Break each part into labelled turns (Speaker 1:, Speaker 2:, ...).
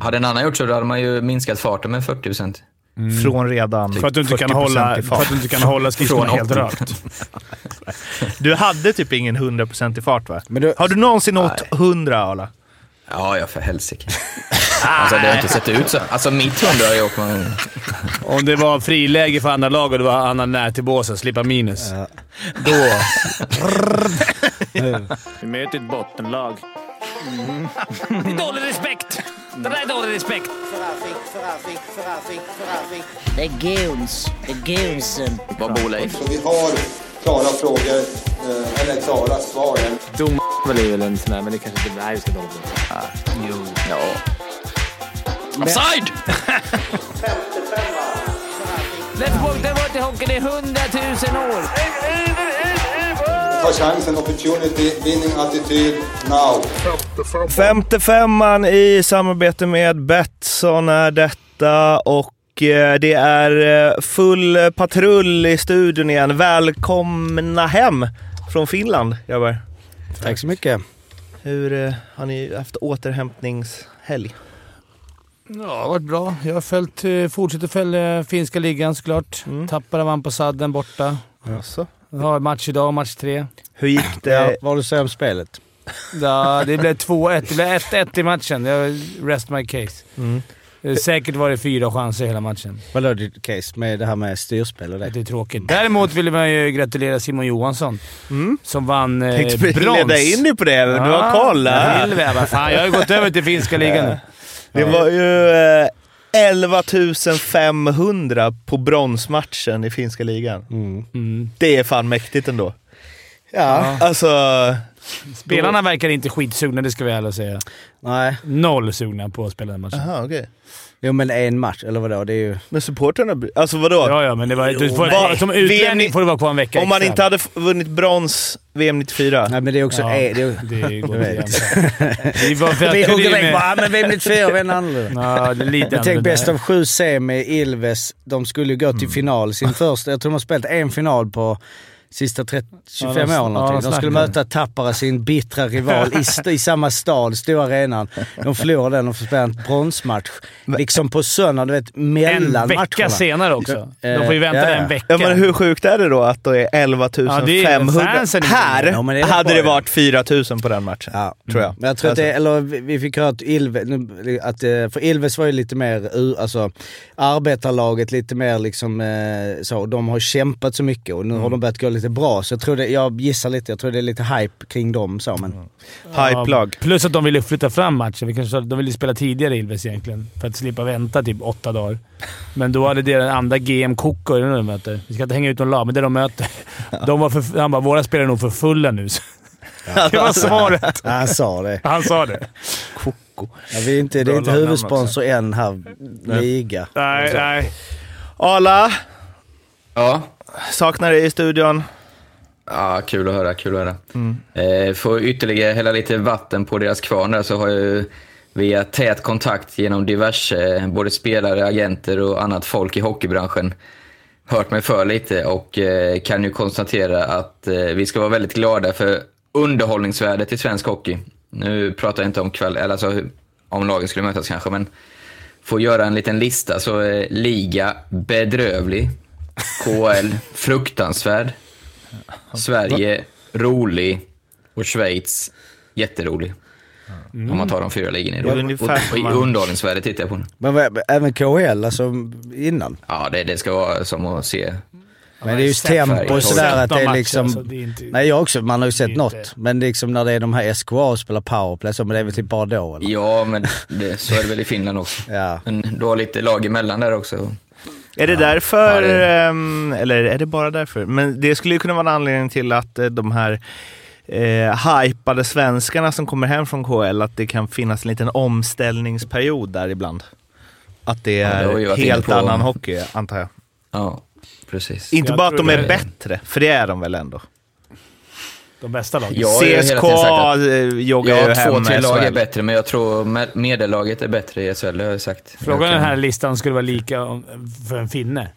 Speaker 1: Hade en annan gjort så då hade man ju minskat farten med 40 procent.
Speaker 2: Från redan
Speaker 3: Mm. För att du inte kan
Speaker 2: 40%
Speaker 3: hålla,
Speaker 2: i
Speaker 3: för att
Speaker 2: fart.
Speaker 3: du inte kan hålla skridskon
Speaker 1: Från
Speaker 3: helt
Speaker 1: åtton.
Speaker 3: rakt.
Speaker 2: Du hade typ ingen 100% i fart va?
Speaker 4: Men du-
Speaker 2: Har du någonsin åkt 100 Arla?
Speaker 1: Ja, ja för helsike. Alltså det har inte sett ut så. Alltså mitt hundra har ju åkt man...
Speaker 3: Om det var friläge för andra lag och det var annan när till båsen, slippa minus.
Speaker 5: Vi möter ett bottenlag.
Speaker 3: Det är dålig respekt! Det där är dålig respekt!
Speaker 6: The goons. The um, goonsen.
Speaker 1: Vad bor Leif?
Speaker 7: Vi har klara frågor, eh, eller klara svar.
Speaker 5: Dom är väl en sån där, men det kanske inte är så dåligt.
Speaker 1: Offside!
Speaker 5: Let's det var inte hockeyn i hundratusen år!
Speaker 7: Ta chansen, opportunity, winning attityd, now.
Speaker 2: 55an i samarbete med Betsson är detta och eh, det är eh, full patrull i studion igen. Välkomna hem från Finland grabbar.
Speaker 4: Tack så mycket.
Speaker 2: Hur eh, har ni haft återhämtningshelg?
Speaker 3: Ja, det har varit bra. Jag har följt, eh, fortsätter följa finska ligan såklart.
Speaker 2: Mm.
Speaker 3: Tappade vann på sadden borta.
Speaker 2: Alltså.
Speaker 3: Jag har match idag och match tre.
Speaker 2: Hur gick
Speaker 4: Ja,
Speaker 2: det?
Speaker 4: var du sämst spelet?
Speaker 3: Ja, det blev 2-1. Det blev 1-1 i matchen. Jag rest my case.
Speaker 2: Mm.
Speaker 3: Eh, Säkert var det fyra chanser hela matchen.
Speaker 4: Vad låg ditt case med det här med styrspel och det?
Speaker 3: Det är tråkigt. Däremot vill man ju gratulera Simon Johansson
Speaker 2: Mm.
Speaker 3: som vann eh,
Speaker 2: Tänkte vi
Speaker 3: brons.
Speaker 2: leda in dig på det, men du har koll.
Speaker 3: Ja,
Speaker 4: äh.
Speaker 2: här.
Speaker 3: Ah. vill vi. Vad Fan, jag har ju gått över till finska ligan nu.
Speaker 2: Det var ju eh, 11 500 på bronsmatchen i finska ligan.
Speaker 4: Mm.
Speaker 3: Mm.
Speaker 2: Det är fan mäktigt ändå.
Speaker 4: Ja.
Speaker 2: Alltså,
Speaker 3: Spelarna verkar inte skitsugna, det ska vi ärligt säga.
Speaker 4: Nej.
Speaker 3: Noll sugna på att spela den matchen.
Speaker 2: aha, okej.
Speaker 4: Jo, men en match, eller vadå? Det är ju...
Speaker 2: Men supportrarna, bry- alltså vadå?
Speaker 3: Ja, ja, men det var, du får,
Speaker 2: vad-
Speaker 3: som
Speaker 2: VM-
Speaker 3: utlänning får du vara kvar en vecka
Speaker 2: Om man
Speaker 3: extra.
Speaker 2: inte hade f- vunnit brons VM 94.
Speaker 4: Nej, men det är också...
Speaker 3: Ja.
Speaker 4: en- det är...
Speaker 3: Det går inte
Speaker 4: Jag vet.
Speaker 3: att jämföra.
Speaker 4: Vi
Speaker 3: Vi
Speaker 4: hugger
Speaker 3: var
Speaker 4: väg bara, "Ah, men vem blir fyra? Vem är annorlunda?
Speaker 3: Ja, det är lite
Speaker 4: Jag tänk
Speaker 3: annorlunda.
Speaker 4: bäst av sju semi, Ilves. De skulle ju gå till final. Sin första, jag tror de har spelat en final på sista 30, 25
Speaker 3: Ja, de-
Speaker 4: åren.
Speaker 3: ja,
Speaker 4: någonting.
Speaker 3: de
Speaker 4: de skulle
Speaker 3: snackade.
Speaker 4: möta Tappara, sin bittra rival, i, st- i samma stad, stora arenan. De förlorade den och får spela en bronsmatch. Liksom på söndag, du vet,
Speaker 3: En
Speaker 4: mellan
Speaker 3: vecka
Speaker 4: matcherna.
Speaker 3: senare också. De får ju
Speaker 4: Eh,
Speaker 3: vänta
Speaker 4: ja, ja.
Speaker 3: en vecka.
Speaker 2: Ja, men hur sjukt är det då att det är 11
Speaker 3: Ja, det är
Speaker 2: 500?
Speaker 3: fansen i-
Speaker 2: här
Speaker 4: Ja, men det är
Speaker 2: hade
Speaker 4: bra.
Speaker 2: det varit 4 000 på den matchen,
Speaker 4: Ja.
Speaker 2: tror jag. Alltså,
Speaker 4: Men jag tror att det, eller vi- vi fick höra att Ilves, att, eh, för Ilves var ju lite mer, u- alltså arbetarlaget lite mer liksom eh, så, de har kämpat så mycket och nu har de börjat gå lite bra. Så jag tror det, jag gissar lite, jag tror det är lite hype kring dem så men.
Speaker 2: Hype-lag.
Speaker 3: Plus att de ville flytta fram matchen. Vi kanske, sa- de ville spela tidigare Ilves egentligen, för att slippa vänta typ åtta dagar. Men då hade deras andra GM Koko, är det de möter? Vi ska inte hänga ut någon lag, men det de möter. De var för, han bara “Våra spelare är nog för fulla nu”. Så Det var svaret.
Speaker 4: Ja, han sa det.
Speaker 3: Han sa det.
Speaker 4: Ja, vi är inte, det är inte
Speaker 2: Bra namn
Speaker 4: huvudsponsor än här, liga.
Speaker 3: Nej, nej.
Speaker 2: Arla,
Speaker 1: Ja.
Speaker 2: saknar dig i studion.
Speaker 1: Ja, kul att höra. Kul att höra. Eh, får ytterligare hälla lite vatten på deras kvarn där så har jag ju via tät kontakt genom diverse, eh, både spelare, agenter och annat folk i hockeybranschen hört mig för lite och eh, kan ju konstatera att eh, vi ska vara väldigt glada för underhållningsvärdet i svensk hockey. Nu pratar jag inte om kväll, eller alltså hur- om lagen skulle mötas kanske, men får göra en liten lista så eh, liga bedrövlig, KL fruktansvärd, Sverige, rolig och Schweiz, jätterolig. Om man tar de fyra ligorna i
Speaker 2: Mm. Det är
Speaker 1: rad.
Speaker 2: ungefär
Speaker 1: Och- Och i
Speaker 2: som man-
Speaker 1: underhållningsvärde tittar jag på nu.
Speaker 4: Men vad- även KHL, alltså innan.
Speaker 1: Ja, det, det ska vara som att se.
Speaker 4: Men det är just tempo och sådär att det är liksom... Nej jag också, man har ju sett
Speaker 3: inte-
Speaker 4: något. Men liksom när det är de här SKA och spelar powerplay så, men det är väl typ bara då eller?
Speaker 1: Ja, men det, så är det väl i Finland också.
Speaker 4: Ja.
Speaker 1: Men du har lite lag emellan där också.
Speaker 2: Är det därför,
Speaker 1: Ja, det
Speaker 2: ehm, eller är det bara därför? Men det skulle ju kunna vara en anledning till att eh, de här eh, hypade svenskarna som kommer hem från KL att det kan finnas en liten omställningsperiod där ibland. Att det
Speaker 1: det har vi ju
Speaker 2: är
Speaker 1: varit inne
Speaker 2: helt
Speaker 1: på.
Speaker 2: annan hockey, antar jag.
Speaker 1: Ja, precis.
Speaker 2: Inte
Speaker 3: Jag
Speaker 2: bara att
Speaker 3: tror
Speaker 2: de
Speaker 3: det
Speaker 2: är
Speaker 3: är-
Speaker 2: bättre, för det är de väl ändå.
Speaker 3: De bästa lagen.
Speaker 1: Jag har ju hela
Speaker 2: CSK
Speaker 1: tiden sagt att-
Speaker 2: eh, joggar ju
Speaker 1: Ja,
Speaker 2: hem
Speaker 1: två, tre
Speaker 2: med
Speaker 1: lag är
Speaker 2: SHL.
Speaker 1: bättre, men jag tror me- medellaget är bättre i SHL, det har jag sagt.
Speaker 3: Frågan
Speaker 1: Jag
Speaker 3: är om
Speaker 1: kan-
Speaker 3: den här listan skulle vara lika om- för en finne.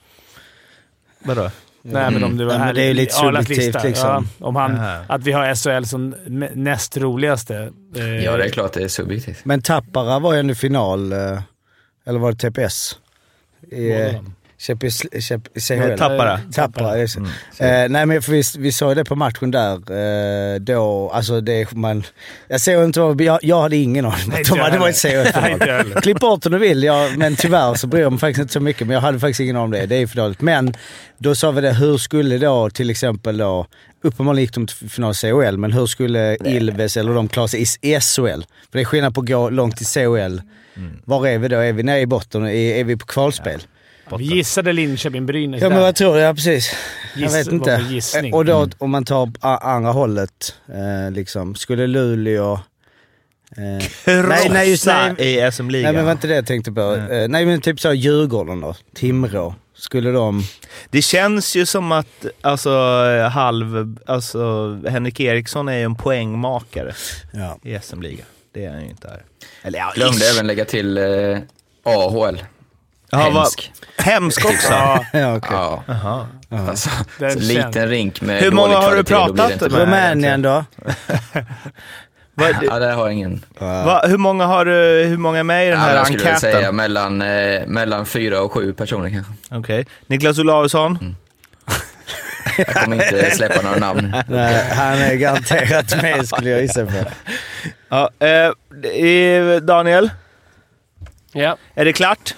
Speaker 2: Vadå?
Speaker 3: Nej, men om det var
Speaker 4: Mm. Ja, men
Speaker 3: här
Speaker 4: det är ju lite
Speaker 3: i Arlas
Speaker 4: subjektivt,
Speaker 3: lista.
Speaker 4: liksom.
Speaker 3: Ja, om han,
Speaker 2: Ja.
Speaker 3: att vi har SHL som m- näst roligaste. eh,
Speaker 1: Ja, det är klart det är subjektivt.
Speaker 4: Men Tappara var ju ändå final, eh, eller var det TPS? I, eh,
Speaker 3: Båda dem.
Speaker 4: Champions- Champ-
Speaker 2: Nej,
Speaker 4: CHL.
Speaker 2: Tappara. Mm.
Speaker 4: Tappara, just det. eh, Nej men för vi, vi såg ju det på matchen där. Eh, då, alltså det man... Jag ser inte vad... Jag, jag hade ingen aning om
Speaker 3: Nej,
Speaker 4: att de
Speaker 3: inte jag
Speaker 4: hade varit
Speaker 3: heller. Nej, inte jag
Speaker 4: CHL-final.
Speaker 3: heller.
Speaker 4: Klipp bort om du vill, jag, men tyvärr så bryr jag mig faktiskt inte så mycket. Men jag hade faktiskt ingen aning om det. Det är ju för dåligt. Men då sa vi det, hur skulle då till exempel då... Uppenbarligen gick de till final i CHL, men hur skulle Ilves eller de klara sig i SHL? För det är skillnad på att gå långt i CHL.
Speaker 3: Mm.
Speaker 4: Var är vi då? Är vi nere i botten? Är, är vi på kvalspel?
Speaker 3: Vi gissade Linköping-Brynäs
Speaker 4: Ja men
Speaker 3: där.
Speaker 4: vad tror du? Ja precis. jag
Speaker 3: Giss-
Speaker 4: vet inte.
Speaker 3: vad för gissning? Mm.
Speaker 4: Och då om man tar a- andra hållet, eh, liksom. Skulle Luleå... Eh, Nej, nej, just
Speaker 2: Krossa i
Speaker 4: nej
Speaker 2: SM-ligan.
Speaker 4: men var inte det jag tänkte på. Eh, nej men typ så Djurgården då. Timrå. Skulle de...
Speaker 2: Det känns ju som att alltså, halv, alltså, Henrik Eriksson är ju en poängmakare
Speaker 4: Ja.
Speaker 2: i SM-ligan. Det är han ju inte här. Eller ja,
Speaker 1: Glömde
Speaker 2: ish.
Speaker 1: även lägga till eh, AHL.
Speaker 2: Ja, vad-
Speaker 1: Hemsk.
Speaker 2: Hemsk också.
Speaker 4: ja okej.
Speaker 1: Ja. Alltså,
Speaker 3: Den
Speaker 1: så
Speaker 3: känns-
Speaker 1: liten rink med
Speaker 2: Hur många
Speaker 1: dålig
Speaker 2: har du
Speaker 1: kvalitet, då blir det
Speaker 2: pratat
Speaker 1: inte
Speaker 2: med?
Speaker 1: bra.
Speaker 4: Rumänien då?
Speaker 2: Vad-
Speaker 1: Ja, där har jag ingen.
Speaker 2: vad- hur, många har, du- hur många är med i den
Speaker 1: Ja,
Speaker 2: här
Speaker 1: jag skulle jag
Speaker 2: enkäten?
Speaker 1: säga mellan, eh, mellan fyra och sju personer kanske.
Speaker 2: Okej. Niklas Olausson?
Speaker 1: Mm. Jag kommer inte släppa några namn.
Speaker 4: Nej, han är garanterat med skulle jag gissa på.
Speaker 2: Ja, eh, eh, Daniel,
Speaker 8: Ja.
Speaker 2: är det klart?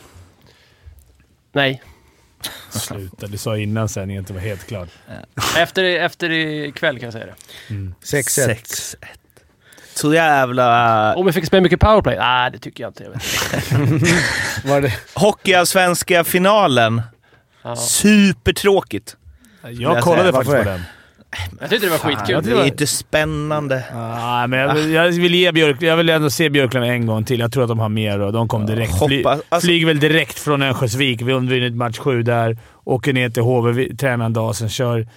Speaker 8: Nej.
Speaker 3: Sluta, du sa innan sändningen att det var helt klart.
Speaker 8: Efter, efter ikväll kan jag säga det.
Speaker 4: 6-1.
Speaker 2: 6-1. Så jävla...
Speaker 8: Om vi fick spela mycket powerplay? Nej, det tycker jag inte. Jag vet. inte.
Speaker 4: Var det?
Speaker 2: Hockeyallsvenska finalen.
Speaker 8: Ja.
Speaker 2: Supertråkigt.
Speaker 3: Jag kollade
Speaker 2: säga,
Speaker 3: faktiskt
Speaker 4: varför
Speaker 3: på den.
Speaker 8: Jag tyckte det var
Speaker 2: Ja,
Speaker 8: skitkul.
Speaker 2: det är ju inte spännande.
Speaker 3: Ah, men jag, vill, jag, vill ge Björk, jag vill ändå se Björklund en gång till. Jag tror att de har mer och de kom direkt. Fly,
Speaker 2: hoppas- alltså-
Speaker 3: Flyger väl direkt från Örnsköldsvik. Vi har vunnit match sju där. Åker ner till HV, vi- tränar en dag, sen kör...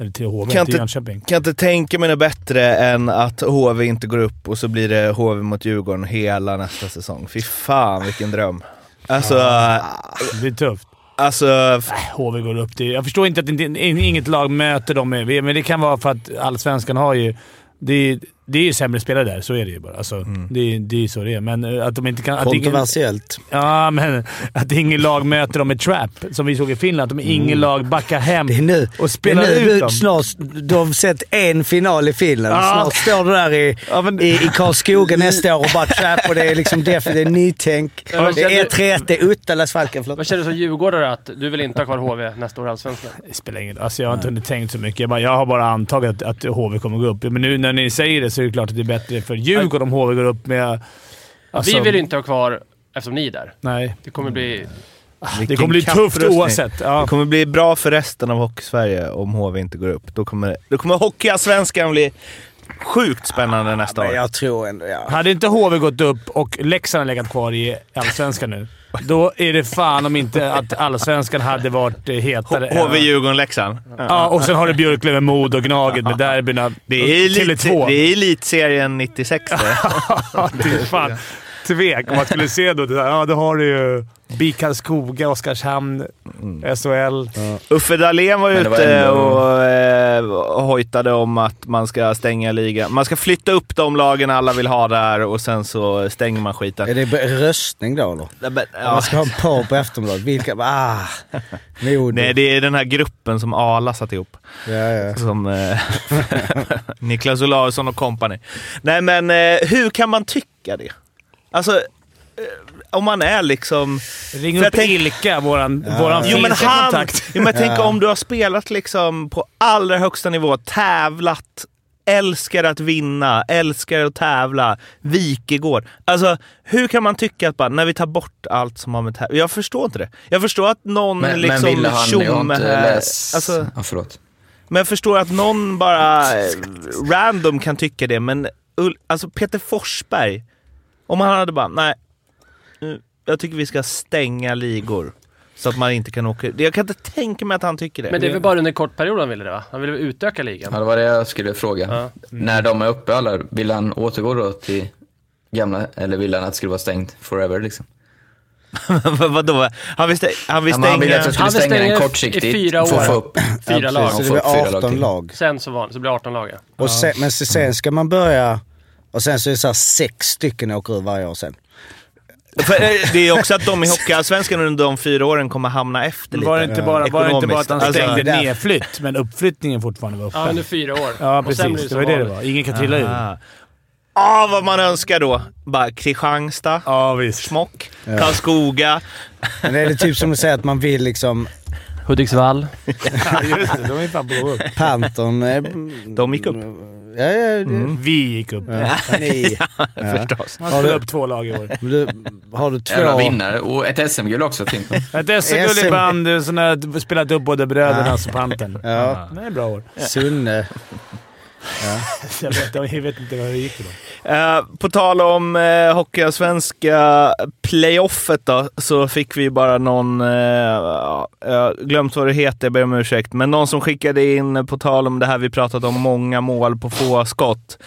Speaker 3: Eller till HV,
Speaker 2: Kan
Speaker 3: inte
Speaker 2: inte-
Speaker 3: till Jönköping.
Speaker 2: Kan inte tänka mig något bättre än att HV inte går upp och så blir det HV mot Djurgården hela nästa säsong. Fy fan vilken dröm. Alltså,
Speaker 3: Det blir tufft.
Speaker 2: alltså f-
Speaker 3: Äh, HV går upp till... Jag förstår inte att inte, in- inget lag möter dem, med, men det kan vara för att allsvenskan har ju... Det, är- det är ju sämre spelare där, så är det ju bara. Alltså, det, är- det är ju så det är, men eh, att de inte kan... Att ingen,
Speaker 4: Kontroversiellt.
Speaker 3: ja, men att ingen lag möter dem med trap, som vi såg i Finland. Att de ingen lag backar hem
Speaker 4: Det är nu.
Speaker 3: och spelar
Speaker 4: det är nu,
Speaker 3: ut dem.
Speaker 4: Snart, du har sett en final i Finland.
Speaker 3: Ja.
Speaker 4: Snart står du där i,
Speaker 3: Ja, men-
Speaker 4: i, i Karlskoga nästa år och bara trap och det är liksom definitivt det är nytänk. Det
Speaker 8: men känner
Speaker 4: är
Speaker 8: du-
Speaker 4: 1-3-1, det är Uttalas Falken.
Speaker 8: Vad
Speaker 4: Förlåt.
Speaker 8: känner du som djurgårdare att du vill inte ha kvar HV nästa år i Allsvenskan?
Speaker 3: Det spelar ingen Alltså Jag har inte hunnit tänkt så mycket. Jag, bara, jag har bara antagit att, att HV kommer gå upp. Men nu när ni säger det så är det klart att det är bättre för Djurgården om HV går upp med... alltså,
Speaker 8: Vi vill ju inte ha kvar eftersom ni är där.
Speaker 3: Nej.
Speaker 8: Det kommer bli...
Speaker 3: Ah, Det
Speaker 2: vilken
Speaker 3: kommer bli tufft
Speaker 2: kapprustning.
Speaker 3: oavsett.
Speaker 2: Det
Speaker 3: Ja.
Speaker 2: kommer bli bra för resten av Hockeysverige om HV inte går upp. Då kommer, då kommer Hockeyallsvenskan bli sjukt spännande nästa
Speaker 4: Men
Speaker 2: år.
Speaker 4: jag tror ändå, ja.
Speaker 3: Hade inte HV gått upp och Leksand legat kvar i Allsvenskan nu, då är det fan om inte att Allsvenskan hade varit eh, hetare. än-
Speaker 2: HV, Djurgården, Leksand.
Speaker 3: Ja, och sen har du Björklöven, Mod och Gnaget med derbyna.
Speaker 2: Det är, elit,
Speaker 3: Tele2.
Speaker 2: det är elitserien 96 det.
Speaker 3: Ja, det är fan tvek. Om man skulle se då. Det där, ja, då har du ju BIK Karlskoga, Oskarshamn,
Speaker 2: Mm.
Speaker 3: SHL.
Speaker 2: Uffe Dahlén var
Speaker 1: Men det var
Speaker 2: ute
Speaker 1: ändå-
Speaker 2: och eh, och hojtade om att man ska stänga ligan. Man ska flytta upp de lagen alla vill ha där och sen så stänger man
Speaker 4: Är
Speaker 2: skiten.
Speaker 4: det b- röstning då eller?
Speaker 2: Nej, men, ja.
Speaker 4: Man ska ha en par på Aftonbladet. Vilka? Ah! Modo.
Speaker 2: Nej, det är den här gruppen som Arla satt ihop.
Speaker 4: Ja, ja.
Speaker 1: Alltså.
Speaker 2: Som eh, Niklas Olausson och company. Nej, men eh, hur kan man tycka det? Alltså, eh, om man är liksom...
Speaker 3: Ring
Speaker 2: För jag
Speaker 3: upp
Speaker 2: tänk-
Speaker 3: Ilka, våran, våran
Speaker 2: Jo men
Speaker 3: finska
Speaker 2: han!
Speaker 3: kontakt.
Speaker 2: Jo, men tänk om du har spelat liksom på allra högsta nivå, tävlat, älskar att vinna, älskar att tävla, Wikegård. Alltså, hur kan man tycka att bara, när vi tar bort allt som har med tävling... Jag förstår inte det. Jag förstår att någon
Speaker 1: Men,
Speaker 2: liksom...
Speaker 1: men ville han... Jag har
Speaker 2: tjomme
Speaker 1: inte
Speaker 2: här-
Speaker 1: läst...
Speaker 2: Alltså,
Speaker 1: Ja, förlåt.
Speaker 2: men jag förstår att någon bara eh, random kan tycka det, men Ul- alltså Peter Forsberg, om han hade bara, nej, nu- jag tycker vi ska stänga ligor. Så att man inte kan åka ut. Jag kan inte tänka mig att han tycker det.
Speaker 8: Men det är väl bara under en kort period han ville det va? Han ville väl utöka ligan?
Speaker 1: Ja, det var det jag skulle fråga. När de är uppe alla, vill han återgå då till gamla, eller vill han att det skulle vara stängt forever liksom?
Speaker 2: Vadå? Han vill, stä- han vill
Speaker 1: Ja, men han ville
Speaker 2: stänga...
Speaker 1: att jag skulle
Speaker 8: Han vill
Speaker 1: stänga
Speaker 8: stänga
Speaker 1: den
Speaker 8: i- i
Speaker 1: kortsiktigt.
Speaker 8: fyra
Speaker 1: Få
Speaker 8: år.
Speaker 1: få upp,
Speaker 8: Fyra
Speaker 1: Ja,
Speaker 8: lag.
Speaker 1: precis.
Speaker 4: Så det
Speaker 1: Få upp fyra
Speaker 4: blir 18
Speaker 1: till.
Speaker 4: lag.
Speaker 8: Sen så, var, så blir det 18 lag ja.
Speaker 4: Och sen, men sen ska man börja... Och sen så är det så här sex stycken åker ur varje år sen.
Speaker 2: För, eh, det är också att de i Hockeyallsvenskan under de fyra åren kommer hamna efter lite.
Speaker 3: Var det inte bara, var det inte bara att han
Speaker 2: Ekonomiskt.
Speaker 3: stängde
Speaker 4: Alltså, där-
Speaker 3: ner flytt, men uppflyttningen fortfarande var
Speaker 8: Ja,
Speaker 3: öppen?
Speaker 8: under fyra år.
Speaker 3: Ja,
Speaker 8: Och sen blir
Speaker 3: precis. Det var
Speaker 8: som
Speaker 3: det det
Speaker 8: vanligt.
Speaker 3: var. Ingen kan trilla ur.
Speaker 2: Ah. Ah, vad man önskar då! Bara Kristianstad,
Speaker 3: Ja, visst.
Speaker 2: Mock, Karlskoga.
Speaker 4: Men är det typ som att säga att man vill liksom...
Speaker 8: Hudiksvall.
Speaker 3: Just det, de är fan på väg upp.
Speaker 4: Pantern... eh,
Speaker 2: De gick upp.
Speaker 4: Ja, ja, det-
Speaker 3: Mm. Vi gick upp.
Speaker 4: ni.
Speaker 2: Förstås.
Speaker 3: Man skulle upp två lag i år.
Speaker 4: Du, har du
Speaker 1: Jävla
Speaker 4: två...
Speaker 1: vinnare. Och ett SM-guld också. Tim.
Speaker 3: Ett SM-guld i band, eh, sån här, spelat upp både bröderna och Panten.
Speaker 4: Ja.
Speaker 3: Det är bra år.
Speaker 4: Sunne.
Speaker 3: Jag vet, jag vet inte vad det gick för dem.
Speaker 2: Eh, på tal om eh, Hockeyallsvenska playoffet då, så fick vi ju bara någon... Eh, ja, jag har glömt vad det heter, jag ber om ursäkt. Men någon som skickade in, eh, på tal om det här vi pratat om, många mål på få skott.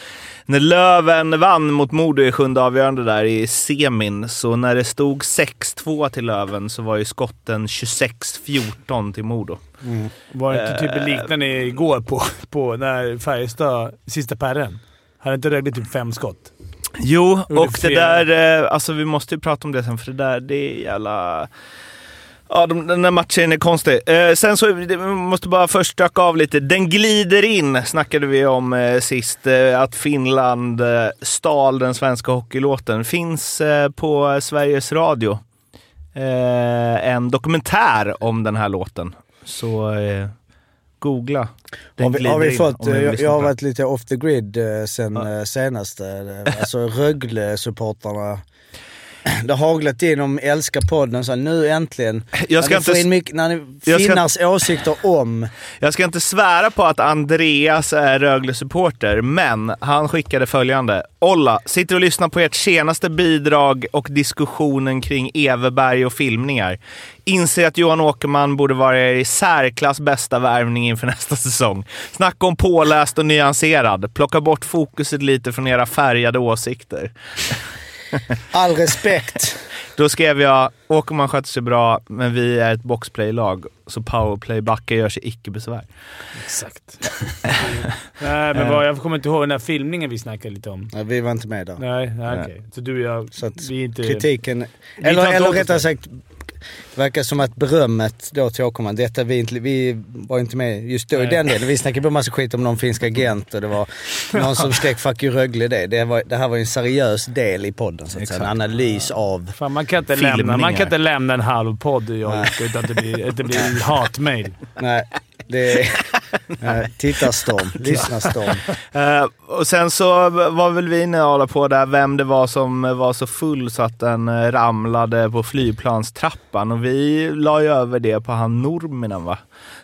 Speaker 2: När Löven vann mot Modo i sjunde avgörande där i semin, så när det stod 6-2 till Löven så var ju skotten 26-14 till Modo.
Speaker 3: Var det inte typ liknande igår på, på när Färjestad, sista pärren, hade inte Rögle typ fem skott?
Speaker 2: Jo,
Speaker 3: Gjorde
Speaker 2: och det
Speaker 3: fel.
Speaker 2: där, eh, alltså vi måste ju prata om det sen för det där, det är jävla... Ja, de, den där matchen är konstig. Eh, sen så, det- vi måste bara först stöka av lite. Den glider in, snackade vi om eh, sist. Eh, att Finland eh, stal den svenska hockeylåten. Finns eh, på Sveriges Radio eh, en dokumentär om den här låten. Så eh, googla. Den
Speaker 4: Har vi, har vi
Speaker 2: glider in
Speaker 4: fått, eh,
Speaker 2: om ni vill
Speaker 4: jag,
Speaker 2: lyssna
Speaker 4: jag har
Speaker 2: på den.
Speaker 4: varit lite off the grid eh, sen eh, senaste. Eh, Alltså Rögle-supportrarna. Det har haglat in om älskar podden. Så här, nu äntligen.
Speaker 2: Jag ska inte
Speaker 4: när ni får
Speaker 2: s-
Speaker 4: in mycket, när ni
Speaker 2: jag ska-
Speaker 4: finnars åsikter om...
Speaker 2: Jag ska inte svära på att Andreas är Rögle-supporter, men han skickade följande. Olla, sitter och lyssnar på ert senaste bidrag och diskussionen kring Everberg och filmningar. Inser att Johan Åkerman borde vara er i särklass bästa värvning inför nästa säsong. Snacka om påläst och nyanserad. Plocka bort fokuset lite från era färgade åsikter.
Speaker 4: All respekt.
Speaker 2: Då skrev jag Åkerman sköter sig bra, men vi är ett boxplay-lag, så powerplay-backar gör sig icke besvär.
Speaker 3: Exakt. Nej, men vad, jag kommer inte ihåg den där filmningen vi snackade lite om.
Speaker 4: Nej, vi var inte med där.
Speaker 3: Nej, nej okej. Så du och jag...
Speaker 4: Så att
Speaker 3: vi är inte...
Speaker 4: kritiken...
Speaker 3: tar
Speaker 4: Eller,
Speaker 3: inte
Speaker 4: eller
Speaker 3: åt oss
Speaker 4: rättare
Speaker 3: det.
Speaker 4: sagt, det verkar som att berömmet då till Åkerman, detta vi, inte, vi var inte med just då i
Speaker 3: Nej.
Speaker 4: den delen. Vi snackade bara massa skit om någon finsk agent och det var någon som skrek 'fuck you Rögle' det. Det, var, det här var ju en seriös del i podden så att säga. En analys av...
Speaker 3: Fan, man kan, inte lämna, man kan inte lämna en halv podd jag gick utan att det blir, att det blir hatmejl.
Speaker 4: Nej, det är... nej, Tittarstorm, lyssnarstorm.
Speaker 2: Eh, och sen så var väl vi inne och hålla på där vem det var som var så full så att den eh, ramlade på flygplanstrappan. Och vi la ju över det på han Norminen va?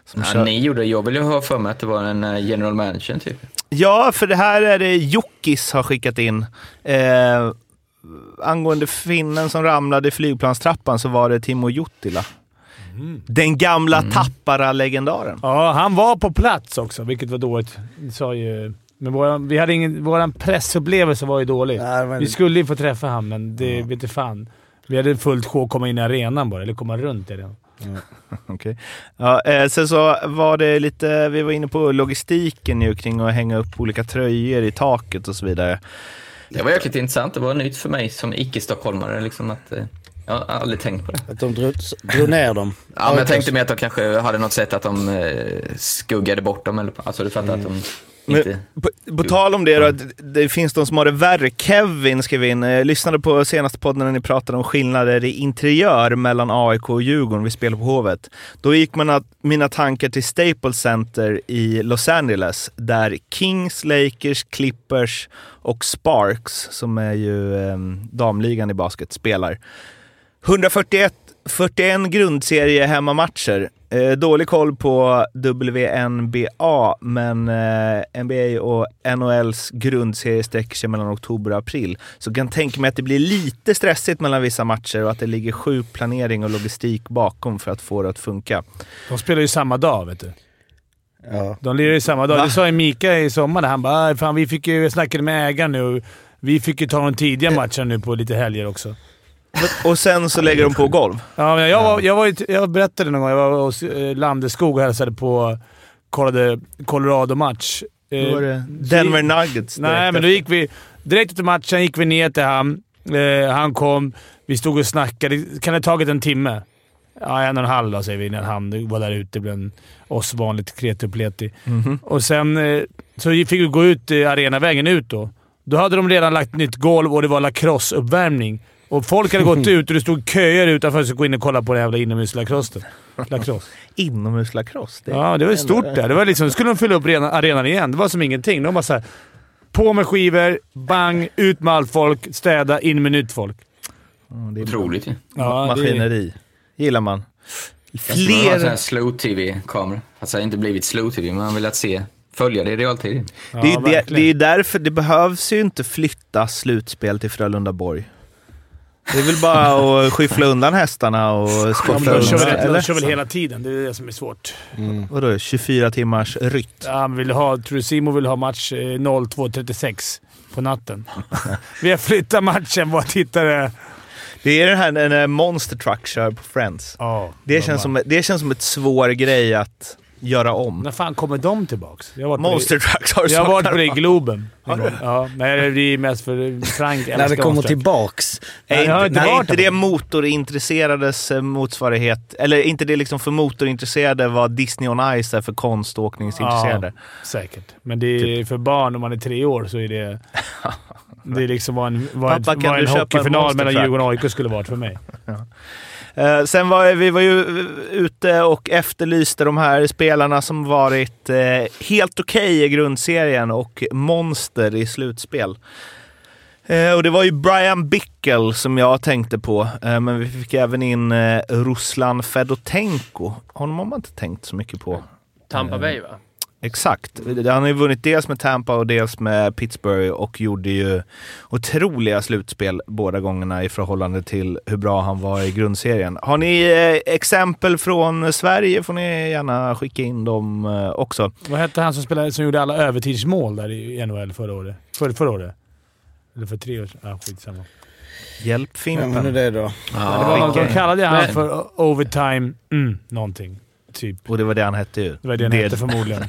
Speaker 2: Som
Speaker 1: Ja,
Speaker 2: kör-
Speaker 1: ni gjorde det. Jag ville ha för mig att det var en eh, general manager typ.
Speaker 2: Ja, för det här är det Jockis har skickat in. Eh, angående finnen som ramlade i flygplanstrappan så var det Timo Juttila.
Speaker 1: Mm.
Speaker 2: Den gamla Tappara-legendaren.
Speaker 3: Ja, han var på plats också, vilket var dåligt. Det Sa ju, men våran, vi hade ingen, våran pressupplevelse var ju dålig.
Speaker 4: Nej, men-
Speaker 3: Vi skulle ju få träffa honom, men det vet inte fan. Vi hade fullt sjå att komma in i arenan bara, eller komma runt i den.
Speaker 2: Okej. Ja, eh, sen så var det lite, vi var inne på logistiken ju kring att hänga upp olika tröjor i taket och så vidare.
Speaker 1: Det var jäkligt intressant. Det var nytt för mig som icke-stockholmare. Liksom att, eh, jag har aldrig tänkt på det.
Speaker 4: Att de drog, drog ner dem.
Speaker 1: Ja, men jag tänkte mer att de kanske hade något sätt att de eh, skuggade bort dem. Eller, alltså du fattar att de inte...
Speaker 2: På, på tal om det då, det, det finns de som har det värre. Kevin skrev in, eh, lyssnade på senaste podden när ni pratade om skillnader i interiör mellan AIK och Djurgården vid spel på Hovet. Då gick man att, mina tankar till Staples Center i Los Angeles, där Kings, Lakers, Clippers och Sparks, som är ju eh, damligan i basket, spelar. 141 41 grundserie hemmamatcher. Eh, dålig koll på WNBA, men eh, NBA och NHLs grundserie sträcker sig mellan oktober och april. Så jag kan tänka mig att det blir lite stressigt mellan vissa matcher och att det ligger sju planering och logistik bakom för att få det att funka.
Speaker 3: De spelar ju samma dag, vet du.
Speaker 4: Ja.
Speaker 3: De lirar ju samma dag. Det sa ju Mika i sommar. Han bara "Ah, fan, vi fick ju, jag snackade med ägaren nu. Vi fick ju ta de tidiga matcherna nu på lite helger också.
Speaker 2: och sen så lägger de på golv.
Speaker 3: Ja, men jag, var, jag, var, ju- jag berättade någon gång, jag var hos eh, Landeskog och hälsade på, kollade Colorado-match. Eh,
Speaker 2: Då var det Denver Nuggets
Speaker 3: Nej,
Speaker 2: direkt
Speaker 3: men då gick vi... Direkt efter matchen gick vi ner till han. Eh, han kom, vi stod och snackade. Kan det ha tagit en timme? Ja, en och en halv då, säger vi innan han var där ute bland oss vanligt kreti och pleti. Och sen eh, så fick vi gå ut eh, arenavägen ut då. Då hade de redan lagt nytt golv och det var lacrosse-uppvärmning. Och folk hade gått ut och det stod köer utanför så gå in och kolla på den jävla inomhuslacrossen. Lacrosse.
Speaker 2: Inomhuslacrosse. det-
Speaker 3: Ja, det var ju stort där. Det var liksom, skulle de fylla upp arena- arenan igen. Det var som ingenting. De bara såhär, på med skivor, bang, ut med allt folk, städa, in med nytt folk.
Speaker 2: Ja, det är
Speaker 1: Otroligt ju.
Speaker 3: Ja,
Speaker 2: Maskineri. Gillar man.
Speaker 1: Alltså, Man har en sån här
Speaker 2: Fler...
Speaker 1: slow-tv-kamera. Alltså inte blivit slow-tv, men man vill att se, följa det i realtid.
Speaker 3: Ja,
Speaker 2: Det är, ju det, det
Speaker 3: verkligen.
Speaker 2: är ju därför det behövs ju inte flytta slutspel till Frölunda Borg. Det är väl bara att skyffla undan hästarna och
Speaker 3: Ja, men
Speaker 2: skotta
Speaker 3: de kör,
Speaker 2: undan.
Speaker 3: väl, de kör väl
Speaker 2: Eller?
Speaker 3: hela tiden. Det är det som är svårt.
Speaker 2: Vadå, 24 timmars rytm?
Speaker 3: Ja, men vill ha, Trusimo vill ha match eh, 02.36 på natten. Vi har flyttat matchen. Våra tittare...
Speaker 2: Det är den här när Monster Truck kör på Friends.
Speaker 3: Ja,
Speaker 2: Det
Speaker 3: de
Speaker 2: känns,
Speaker 3: bara,
Speaker 2: som, det känns som ett svår grej att göra om.
Speaker 3: När fan kommer de tillbaka? Jag har varit på det-
Speaker 2: Monster Truck har du
Speaker 3: Jag har varit
Speaker 2: snart-
Speaker 3: på det i Globen. Ja, nej, det är mest för Frank
Speaker 4: När det
Speaker 3: älskar
Speaker 4: kommer
Speaker 3: Monster.
Speaker 4: tillbaks.
Speaker 2: Är
Speaker 3: Nej, jag har
Speaker 2: inte,
Speaker 3: inte
Speaker 2: nej,
Speaker 3: varit
Speaker 2: inte
Speaker 3: där.
Speaker 2: det motorintresserades eh, motsvarighet? Eller inte det liksom för motorintresserade vad Disney on Ice är för konståkningsintresserade?
Speaker 3: Säkert. Men det är för barn, om man är tre år, så är det... Det är liksom vad en, vad
Speaker 2: Pappa,
Speaker 3: ett,
Speaker 2: kan
Speaker 3: vad
Speaker 2: du
Speaker 3: en
Speaker 2: köpa en
Speaker 3: hockeyfinal
Speaker 2: Monster
Speaker 3: mellan
Speaker 2: Truck?
Speaker 3: Djurgården och AIK skulle varit för mig.
Speaker 2: Eh, sen var vi var ju eh, ute och efterlyste de här spelarna som varit eh, helt okej i grundserien och monster i slutspel. Eh, och det var ju Brian Bickel som jag tänkte på, eh, men vi fick även in eh, Ruslan Fedotenko. Honom har man inte tänkt så mycket på.
Speaker 8: Tampa Bay va?
Speaker 2: Exakt. Han har ju vunnit dels med Tampa och dels med Pittsburgh och gjorde ju otroliga slutspel båda gångerna i förhållande till hur bra han var i grundserien. Har ni eh, exempel från Sverige får ni gärna skicka in dem eh, också.
Speaker 3: Vad hette han som, spelade, som gjorde alla övertidsmål där i NHL förra året? För, förra året? Eller för tre år sedan? Ah, skitsamma.
Speaker 2: Hjälp
Speaker 4: Vem är
Speaker 2: Fimpen.
Speaker 4: det då?
Speaker 3: det var någon, de
Speaker 2: vilken-
Speaker 3: kallade han
Speaker 1: Men-
Speaker 3: för o- overtime mm, någonting. Typ.
Speaker 2: Och det var det han hette ju.
Speaker 3: Det var det han hette förmodligen.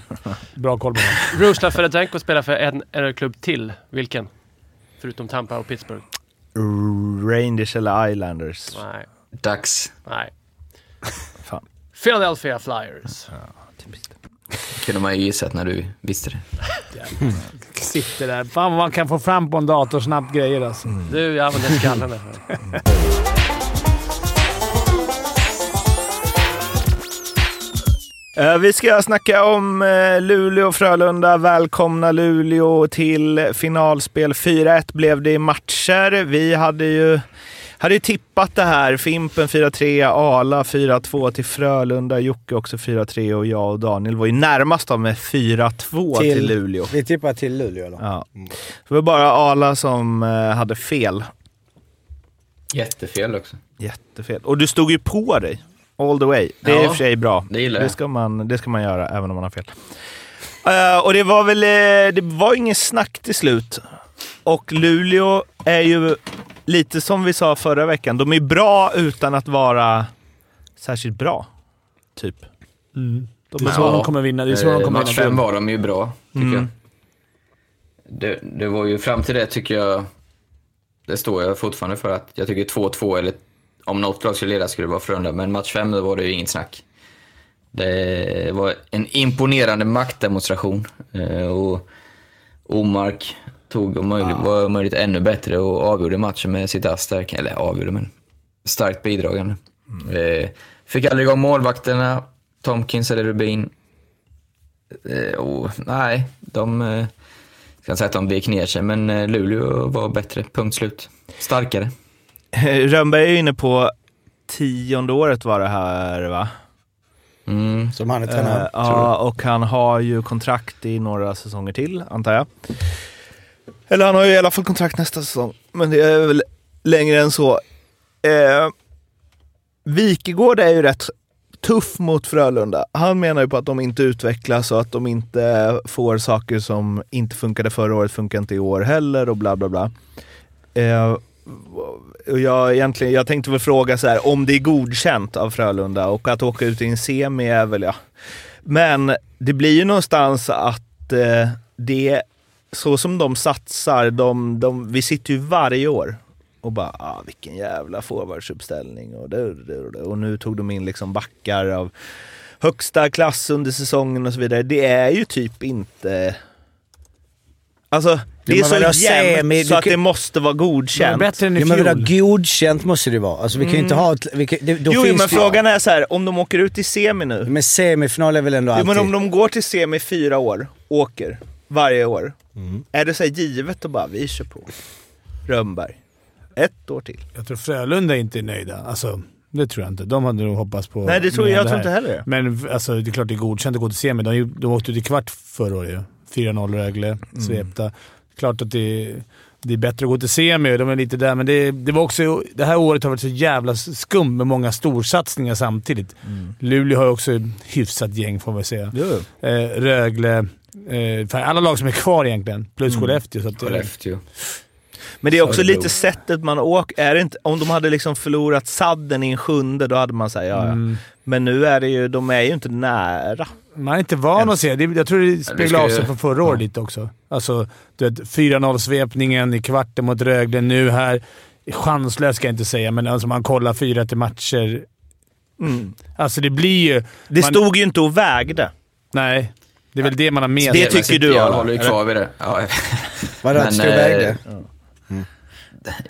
Speaker 3: Bra koll på honom.
Speaker 8: Rushdie Fedotenko spelar för en NHL-klubb till. Vilken? Förutom Tampa och Pittsburgh?
Speaker 2: Rangers eller Islanders.
Speaker 8: Nej.
Speaker 1: Dags.
Speaker 8: Nej.
Speaker 2: Fan.
Speaker 8: Philadelphia Flyers.
Speaker 1: kunde man ju gissat när du visste det.
Speaker 3: Sitter där. Fan vad man kan få fram på en dator snabbt grejer alltså.
Speaker 8: Du, jag använder skallen där.
Speaker 2: Eh, Vi ska snacka om eh, Luleå och Frölunda. Välkomna Luleå till finalspel. 4-1 blev det i matcher. Vi hade ju, hade ju tippat det här. Fimpen 4-3, Ala 4-2 till Frölunda. Jocke också 4-3 och jag och Daniel var ju närmast av med 4-2 till,
Speaker 4: Till-
Speaker 2: Luleå. Mm.
Speaker 4: Vi tippar till Luleå eller?
Speaker 2: Ja. Det var bara Ala som eh, hade fel.
Speaker 1: Jättefel också.
Speaker 2: Jättefel. Och du stod ju på dig. All the way. Det är
Speaker 1: Ja,
Speaker 2: i och för sig bra.
Speaker 1: det gillar
Speaker 2: det
Speaker 1: jag.
Speaker 2: ska man, det ska man göra även om man har fel. Eh, och det var väl... eh, det var ingen snack till slut. Och Luleå är ju lite som vi sa förra veckan. De är bra utan att vara särskilt bra. Typ.
Speaker 3: Det är så de kommer vinna. Det är så de
Speaker 1: Eh,
Speaker 3: kommer
Speaker 1: Match
Speaker 3: vinna. Mm.
Speaker 1: fem var de ju bra, tycker jag. Det, det var ju fram till det, tycker jag, det står jag fortfarande för, att jag tycker 2-2, eller om något lag skulle leda skulle det vara Frölunda, men match fem då var det ju inget snack. Det var en imponerande maktdemonstration. eh, Och Omark tog om möjligt,
Speaker 3: Ah.
Speaker 1: var om möjligt ännu bättre och avgjorde matchen med sitt ass där. Eller avgjorde, men starkt bidragande.
Speaker 3: Mm.
Speaker 1: Eh, Fick aldrig igång målvakterna, Tomkins eller Rubin. Eh, och, nej, de... Eh, jag ska inte säga att de vek ner sig, men eh, Luleå var bättre. Punkt slut. Starkare.
Speaker 2: Rönnberg är ju inne på tionde året var det här va?
Speaker 1: Mm.
Speaker 4: Som han är
Speaker 2: Eh,
Speaker 4: tränare.
Speaker 2: Ja, och han har ju kontrakt i några säsonger till, antar jag. Eller han har ju i alla fall kontrakt nästa säsong, men det är väl längre än så. Eh, Wikegård är ju rätt tuff mot Frölunda. Han menar ju på att de inte utvecklas och att de inte får saker som inte funkade förra året, funkar inte i år heller och bla bla bla. Eh, och jag, egentligen, jag tänkte väl fråga så här, om det är godkänt av Frölunda och att åka ut i en semi är väl ja. Men det blir ju någonstans att eh, det, så som de satsar, de, de, vi sitter ju varje år och bara ah, vilken jävla forwardsuppställning och, det, det, det. och nu tog de in liksom backar av högsta klass under säsongen och så vidare. Det är ju typ inte... Alltså, det är
Speaker 4: men vadå,
Speaker 2: så jämnt
Speaker 4: semi?
Speaker 2: så
Speaker 4: Du
Speaker 2: att
Speaker 4: kan-
Speaker 2: det måste vara
Speaker 3: Det var
Speaker 2: godkänt.
Speaker 3: bättre än i
Speaker 4: Jo, men
Speaker 3: fjol.
Speaker 4: vadå, godkänt måste det vara. Alltså, vi kan ju inte ha ett... Vi kan, det, då
Speaker 2: Mm. Jo,
Speaker 4: finns
Speaker 2: men
Speaker 4: det,
Speaker 2: frågan är så här, om de åker ut i semi nu.
Speaker 4: Men typ- semifinal är väl ändå
Speaker 2: Jo,
Speaker 4: alltid...
Speaker 2: men om de går till semi fyra år, åker varje år.
Speaker 4: Mm.
Speaker 2: Är det så här givet att bara vi kör på? Rönnberg. Ett år till.
Speaker 3: Jag tror Frölunda inte är nöjda. Alltså, det tror jag inte. De hade nog hoppats på...
Speaker 2: Nej, det tror
Speaker 3: mer
Speaker 2: jag,
Speaker 3: av
Speaker 2: jag tror
Speaker 3: här.
Speaker 2: inte heller det.
Speaker 3: Men alltså, det är klart det är godkänt att gå till semi. De, gjorde- de åkte ut i kvart förra året ju. 4-0 Rögle,
Speaker 2: Mm.
Speaker 3: svepta. Klart att det, det är bättre att gå till semi. De är lite där, men det, det var också... Det här året har varit så jävla skumt med många storsatsningar samtidigt.
Speaker 2: Mm.
Speaker 3: Luleå har ju också ett hyfsat gäng får man väl säga. Eh, Rögle. Eh, fan, alla lag som är kvar egentligen. Plus
Speaker 2: Mm.
Speaker 3: Skellefteå. Så att, det-
Speaker 1: Skellefteå.
Speaker 2: Men det är också
Speaker 1: Örebro.
Speaker 2: lite sättet man åker. Är det inte, om de hade liksom förlorat sadden i en sjunde, då hade man sagt ja, ja.
Speaker 4: Mm.
Speaker 2: Men nu är det ju, de är ju inte nära.
Speaker 3: Man är inte van att se. Det, jag tror det
Speaker 1: ska
Speaker 3: speglar av
Speaker 1: ju-
Speaker 3: sig från förra året lite också. Alltså, du vet, 4-0-svepningen i kvarten mot Rögle. Nu här. Chanslös ska jag inte säga, men alltså man kollar 4 till matcher.
Speaker 4: Mm.
Speaker 3: Alltså det blir ju...
Speaker 2: Det
Speaker 3: man,
Speaker 2: stod ju inte och vägde.
Speaker 3: Nej, det är väl det man har med
Speaker 2: Det
Speaker 3: sig.
Speaker 2: tycker
Speaker 1: City,
Speaker 2: du,
Speaker 1: Jag
Speaker 2: Arla,
Speaker 1: håller ju
Speaker 2: eller?
Speaker 1: kvar vid det. Ja,
Speaker 4: Vadå,
Speaker 1: Men,
Speaker 4: att stå och
Speaker 1: eh,
Speaker 4: vägde?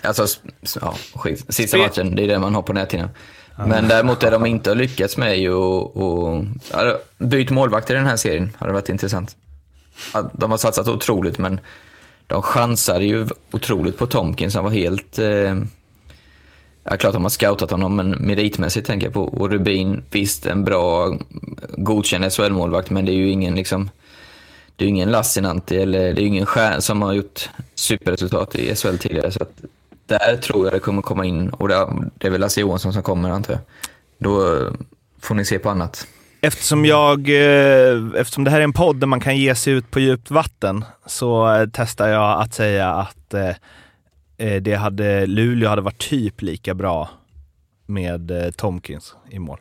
Speaker 1: alltså, s- s- ja, skit. Sista
Speaker 8: Spe-
Speaker 1: matchen, det är det man har på näthinnan. Men däremot det de inte har lyckats med är ju att- att... ja, Byt målvakt i den här serien hade varit intressant. Ja, De har satsat otroligt, men de chansade ju otroligt på Tomkins. Han var helt... Eh, Ja, klart de har scoutat honom, men meritmässigt tänker jag på. Och Rubin, visst en bra, godkänd SHL-målvakt, men det är ju ingen liksom... Det är ju ingen Lassinantti eller det är ju ingen stjärn som har gjort superresultat i SHL tidigare. Så att där tror jag det kommer komma in, och där, det är väl Lasse Johansson som kommer antar jag. Då eh, får ni se på annat.
Speaker 2: Eftersom, jag, eh, eftersom det här är en podd där man kan ge sig ut på djupt vatten så eh, testar jag att säga att eh, eh, det hade, Luleå hade varit typ lika bra med eh, Tomkins i mål.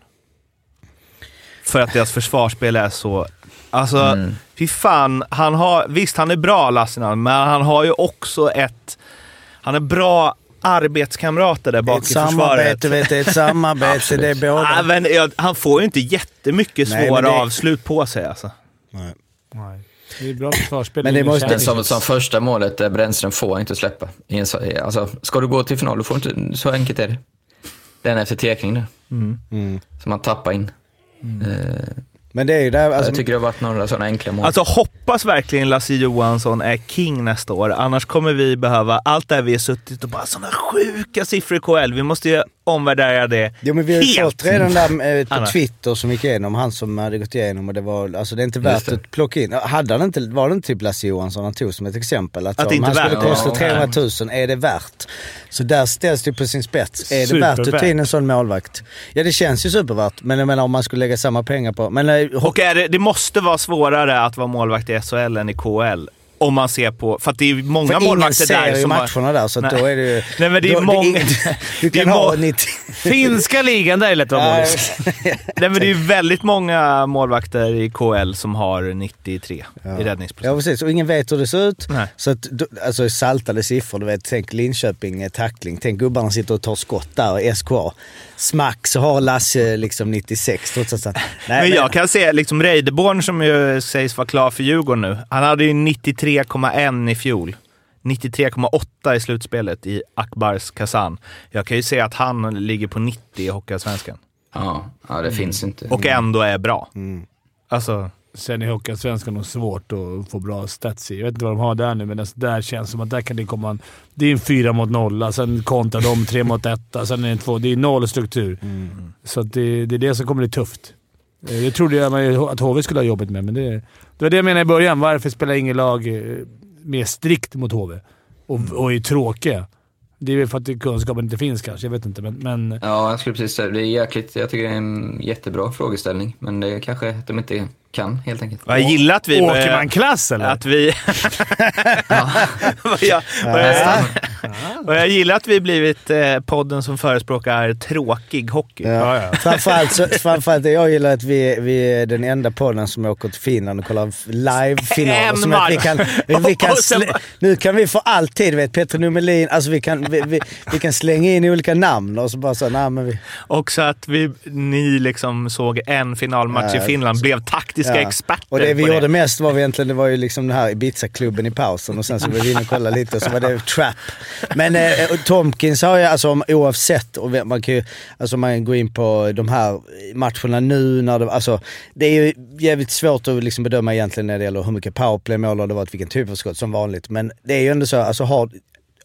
Speaker 2: För att deras försvarsspel är så... Alltså,
Speaker 4: Mm.
Speaker 2: fy fan. Han har, visst, han är bra Lassinan, men han har ju också ett... Han är bra arbetskamrater där bak
Speaker 4: Ett
Speaker 2: i försvaret.
Speaker 4: samarbete, vet du. Ett samarbete. det
Speaker 2: Ah,
Speaker 4: är båda.
Speaker 2: men, jag- han får ju inte jättemycket
Speaker 4: Nej,
Speaker 2: svåra
Speaker 4: men det-
Speaker 2: avslut på sig alltså.
Speaker 3: Nej. Det är bra försvarsspel.
Speaker 4: Men det måste-
Speaker 1: Men som, som första målet, där Brännström får inte släppa. I en så- Alltså, ska du gå till final, du får inte, så enkelt är det. Den efter tekning där. Som man tappar in.
Speaker 4: Men det är ju där... Alltså,
Speaker 1: jag tycker det har varit några sådana enkla mål.
Speaker 2: Alltså hoppas verkligen Lasse Johansson är king nästa år, annars kommer vi behöva allt det här vi har suttit och bara sådana sjuka siffror i KL. Vi måste ju omvärdera det
Speaker 4: Jo men vi har ju
Speaker 2: helt.
Speaker 4: fått redan där eh, på
Speaker 2: Anna.
Speaker 4: Twitter som gick igenom, han som hade gått igenom och det var, alltså det är inte värt
Speaker 1: det.
Speaker 4: att plocka in. Hade han inte, var det inte typ Lasse Johansson han tog som ett exempel? Att,
Speaker 2: Att
Speaker 4: om
Speaker 2: det inte
Speaker 4: han
Speaker 2: är
Speaker 4: skulle
Speaker 2: värt det.
Speaker 4: kosta
Speaker 1: Ja,
Speaker 4: 300 000, är det värt? Så där ställs det på sin spets. Är det värt att
Speaker 3: Supervärt.
Speaker 4: ta in en sån målvakt? Ja det känns ju supervärt, men jag menar om man skulle lägga samma pengar på... Men eh,
Speaker 2: Och är det, det måste vara svårare att vara målvakt i SHL än i KL. Om man ser på... För att det är många
Speaker 4: för ingen
Speaker 2: målvakter
Speaker 4: ser
Speaker 2: där
Speaker 4: ju
Speaker 2: som
Speaker 4: matcherna där så att
Speaker 2: Nej.
Speaker 4: då är det ju...
Speaker 2: Nej, men det är
Speaker 4: då,
Speaker 2: många-
Speaker 4: du
Speaker 2: det är
Speaker 4: kan ha
Speaker 2: må-
Speaker 4: 90...
Speaker 3: Finska ligan, där är det lätt att vara målis.
Speaker 2: Nej, men det är ju väldigt många målvakter i KL som har 93 i
Speaker 4: Ja
Speaker 2: räddningsprocent.
Speaker 4: precis, och ingen vet hur det ser ut.
Speaker 2: Nej.
Speaker 4: Så att, du- alltså saltade siffror, du vet. Tänk Linköping eh, tackling. Tänk gubbarna sitter och tar skott där i SKA. Smack så har Lasse liksom 96 trots att han... Nej,
Speaker 2: men jag kan se liksom Reideborn som ju sägs vara klar för Djurgården nu. Han hade ju 93,1 i fjol. 93,8 i slutspelet i Akbars Kazan. Jag kan ju se att han ligger på 90 i Hockeyallsvenskan.
Speaker 1: Ja, ja, det finns inte.
Speaker 2: Och
Speaker 4: Mm.
Speaker 2: ändå är bra. Alltså,
Speaker 3: Sen i Hockeyallsvenskan är det svårt att få bra stats i. Jag vet inte vad de har där nu, men alltså där känns det som att där kan det komma en... Det är en fyra mot nolla, sen kontrar de tre mot etta, sen är det en två. Det är noll struktur. Så att det, det är det som kommer bli tufft. Eh, Det trodde jag man- att HV skulle ha jobbat med, men det, det var det jag menade i början. Varför spelar inget lag eh, mer strikt mot HV och, och är tråkiga? Det är väl för att kunskapen inte finns kanske. Jag vet inte, men... men
Speaker 1: Ja, jag skulle precis säga det. är jäkligt, jag tycker det är en jättebra frågeställning, men det kanske att de inte kan, helt enkelt.
Speaker 2: Jag gillar att vi...
Speaker 3: Åker man klass eller?
Speaker 2: Att vi... vad, jag, vad, jag, vad jag gillar att vi blivit eh, podden som förespråkar tråkig hockey.
Speaker 3: Ja, ja.
Speaker 4: Framförallt, så, framförallt det jag gillar att vi, vi är den enda podden som åker till Finland och kollar live-finaler.
Speaker 2: En
Speaker 4: Som att vi
Speaker 2: match.
Speaker 4: kan, vi kan
Speaker 2: Och sen-
Speaker 4: slä, nu kan vi för alltid, vet Petter Numelin, alltså vi kan, vi, vi, vi kan slänga in olika namn och så bara så, nej men vi...
Speaker 2: Och så att vi, ni liksom såg en finalmatch
Speaker 4: Ja,
Speaker 2: i Finland, blev taktiska
Speaker 4: Ja.
Speaker 2: experter
Speaker 4: Och det vi
Speaker 2: på
Speaker 4: gjorde mest var vi egentligen, det var ju liksom den här Ibiza-klubben i pausen och sen så var vi inne och kollade lite och så var det trap. Men eh, och Tomkins har ju alltså om- oavsett, och vem- man kan ju, alltså man går in på de här matcherna nu när det, alltså det är ju jävligt svårt att liksom bedöma egentligen när det gäller hur mycket powerplay-mål det har varit, vilken typ av skott som vanligt. Men det är ju ändå så, alltså har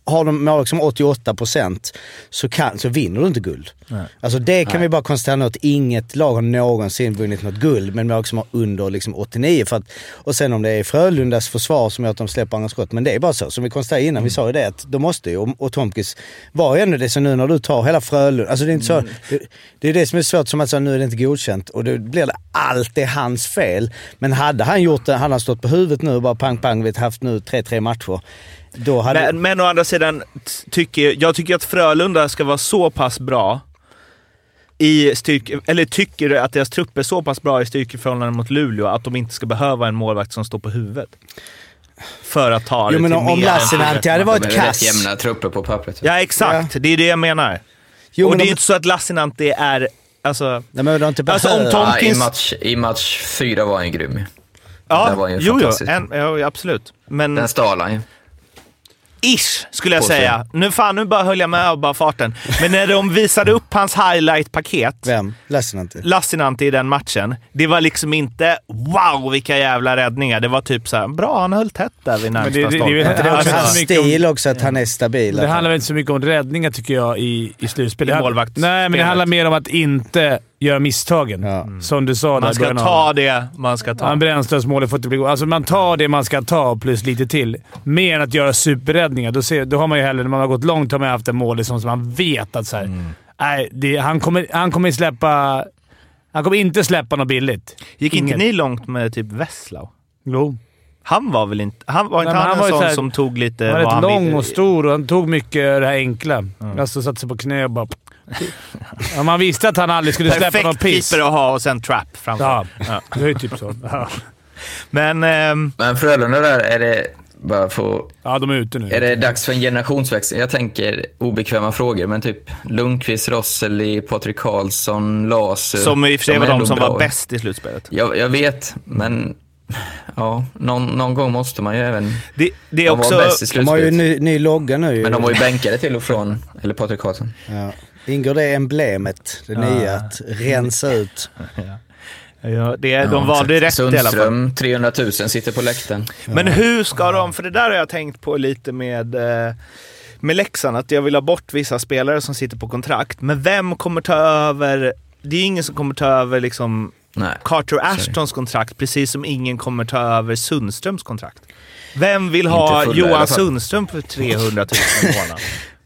Speaker 4: har de mål som 88% så, kan, så vinner du inte guld. Alltså det kan vi bara konstatera nu att inget lag har någonsin vunnit något guld med mål som har under liksom 89. För att, och sen om det är Frölundas försvar som gör att de släpper andra skott. Men det är bara så. Som vi konstaterade innan, vi sa ju det att de måste ju. Och, och Tomkis var ju ändå det. Så nu när du tar hela Frölunda. Alltså det är inte så. Det, det är det som är svårt som att säga nu är det inte godkänt. Och då blir det alltid hans fel. Men hade han gjort det, hade han stått på huvudet nu och bara pang pang, vi har haft nu 3-3 matcher. Då hade...
Speaker 2: Men, men å andra sidan t- tycker jag- jag tycker att Frölunda ska vara så pass bra i styrke, eller tycker att deras trupp är så pass bra i styrkeförhållande mot Luleå att de inte ska behöva en målvakt som står på huvudet. För att ta det
Speaker 4: Jo men
Speaker 2: till
Speaker 4: om,
Speaker 2: mer
Speaker 4: om
Speaker 2: än
Speaker 4: Lassinantti hade
Speaker 1: De
Speaker 4: varit
Speaker 1: typ är
Speaker 4: kass.
Speaker 1: rätt jämna trupper på pappret.
Speaker 2: Ja, exakt. Det är det jag menar.
Speaker 4: Jo,
Speaker 2: och
Speaker 4: men
Speaker 2: det är
Speaker 4: om,
Speaker 2: ju inte så att Lassinantti är... Alltså,
Speaker 4: nej, men de inte
Speaker 2: Alltså, om
Speaker 4: behöver-
Speaker 2: Tom-
Speaker 1: Ja, i,
Speaker 2: Tomkins-
Speaker 1: match, I match fyra var han ju grym.
Speaker 2: Mm. ja,
Speaker 1: där var ju
Speaker 2: jo, jo,
Speaker 1: fantastiskt.
Speaker 2: en, ja, absolut. Men
Speaker 1: Den stal han ju.
Speaker 2: ish, skulle jag
Speaker 1: På sig.
Speaker 2: säga. Nu, fan, nu bara höll jag med av bara farten. Men när de visade upp hans highlight-paket
Speaker 4: Vem? Lassinantti?
Speaker 2: Lassinantti i den matchen, det var liksom inte “Wow, vilka jävla räddningar”. Det var typ så här, “Bra, han höll tätt där vid
Speaker 3: Men det- det-
Speaker 2: närmsta
Speaker 3: det-
Speaker 2: stolpen”.
Speaker 3: det- det-
Speaker 4: Alltså,
Speaker 3: Alltså,
Speaker 4: hans
Speaker 3: mycket om-
Speaker 4: stil också, att han är stabil. alltså.
Speaker 3: Det
Speaker 4: Att-
Speaker 3: handlar väl inte så mycket om räddningar tycker jag i, i slutspelet.
Speaker 2: I
Speaker 3: Det-
Speaker 2: målvaktsspelet.
Speaker 3: Nej, men det handlar mer om att inte göra misstagen.
Speaker 4: Ja.
Speaker 3: Som du sa där
Speaker 2: Mm. Man
Speaker 3: i
Speaker 2: ska
Speaker 3: början av-
Speaker 2: ta det man ska ta.
Speaker 3: Ja, Brännströmsmålet får inte bli... Alltså man tar det man ska ta plus lite till. Mer än att göra superräddningar. Då, ser, då har man ju hellre, när man har gått långt, har man haft en mål liksom som man vet att så här,
Speaker 2: Mm.
Speaker 3: nej, det, han, kommer, han kommer släppa... Han kommer inte släppa något billigt.
Speaker 2: Gick inte
Speaker 3: Ingen.
Speaker 2: ni långt med typ Vesslau?
Speaker 3: Jo.
Speaker 2: Han var väl inte... Han var inte
Speaker 3: men
Speaker 2: han,
Speaker 3: han
Speaker 2: en
Speaker 3: var ju
Speaker 2: sån
Speaker 3: så här-
Speaker 2: som tog lite...
Speaker 3: Han var
Speaker 2: Eh, vad
Speaker 3: rätt lång
Speaker 2: ville?
Speaker 3: och stor och han tog mycket det här enkla. Alltså satte sig på knä och bara... Ja, man visste att han aldrig skulle släppa något
Speaker 2: Perfekt
Speaker 3: piss.
Speaker 2: keeper att ha och sen trap framför.
Speaker 3: Ja, det är ju typ så. Ja.
Speaker 2: Men... ehm,
Speaker 1: Men Frölunda där, är det, bara för,
Speaker 3: Ja, de är ute nu.
Speaker 1: är det dags för en generationsväxling? Jag tänker obekväma frågor, men typ Lundqvist, Rosseli, Patrik Karlsson, Lasu.
Speaker 2: som i och för sig
Speaker 1: De
Speaker 2: var
Speaker 1: är
Speaker 2: de
Speaker 1: ändå
Speaker 2: som
Speaker 1: bra.
Speaker 2: var bäst i slutspelet.
Speaker 1: Jag, jag vet, men ja, någon, någon gång måste man ju även...
Speaker 2: Det, det är
Speaker 1: De
Speaker 2: också...
Speaker 1: var bäst i
Speaker 4: De har ju
Speaker 1: slutspelet.
Speaker 4: ny, ny logga nu. ju.
Speaker 1: Men de var ju bänkade till och från, eller Patrik Karlsson.
Speaker 4: ja. Ingår det emblemet, det nya, att rensa ut?
Speaker 2: Ja, det, de
Speaker 1: Ja,
Speaker 2: valde rätt i alla fall.
Speaker 1: Sundström, 300 000, sitter på läktaren.
Speaker 2: Men hur ska de, för det där har jag tänkt på lite med, eh, med Leksand, att jag vill ha bort vissa spelare som sitter på kontrakt. Men vem kommer ta över, det är ingen som kommer ta över liksom
Speaker 1: Nej.
Speaker 2: Carter Ashtons kontrakt, precis som ingen kommer ta över Sundströms kontrakt. Vem vill ha
Speaker 1: fulla i alla
Speaker 2: Johan
Speaker 1: fall.
Speaker 2: Sundström för 300 000 i månaden?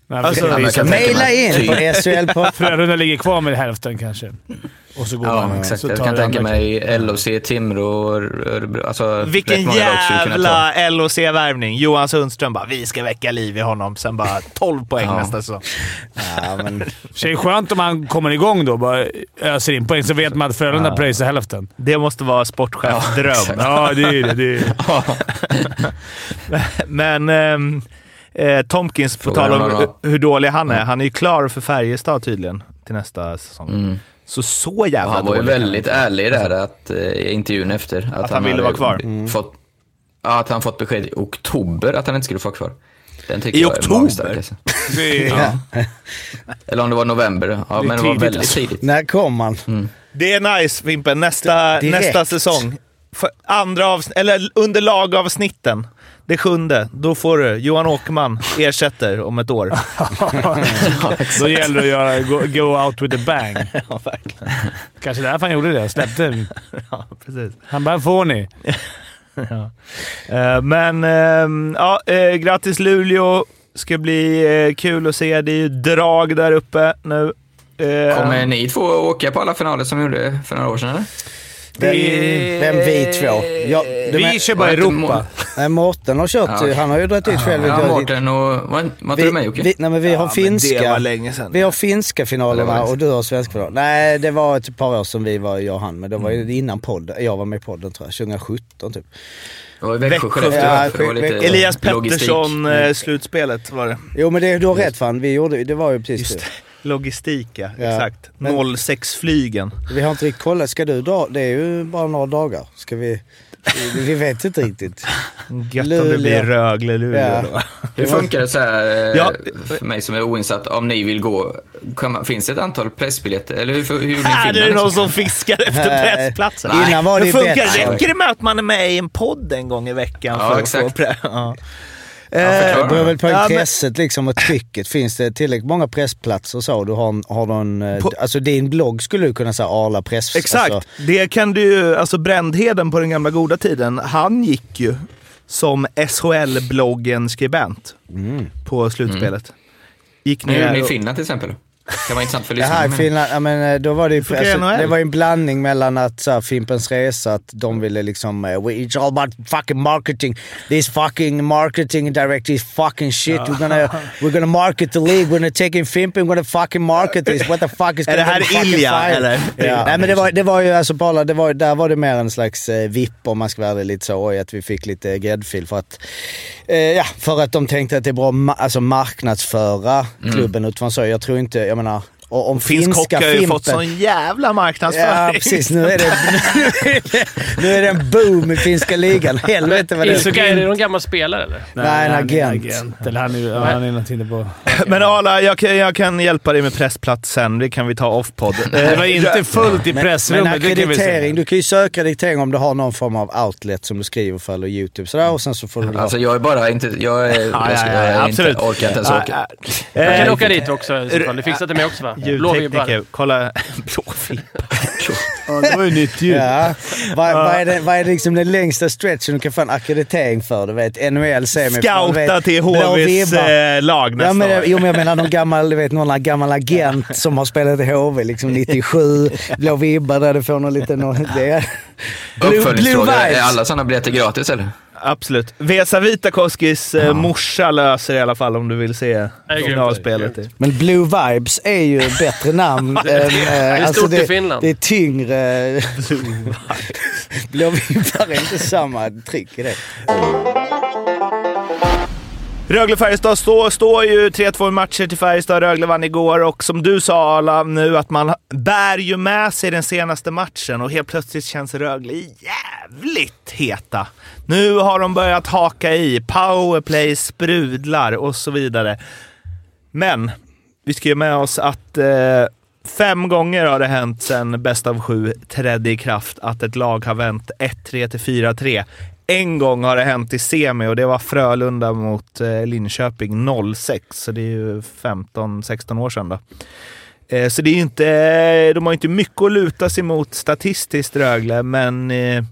Speaker 3: Nej,
Speaker 2: Alltså,
Speaker 3: precis.
Speaker 1: men jag kan tänka mig- typ-
Speaker 4: Maila in på SHL på...
Speaker 3: Frölunda ligger kvar med hälften kanske. Och så går
Speaker 1: Ja,
Speaker 3: man.
Speaker 1: exakt.
Speaker 3: Så
Speaker 1: Jag
Speaker 3: tar
Speaker 1: kan
Speaker 3: det
Speaker 1: tänka
Speaker 3: andra.
Speaker 1: mig LHC, Timrå, Örebro. Alltså, rätt
Speaker 2: Vilken
Speaker 1: många lag skulle kunna ta.
Speaker 2: jävla LHC-värvning! Johan Sundström bara “Vi ska väcka liv i honom”, sen bara 12 poäng
Speaker 1: Ja.
Speaker 2: nästa säsong.
Speaker 4: Ja, men,
Speaker 3: Så det är skönt om han kommer igång då bara öser in poäng, så vet man att Frölunda pröjsar hälften.
Speaker 2: Det måste vara sportchefsdröm.
Speaker 3: Ja, det är ju det. det, är ju det.
Speaker 2: Men ehm, eh, Tomkins, på
Speaker 1: Frågan
Speaker 2: tal om
Speaker 1: är vad-
Speaker 2: hu- hur dålig han är. Han är ju klar för Färjestad tydligen till nästa säsong. Så så
Speaker 1: Och
Speaker 2: jävla
Speaker 1: Mm. han var ju
Speaker 2: dålig kan
Speaker 1: väldigt
Speaker 2: han inte.
Speaker 1: ärlig där att, eh, i intervjun efter. Att,
Speaker 2: han ville
Speaker 1: hade
Speaker 2: vara kvar. Mm.
Speaker 1: Fått, ja, att han fått besked i oktober att han inte skulle få vara kvar. Den tycker
Speaker 2: I
Speaker 1: jag
Speaker 2: oktober?
Speaker 1: Är magstark, alltså.
Speaker 3: Det är
Speaker 1: Eller om det var november. Ja,
Speaker 3: är
Speaker 1: men det var
Speaker 3: tidigt,
Speaker 1: väldigt
Speaker 3: alltså.
Speaker 1: tidigt.
Speaker 4: när kom man?
Speaker 1: Mm.
Speaker 2: Det är nice Fimpen, nästa,
Speaker 4: Direkt.
Speaker 2: nästa säsong. För andra avsn- eller under lagavsnitten. Det sjunde, då får du Johan Åkerman ersätter om ett år.
Speaker 3: Då gäller det att göra, go, go out with a bang. Kanske därför han gjorde det. Släppte.
Speaker 2: ja, precis.
Speaker 3: Han bara “Får ni?”
Speaker 2: Eh, men ehm, ja, eh, grattis Luleå. Ska bli eh, kul att se. Det är ju drag där uppe nu. Eh,
Speaker 1: Kommer ni två åka på alla finaler som vi gjorde för några år sedan? eller?
Speaker 4: Vem,
Speaker 3: Det-
Speaker 4: vem vi två? Ja, du
Speaker 3: Vi
Speaker 4: men-
Speaker 3: kör bara
Speaker 1: Var det inte
Speaker 3: Europa.
Speaker 4: Nej, Mårten har kört.
Speaker 1: Ja, okej.
Speaker 4: Han har ju dragit ut själv.
Speaker 1: Ja, Mårten och... Var, var inte
Speaker 4: vi,
Speaker 1: du med Jocke?
Speaker 4: vi, nej, men vi har
Speaker 2: Ja, men
Speaker 4: finska.
Speaker 2: Det var länge sedan.
Speaker 4: Vi har finska
Speaker 1: Ja,
Speaker 4: finalerna
Speaker 1: det var det.
Speaker 4: och du har svenska finaler. Nej, det var ett par år sedan vi var, jag och han, men det var
Speaker 2: Mm.
Speaker 4: ju innan podden. Jag var med i podden tror jag, 2017 typ.
Speaker 1: Det var i Växjö,
Speaker 2: Växjö.
Speaker 1: Skellefteå.
Speaker 4: Ja,
Speaker 1: för det var lite
Speaker 2: Elias
Speaker 1: logistik.
Speaker 3: Mm.
Speaker 2: Pettersson-slutspelet var det.
Speaker 4: Jo men det, du har rätt fan, vi gjorde, det var ju precis
Speaker 2: Just
Speaker 4: det.
Speaker 2: det. Logistik ja,
Speaker 4: Ja.
Speaker 2: exakt.
Speaker 4: Men-
Speaker 2: 06-flygen.
Speaker 4: Vi har inte riktigt kollat. Ska du dra? Det är ju bara några dagar. Ska vi... vi- Vi vet inte riktigt.
Speaker 2: Gött om det
Speaker 4: Luleå.
Speaker 2: blir Rögle, Luleå
Speaker 4: Ja.
Speaker 2: då.
Speaker 1: Hur funkar det så här, eh,
Speaker 2: Ja.
Speaker 1: för mig som är oinsatt, om ni vill gå? Kan man, finns det ett antal pressbiljetter? Eller hur, hur gjorde ni i
Speaker 2: Här
Speaker 1: Finland?
Speaker 2: är det någon
Speaker 1: liksom?
Speaker 2: som fiskar efter
Speaker 4: Nej.
Speaker 2: pressplatsen.
Speaker 4: Innan
Speaker 2: Nej,
Speaker 4: var
Speaker 2: men
Speaker 4: det ju
Speaker 2: funkar,
Speaker 4: bättre.
Speaker 2: Räcker det med att man är med i en podd en gång i veckan
Speaker 1: Ja,
Speaker 2: för att
Speaker 1: exakt.
Speaker 2: få pre- ja.
Speaker 1: förklara.
Speaker 2: Eh,
Speaker 4: Det beror väl på
Speaker 2: Ja, men-
Speaker 4: intresset liksom och trycket. Finns det tillräckligt många pressplatser så? Du har, en- har någon, eh,
Speaker 2: På-
Speaker 4: alltså din blogg skulle du kunna säga Arla press...
Speaker 2: Exakt.
Speaker 4: Alltså,
Speaker 2: Det kan du ju, alltså Brändheden på den gamla goda tiden, han gick ju som SHL-bloggen-skribent
Speaker 4: Mm.
Speaker 2: på slutspelet. Gick
Speaker 1: Hur gjorde
Speaker 2: ner
Speaker 1: ni i
Speaker 2: och-
Speaker 1: Finland till exempel? kan vara intressant för
Speaker 4: det här
Speaker 1: lyssnarna.
Speaker 4: i
Speaker 1: men-
Speaker 4: Finland, ja, men eh, då var det ju,
Speaker 2: funkar i
Speaker 4: alltså,
Speaker 2: NHL.
Speaker 4: det var ju en blandning mellan att så här, Fimpens Resa, att de ville liksom eh, we- “It's all about fucking marketing. This fucking marketing director is fucking shit. We're, gonna, we're gonna market the league. We're gonna take in Fimpen. We're gonna fucking market this. What the fuck is
Speaker 2: Är det
Speaker 4: gonna
Speaker 2: här
Speaker 4: be fucking
Speaker 2: Ilja,
Speaker 4: fire?"
Speaker 2: eller?
Speaker 4: Ja. Nej, men det var, det var ju alltså på alla, det var, där var det mer en slags eh, vipp om man ska vara ärlig, lite så. Oj, att vi fick lite gräddfil för att, eh, ja, för att de tänkte att det är bra ma- alltså marknadsföra
Speaker 2: Mm.
Speaker 4: klubben utifrån så. Jag tror inte, jag menar, och om
Speaker 2: Finsk hockey
Speaker 4: finska
Speaker 2: har ju
Speaker 4: Fimpen...
Speaker 2: fått sån jävla
Speaker 4: Ja,
Speaker 2: marknadsföring.
Speaker 4: precis. Nu är, det, nu är det en boom i finska ligan. Helvete vad det är.
Speaker 8: Isoka, är det någon gammal spelare eller?
Speaker 4: Nej, en
Speaker 3: han är
Speaker 4: agent.
Speaker 3: Eller han är, ja, han är någonting på...
Speaker 2: Men Arla, jag kan, jag kan hjälpa dig med pressplats sen. Det kan vi ta off-podd. Eh,
Speaker 3: Det var inte fullt i
Speaker 4: Men
Speaker 3: pressrummet, det kan vi
Speaker 4: ackreditering,
Speaker 3: säga.
Speaker 4: du kan ju söka ackreditering om du har någon form av outlet som du skriver för eller YouTube sådär och sen så får du...
Speaker 1: Alltså jag är bara inte... Jag, är,
Speaker 2: Ja,
Speaker 1: jag,
Speaker 2: ja,
Speaker 1: ska,
Speaker 2: ja,
Speaker 1: jag är
Speaker 2: absolut.
Speaker 1: inte, orkar inte ens
Speaker 2: Ja,
Speaker 1: åka.
Speaker 2: ja.
Speaker 8: Jag kan
Speaker 2: Eh,
Speaker 8: åka dit också i så fall. Du fixar till mig också va?
Speaker 2: Ljudtekniker. Kolla. Blåfippa.
Speaker 3: Det var ju nytt ljud.
Speaker 4: Ja. Vad, vad är, det, vad är det liksom den längsta stretchen du kan få en ackreditering för? Du vet, NHL semifinal. du
Speaker 2: Scouta
Speaker 4: vet,
Speaker 2: till
Speaker 4: blå
Speaker 2: HVs
Speaker 4: vibbar.
Speaker 2: eh, lag
Speaker 4: Ja,
Speaker 2: nästa
Speaker 4: men, jag-
Speaker 2: år.
Speaker 4: jo, men jag menar någon gammal, du vet, någon gammal agent som har spelat i HV liksom 97. Blå vibbar där du får någon liten... Någon, det. Blue, blue
Speaker 1: Uppföljningsfråga. Är
Speaker 4: vibes.
Speaker 1: alla sådana biljetter gratis eller?
Speaker 2: Absolut. Vesa Vitakoskis eh, morsa löser i alla fall om du vill se
Speaker 8: grymt.
Speaker 2: finalspelet.
Speaker 4: Men Blue Vibes är ju ett bättre namn. än, eh, alltså, det är
Speaker 8: stort i Finland.
Speaker 4: Det är tyngre. Blå vibbar är inte samma tryck i det.
Speaker 2: Rögle-Färjestad står står ju 3-2 i matcher till Färjestad. Rögle vann igår och som du sa Arla nu att man bär ju med sig den senaste matchen och helt plötsligt känns Rögle jävligt heta. Nu har de börjat haka i. Powerplay sprudlar och så vidare. Men vi ska ju med oss att eh, fem gånger har det hänt sedan bäst av sju trädde i kraft att ett lag har vänt 1-3 till 4-3. En gång har det hänt i semi och det var Frölunda mot eh, Linköping 06, så det är ju 15-16 år sedan då. Eh, så det är ju inte, eh, de har ju inte mycket att luta sig mot statistiskt Rögle, men eh,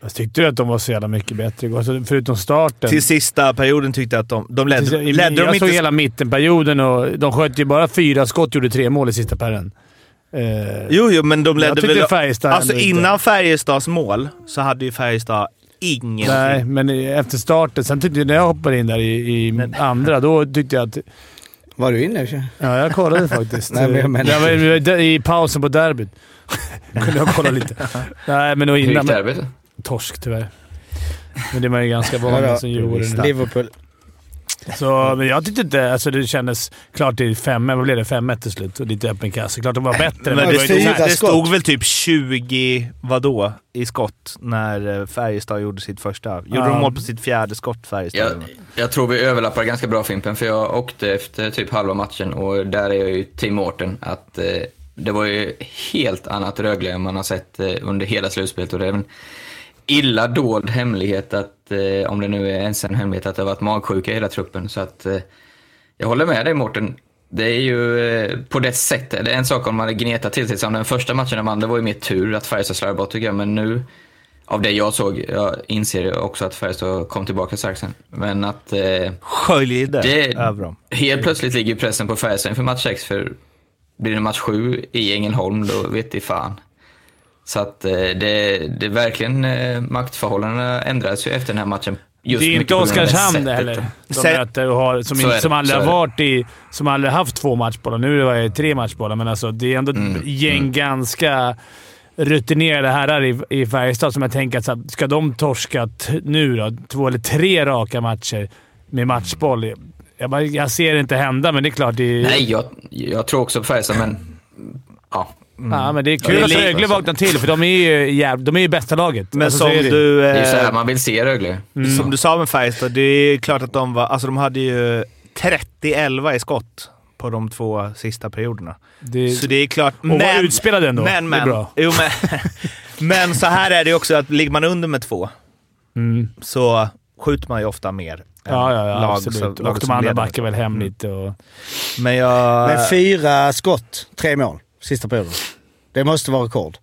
Speaker 3: Jag tyckte ju att de var så jävla mycket bättre igår, så förutom starten.
Speaker 2: till sista perioden tyckte jag att de, de ledde.
Speaker 3: Tills-
Speaker 2: ledde
Speaker 3: jag
Speaker 2: de
Speaker 3: såg
Speaker 2: inte
Speaker 3: hela mittenperioden och de sköt ju bara fyra skott gjorde tre mål i sista perioden. Eh,
Speaker 2: Jo, jo, men de
Speaker 3: Jag
Speaker 2: ledde
Speaker 3: tyckte
Speaker 2: väl...
Speaker 3: Färjestad
Speaker 2: alltså
Speaker 3: ändå
Speaker 2: innan
Speaker 3: inte-
Speaker 2: Färjestads mål så hade ju Färjestad ingen...
Speaker 3: Nej, men efter starten. Sen tyckte jag när jag hoppade in där i, i andra, då tyckte jag att...
Speaker 4: Var du inne?
Speaker 3: Ja, jag kollade faktiskt.
Speaker 4: Nej, men jag menar-
Speaker 3: Det var ju I pausen på derbyt. Kunde jag kolla lite. Nej, men och
Speaker 1: Hur gick
Speaker 3: innan. Men,
Speaker 1: derbyt?
Speaker 3: torsk tyvärr. Men det är man ju ganska van
Speaker 4: Vadå?
Speaker 3: vid som djurgårdare nu.
Speaker 4: Liverpool.
Speaker 3: Så, men jag tyckte inte... Alltså det kändes... Klart det är 5 Vad blev det? 5-1 till slut. Och lite öppen kasse. Klart de var bättre.
Speaker 2: Men
Speaker 4: var
Speaker 2: det,
Speaker 4: ju
Speaker 2: stod,
Speaker 4: fyra
Speaker 2: det
Speaker 4: skott.
Speaker 2: stod väl typ 20, vadå, i skott när eh, Färjestad gjorde sitt första. Gjorde
Speaker 3: Ja.
Speaker 2: de mål på sitt fjärde skott, Färjestad?
Speaker 1: Jag, jag tror vi överlappar ganska bra Fimpen, för jag åkte efter typ halva matchen och där är jag ju Tim Mårten. Att, eh, det var ju helt annat Rögle än man har sett eh, under hela slutspelet och det är en illa dold hemlighet att, eh, om det nu är ens en hemlighet, att det har varit magsjuka i hela truppen. Så att eh, jag håller med dig Mårten. Det är ju eh, på det sättet. Det är en sak om man hade gnetat till sig. Som den första matchen de vann, det var ju mer tur att Färjestad slarvade bort tycker jag. Men nu, av det jag såg, jag inser ju också att Färjestad kom tillbaka starkt sen. Men att eh,
Speaker 2: Sköljde
Speaker 1: det,
Speaker 2: över dem.
Speaker 1: helt plötsligt ligger pressen på Färjestad inför match 6. För blir det match 7 i Ängelholm, då vet i fan. Så att eh, det, det är verkligen eh, maktförhållandena ändrades ju efter den här matchen. Just
Speaker 3: det är
Speaker 1: mycket
Speaker 3: inte
Speaker 1: på grund av
Speaker 3: Oskarshamn
Speaker 1: sättet.
Speaker 3: heller de
Speaker 2: Sätt-
Speaker 3: möter och har, som,
Speaker 1: Så är det,
Speaker 3: som
Speaker 1: så
Speaker 3: aldrig har
Speaker 1: är det.
Speaker 3: varit i, som aldrig haft två matchbollar. Nu var det tre matchbollar, men alltså, det är ändå ett
Speaker 1: Mm.
Speaker 3: gäng ganska rutinerade herrar i, i Färjestad som jag tänker att så här, ska de torska t- nu då? Två eller tre raka matcher med matchboll. Jag, bara, jag ser det inte hända, men det är klart. Det
Speaker 2: Mm.
Speaker 3: är,
Speaker 1: Nej, jag, jag tror också på Färjestad, men ja.
Speaker 3: Ja, men det är kul
Speaker 1: Ja, det är
Speaker 3: att
Speaker 1: lite
Speaker 3: Rögle
Speaker 1: så.
Speaker 3: vaknar till, för de är ju, jäv, de är ju bästa laget.
Speaker 2: Men
Speaker 3: Alltså, så Mm.
Speaker 2: som,
Speaker 3: är det.
Speaker 2: du,
Speaker 1: Det är ju så här
Speaker 2: eh,
Speaker 1: man vill se Rögle.
Speaker 2: som du sa med Färjestad, det är klart att de var... Alltså de hade ju 30-11 i skott på de två sista perioderna.
Speaker 3: Det-
Speaker 2: Så det är klart...
Speaker 3: och var utspelade ändå.
Speaker 2: Men,
Speaker 3: Det är
Speaker 2: men.
Speaker 3: bra.
Speaker 2: Jo, men, men så här är det ju också att ligger man under med två så skjuter man ju ofta mer. än
Speaker 3: Mm. Ja, ja, ja
Speaker 2: lag
Speaker 3: absolut.
Speaker 2: som-
Speaker 3: och
Speaker 2: laget
Speaker 3: de
Speaker 2: som
Speaker 3: andra
Speaker 2: leder.
Speaker 3: backar väl
Speaker 1: Mm.
Speaker 3: hem lite. Och,
Speaker 2: Men jag...
Speaker 4: Men
Speaker 1: Eh.
Speaker 4: fyra skott, tre mål, sista perioden. Det måste vara rekord.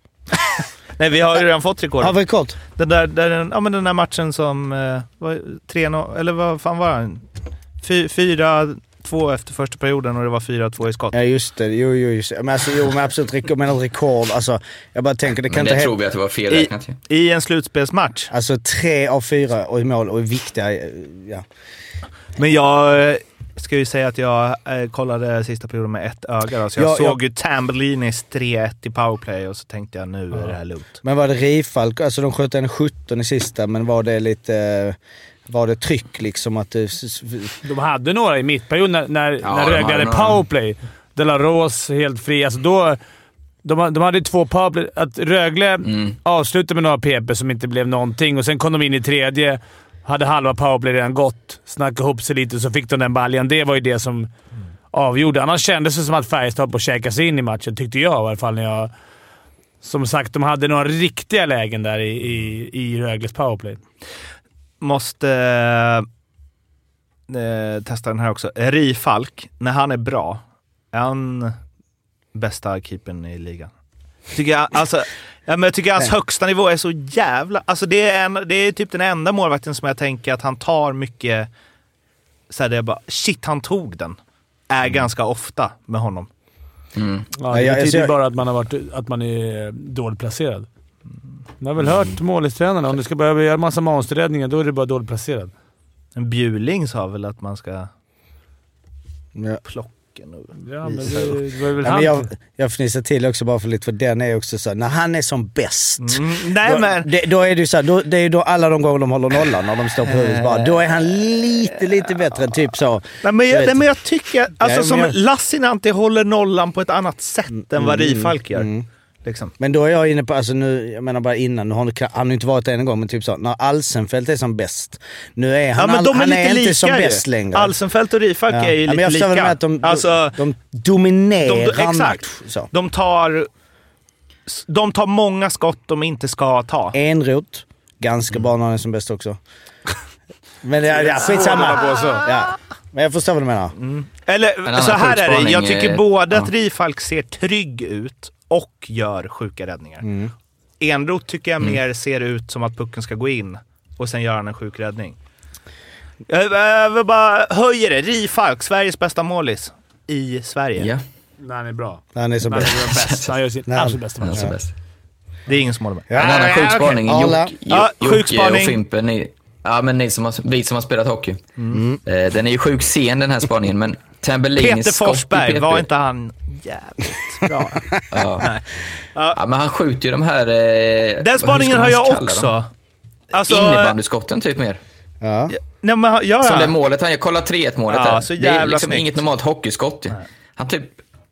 Speaker 2: nej, vi har ju redan fått rekordet.
Speaker 4: Har vi rekord?
Speaker 2: Den där, där, den, ja, men den där matchen som eh, var 3-0, eller vad fan var den? Fy- 4-2 efter första perioden och det var 4-2 i skott.
Speaker 4: Ja just det, jo jo just det. Men alltså, jo men absolut rekord, men ett rekord. Alltså, jag bara tänker det kan
Speaker 1: Men
Speaker 4: inte
Speaker 1: det
Speaker 4: hända.
Speaker 1: tror vi att det var
Speaker 2: I,
Speaker 1: felräknat ju.
Speaker 2: I en slutspelsmatch.
Speaker 4: Alltså tre av fyra och i mål och i viktiga... eh, Ja.
Speaker 2: Men jag eh, ska ju säga att jag eh, kollade sista perioden med ett öga. Då, så jag
Speaker 4: Ja,
Speaker 2: såg ju Tambellinis 3-1 i powerplay och så tänkte jag nu är det här lugnt.
Speaker 4: Men var det Rifalk, alltså de sköt en 17 i sista, men var det lite... eh, Var det tryck liksom att du...
Speaker 3: de hade några i mittperioden när, när,
Speaker 1: Ja,
Speaker 3: när
Speaker 1: de
Speaker 3: Rögle
Speaker 1: hade
Speaker 3: hade
Speaker 1: några.
Speaker 3: powerplay. De la Rose helt fri. Alltså då, de, de hade ju två powerplay. Att Rögle
Speaker 1: Mm.
Speaker 3: avslutade med några PP som inte blev någonting och sen kom de in i tredje. Hade halva powerplay redan gått. Snackade ihop sig lite så fick de den baljan. Det var ju det som avgjorde. Annars kändes det som att Färjestad höll på att käka sig in i matchen, tyckte jag i alla fall. När jag, som sagt, de hade några riktiga lägen där i, i, i Rögles powerplay.
Speaker 2: Måste eh, eh, testa den här också. Ri Falk, när han är bra, är han bästa keepern i ligan? Tycker jag, alltså, ja, men jag tycker hans högsta nivå är så jävla... Alltså det, är en, det är typ den enda målvakten som jag tänker att han tar mycket... Så här, det är bara, shit, han tog den. Är ganska ofta med honom.
Speaker 3: Ja,
Speaker 4: Ja,
Speaker 3: det
Speaker 4: jag-
Speaker 3: betyder
Speaker 4: alltså jag-
Speaker 3: bara att man, har varit, att man är dåligt placerad. Man har väl hört målistränarna. Om du ska behöva göra massa monsterräddningar, då är du bara dåligt placerad.
Speaker 2: En Bjuling sa väl att man ska
Speaker 4: Ja.
Speaker 2: plocka nu.
Speaker 3: Ja, men det, det var väl
Speaker 4: Ja,
Speaker 3: han.
Speaker 4: men jag, jag fnissar till också bara för lite, för den är också så här, när han är som bäst.
Speaker 2: Mm, nej men...
Speaker 4: Då, det, då är det ju så här, då, det är ju då alla de gånger de håller nollan, när de står på huvudet bara, då är han lite, lite bättre. Typ så.
Speaker 2: Nej, men
Speaker 4: Du
Speaker 2: jag,
Speaker 4: vet.
Speaker 2: nej, men jag tycker... Alltså
Speaker 4: typ- men
Speaker 2: som
Speaker 4: jag-
Speaker 2: Lassinantti håller nollan på ett annat sätt än vad Rifalk gör.
Speaker 4: mm.
Speaker 2: Liksom.
Speaker 4: Men då är jag inne på, alltså nu, jag menar bara innan, nu har han, han har ju inte varit det en gång, men typ så, när Alsenfelt är som bäst. Nu är
Speaker 2: Ja,
Speaker 4: han,
Speaker 2: men
Speaker 4: all-
Speaker 2: de är
Speaker 4: han
Speaker 2: lite
Speaker 4: är
Speaker 2: lika
Speaker 4: inte som
Speaker 2: ju.
Speaker 4: bäst längre.
Speaker 2: Alsenfelt och Rifalk
Speaker 4: Ja.
Speaker 2: är ju
Speaker 4: Ja,
Speaker 2: lite
Speaker 4: men jag förstår
Speaker 2: lika.
Speaker 4: väl med att de,
Speaker 2: alltså,
Speaker 4: de dominerar
Speaker 2: de, de, exakt.
Speaker 4: match. Så.
Speaker 2: De tar... De tar många skott de inte ska ta.
Speaker 4: Enrot, ganska
Speaker 2: Mm.
Speaker 4: bra när han är som bäst också. Men ja, ja, skitsamma. Ja. Men jag förstår vad du menar.
Speaker 2: Eller
Speaker 1: annan
Speaker 2: så här är det.
Speaker 1: sjukspaning
Speaker 2: Jag
Speaker 1: är-
Speaker 2: tycker både att
Speaker 1: ja.
Speaker 2: Rifalk ser trygg ut och gör sjuka räddningar. Enroth tycker
Speaker 1: Mm.
Speaker 2: jag mer ser ut som att pucken ska gå in och sen gör han en sjuk räddning. Jag, jag vill bara höjer det. Rifalk, Sveriges bästa målis. I Sverige.
Speaker 1: Ja,
Speaker 3: Nej, han är bra.
Speaker 4: När han är som
Speaker 3: Han är
Speaker 4: bäst.
Speaker 3: bäst. Han gör sitt
Speaker 4: Nej.
Speaker 3: absolut bästa Eh,
Speaker 1: den är
Speaker 2: alltså.
Speaker 3: match.
Speaker 1: så bäst.
Speaker 2: Det är ingen som håller med.
Speaker 1: En annan
Speaker 4: okej.
Speaker 1: sjukspaning.
Speaker 4: Arla.
Speaker 1: Jocke
Speaker 2: Ja,
Speaker 1: Jocke
Speaker 2: sjukspaning.
Speaker 1: och Fimpen. Ni, ja, men ni som har, vi som har spelat hockey. Eh, den är ju sjuk sen den här spaningen, men Tambellinis
Speaker 2: Mm. Peter
Speaker 1: skott i
Speaker 2: Forsberg,
Speaker 1: PP.
Speaker 2: var inte han jävligt bra?
Speaker 1: Ja. ja, men han skjuter ju de här... Eh, hur
Speaker 2: Den spaningen
Speaker 1: ska
Speaker 2: har
Speaker 1: man
Speaker 2: jag
Speaker 1: kalla dem?
Speaker 2: också. Alltså,
Speaker 1: Innebandyskotten typ mer.
Speaker 4: Ja.
Speaker 2: nej, men, ja, ja.
Speaker 1: Som det målet han gör. Kolla 3-1 målet
Speaker 2: Ja,
Speaker 1: där.
Speaker 2: så
Speaker 1: Det är
Speaker 2: jävla
Speaker 1: liksom
Speaker 2: snyggt.
Speaker 1: inget normalt hockeyskott. ju. Han typ...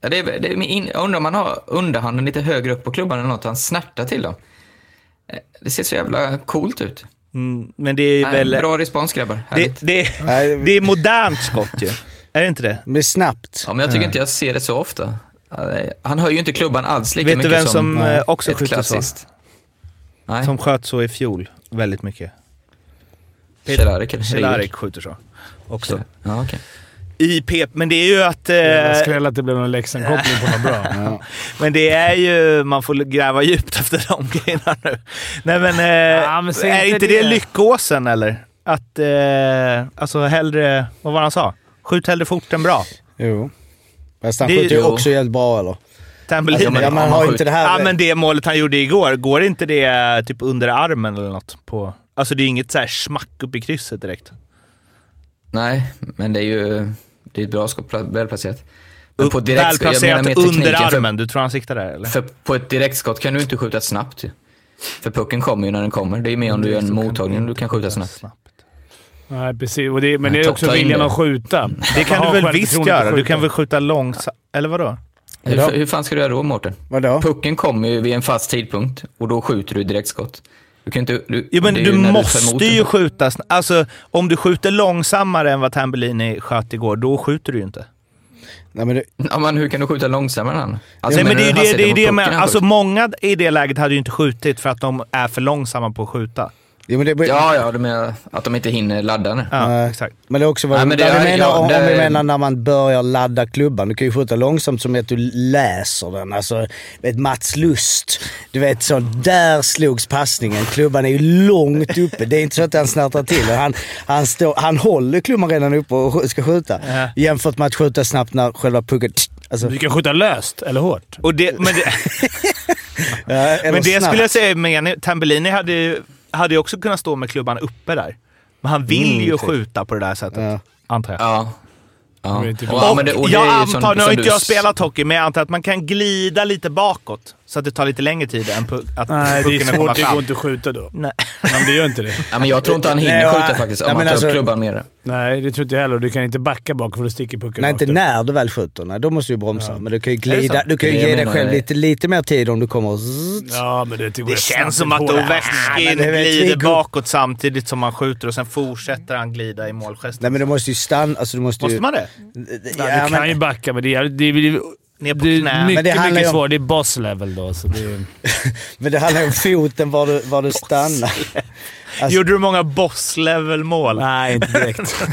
Speaker 1: ja, Det är, det är min in, jag undrar om han har underhanden lite högre upp på klubban eller något. Han snärtar till dem. Eh, Det ser så jävla coolt ut.
Speaker 2: Mm, men det är
Speaker 1: Nej,
Speaker 2: väl...
Speaker 1: Bra respons grabbar.
Speaker 2: Det,
Speaker 1: Härligt.
Speaker 2: det,
Speaker 4: Nej,
Speaker 2: det är modernt skott ju. Är det inte det?
Speaker 4: Men snabbt.
Speaker 1: Ja, men jag tycker inte jag ser det så ofta. Eh, Han höjer ju inte klubban alls lika
Speaker 2: Vet du
Speaker 1: mycket
Speaker 2: vem
Speaker 1: som
Speaker 2: som eh, också
Speaker 1: ett
Speaker 2: skjuter så?
Speaker 1: klassiskt. Nej,
Speaker 2: Som sköt så i fjol väldigt mycket.
Speaker 1: Cehlárik eller
Speaker 2: Cehlárik
Speaker 1: Hejek.
Speaker 2: skjuter så. Också.
Speaker 1: Ja, okej.
Speaker 2: I pep, men det är ju att...
Speaker 3: Jävla
Speaker 2: Eh,
Speaker 3: skräll att det blev någon Leksandkoppling på något bra.
Speaker 2: men det är ju... Man får gräva djupt efter de grejerna nu. Nej men... Eh,
Speaker 3: Ja, men säg
Speaker 2: är
Speaker 3: inte
Speaker 2: inte det,
Speaker 3: det.
Speaker 2: lyckåsen eller? Att... Eh, alltså hellre... Vad var det han sa? Skjut hellre fort än bra.
Speaker 4: Jo. Fast han
Speaker 2: Det-
Speaker 4: skjuter ju
Speaker 2: jo.
Speaker 4: också jävligt bra eller?
Speaker 2: Tambelin.
Speaker 1: Ja, men-
Speaker 4: Ja, man
Speaker 1: ja,
Speaker 4: har
Speaker 1: man
Speaker 4: inte det
Speaker 2: Alltså, Ja,
Speaker 4: här...
Speaker 2: men det målet han gjorde igår, går inte det typ under armen eller något? På... Alltså det är inget så här smack upp i krysset direkt.
Speaker 1: Nej, men det är ju det är ett bra skott, pla- välplacerat. Men
Speaker 2: Upp-
Speaker 1: direktskott-
Speaker 2: Väl
Speaker 1: jag menar
Speaker 2: placerat
Speaker 1: med
Speaker 2: under
Speaker 1: tekniken, för-
Speaker 2: armen. Du tror han siktar där eller?
Speaker 1: För på ett direktskott kan du inte skjuta snabbt ju. För pucken kommer ju när den kommer. Det är mer om
Speaker 2: Mm,
Speaker 1: du gör en mottagning du kan skjuta snabbt.
Speaker 3: Nej, precis. Och det, men det är
Speaker 1: ta-
Speaker 3: också
Speaker 1: ta in
Speaker 3: viljan
Speaker 1: det.
Speaker 3: att skjuta.
Speaker 2: Det kan
Speaker 3: Aha,
Speaker 2: du väl
Speaker 3: självförtroende
Speaker 2: visst
Speaker 3: att
Speaker 2: göra? Du
Speaker 3: skjuta.
Speaker 2: kan väl skjuta långsamt? Eller vadå?
Speaker 1: Hur, hur fan ska du göra då, Mårten?
Speaker 4: Vadå?
Speaker 1: Pucken kommer ju vid en fast tidpunkt och då skjuter du direktskott. Du kan inte... Du,
Speaker 2: Jo, men
Speaker 1: det är
Speaker 2: du
Speaker 1: när tar emot
Speaker 2: måste ju
Speaker 1: den.
Speaker 2: skjuta snabbt. Alltså, om du skjuter långsammare än vad Tambellini sköt igår, då skjuter du ju inte.
Speaker 4: Nej, men det,
Speaker 1: Ja, men hur kan du skjuta långsammare än han? Alltså,
Speaker 2: Nej,
Speaker 1: jag
Speaker 2: men det är ju
Speaker 1: menar,
Speaker 2: det, det, är ju
Speaker 1: hastigheten
Speaker 2: det
Speaker 1: på
Speaker 2: med,
Speaker 1: pucken han
Speaker 2: alltså,
Speaker 1: skjuter.
Speaker 2: många i det läget hade ju inte skjutit för att de är för långsamma på att skjuta.
Speaker 4: ja, men det,
Speaker 1: Ja, ja, du menar att de inte hinner ladda nu.
Speaker 2: Ja,
Speaker 4: Nej.
Speaker 2: exakt.
Speaker 4: Men det är också vad
Speaker 1: Nej,
Speaker 4: vi
Speaker 1: men det
Speaker 4: där vi
Speaker 1: är-
Speaker 4: menar,
Speaker 1: ja,
Speaker 4: om, om
Speaker 1: det-
Speaker 4: vi menar när man börjar ladda klubban. Du kan ju skjuta långsamt som att du läser den. Alltså, du vet Mats Lust. Du vet så, där slogs passningen. Klubban är ju långt uppe. Det är inte så att han snärtar till den. Han, han, står, han håller klubban redan uppe och sk- ska skjuta.
Speaker 2: Ja.
Speaker 4: Jämfört med att skjuta snabbt när själva pucken... Alltså,
Speaker 3: Du kan skjuta löst eller hårt.
Speaker 2: Och det, men det,
Speaker 4: ja, eller
Speaker 2: men det
Speaker 4: snabbt.
Speaker 2: skulle jag säga är meningen. Tambellini hade ju, hade ju också kunnat stå med klubban uppe där. Men han vill
Speaker 4: Mm,
Speaker 2: ju
Speaker 4: exakt.
Speaker 2: skjuter på det där sättet,
Speaker 4: Ja.
Speaker 2: antar jag.
Speaker 1: Ja. ja.
Speaker 3: Det är typ-
Speaker 1: Och- ja,
Speaker 2: Och
Speaker 1: men det- och det
Speaker 2: jag
Speaker 1: är ju
Speaker 2: antar,
Speaker 1: som-
Speaker 2: nu har
Speaker 1: som
Speaker 2: inte
Speaker 1: du
Speaker 2: jag
Speaker 1: s-
Speaker 2: spelat hockey, men jag antar att man kan glida lite bakåt så att det tar lite längre tid än pu- att
Speaker 3: Nej, det är
Speaker 2: pucken kommer
Speaker 3: svårt. Det
Speaker 2: fram.
Speaker 3: går inte att skjuta då.
Speaker 2: Nej.
Speaker 3: Men det gör inte det.
Speaker 1: Ja, men jag tror inte han
Speaker 4: Nej,
Speaker 1: hinner
Speaker 4: jag-
Speaker 1: skjuta faktiskt om
Speaker 4: Nej,
Speaker 1: han
Speaker 4: men
Speaker 1: tar
Speaker 4: alltså-
Speaker 1: upp klubban med det.
Speaker 3: Nej, det tror inte jag heller. Du kan inte backa bak för då sticker pucken
Speaker 4: Nej,
Speaker 3: rakt
Speaker 4: inte
Speaker 3: upp.
Speaker 4: när du väl skjuter. Nej, då måste du ju bromsa. Men du kan ju glida.
Speaker 1: sant?
Speaker 4: Du kan ju
Speaker 1: Det
Speaker 4: ge dig
Speaker 1: menar
Speaker 4: själv
Speaker 1: jag.
Speaker 4: lite, lite mer tid om du kommer... och zzz.
Speaker 3: Ja, men det, går
Speaker 2: Det känns som att
Speaker 3: snabbt hårt.
Speaker 2: Ovechkin
Speaker 4: men det är väl
Speaker 2: glider
Speaker 4: två-
Speaker 2: bakåt samtidigt som han skjuter och sen fortsätter han glida i målgesten.
Speaker 4: Nej men du måste ju stanna. Alltså, du måste,
Speaker 2: Måste
Speaker 4: ju...
Speaker 2: man det?
Speaker 3: Ja, du kan ju backa, men det är, det är, det är,
Speaker 2: Ner på
Speaker 3: det är
Speaker 2: knä.
Speaker 3: mycket,
Speaker 4: Men det handlar ju
Speaker 3: mycket
Speaker 4: om-
Speaker 3: svårare. Det är boss level då. Så det är...
Speaker 4: Men det handlar ju om foten, var du, var du stannar. Alltså,
Speaker 2: Gjorde du många boss-level-mål?
Speaker 3: Nej, inte direkt.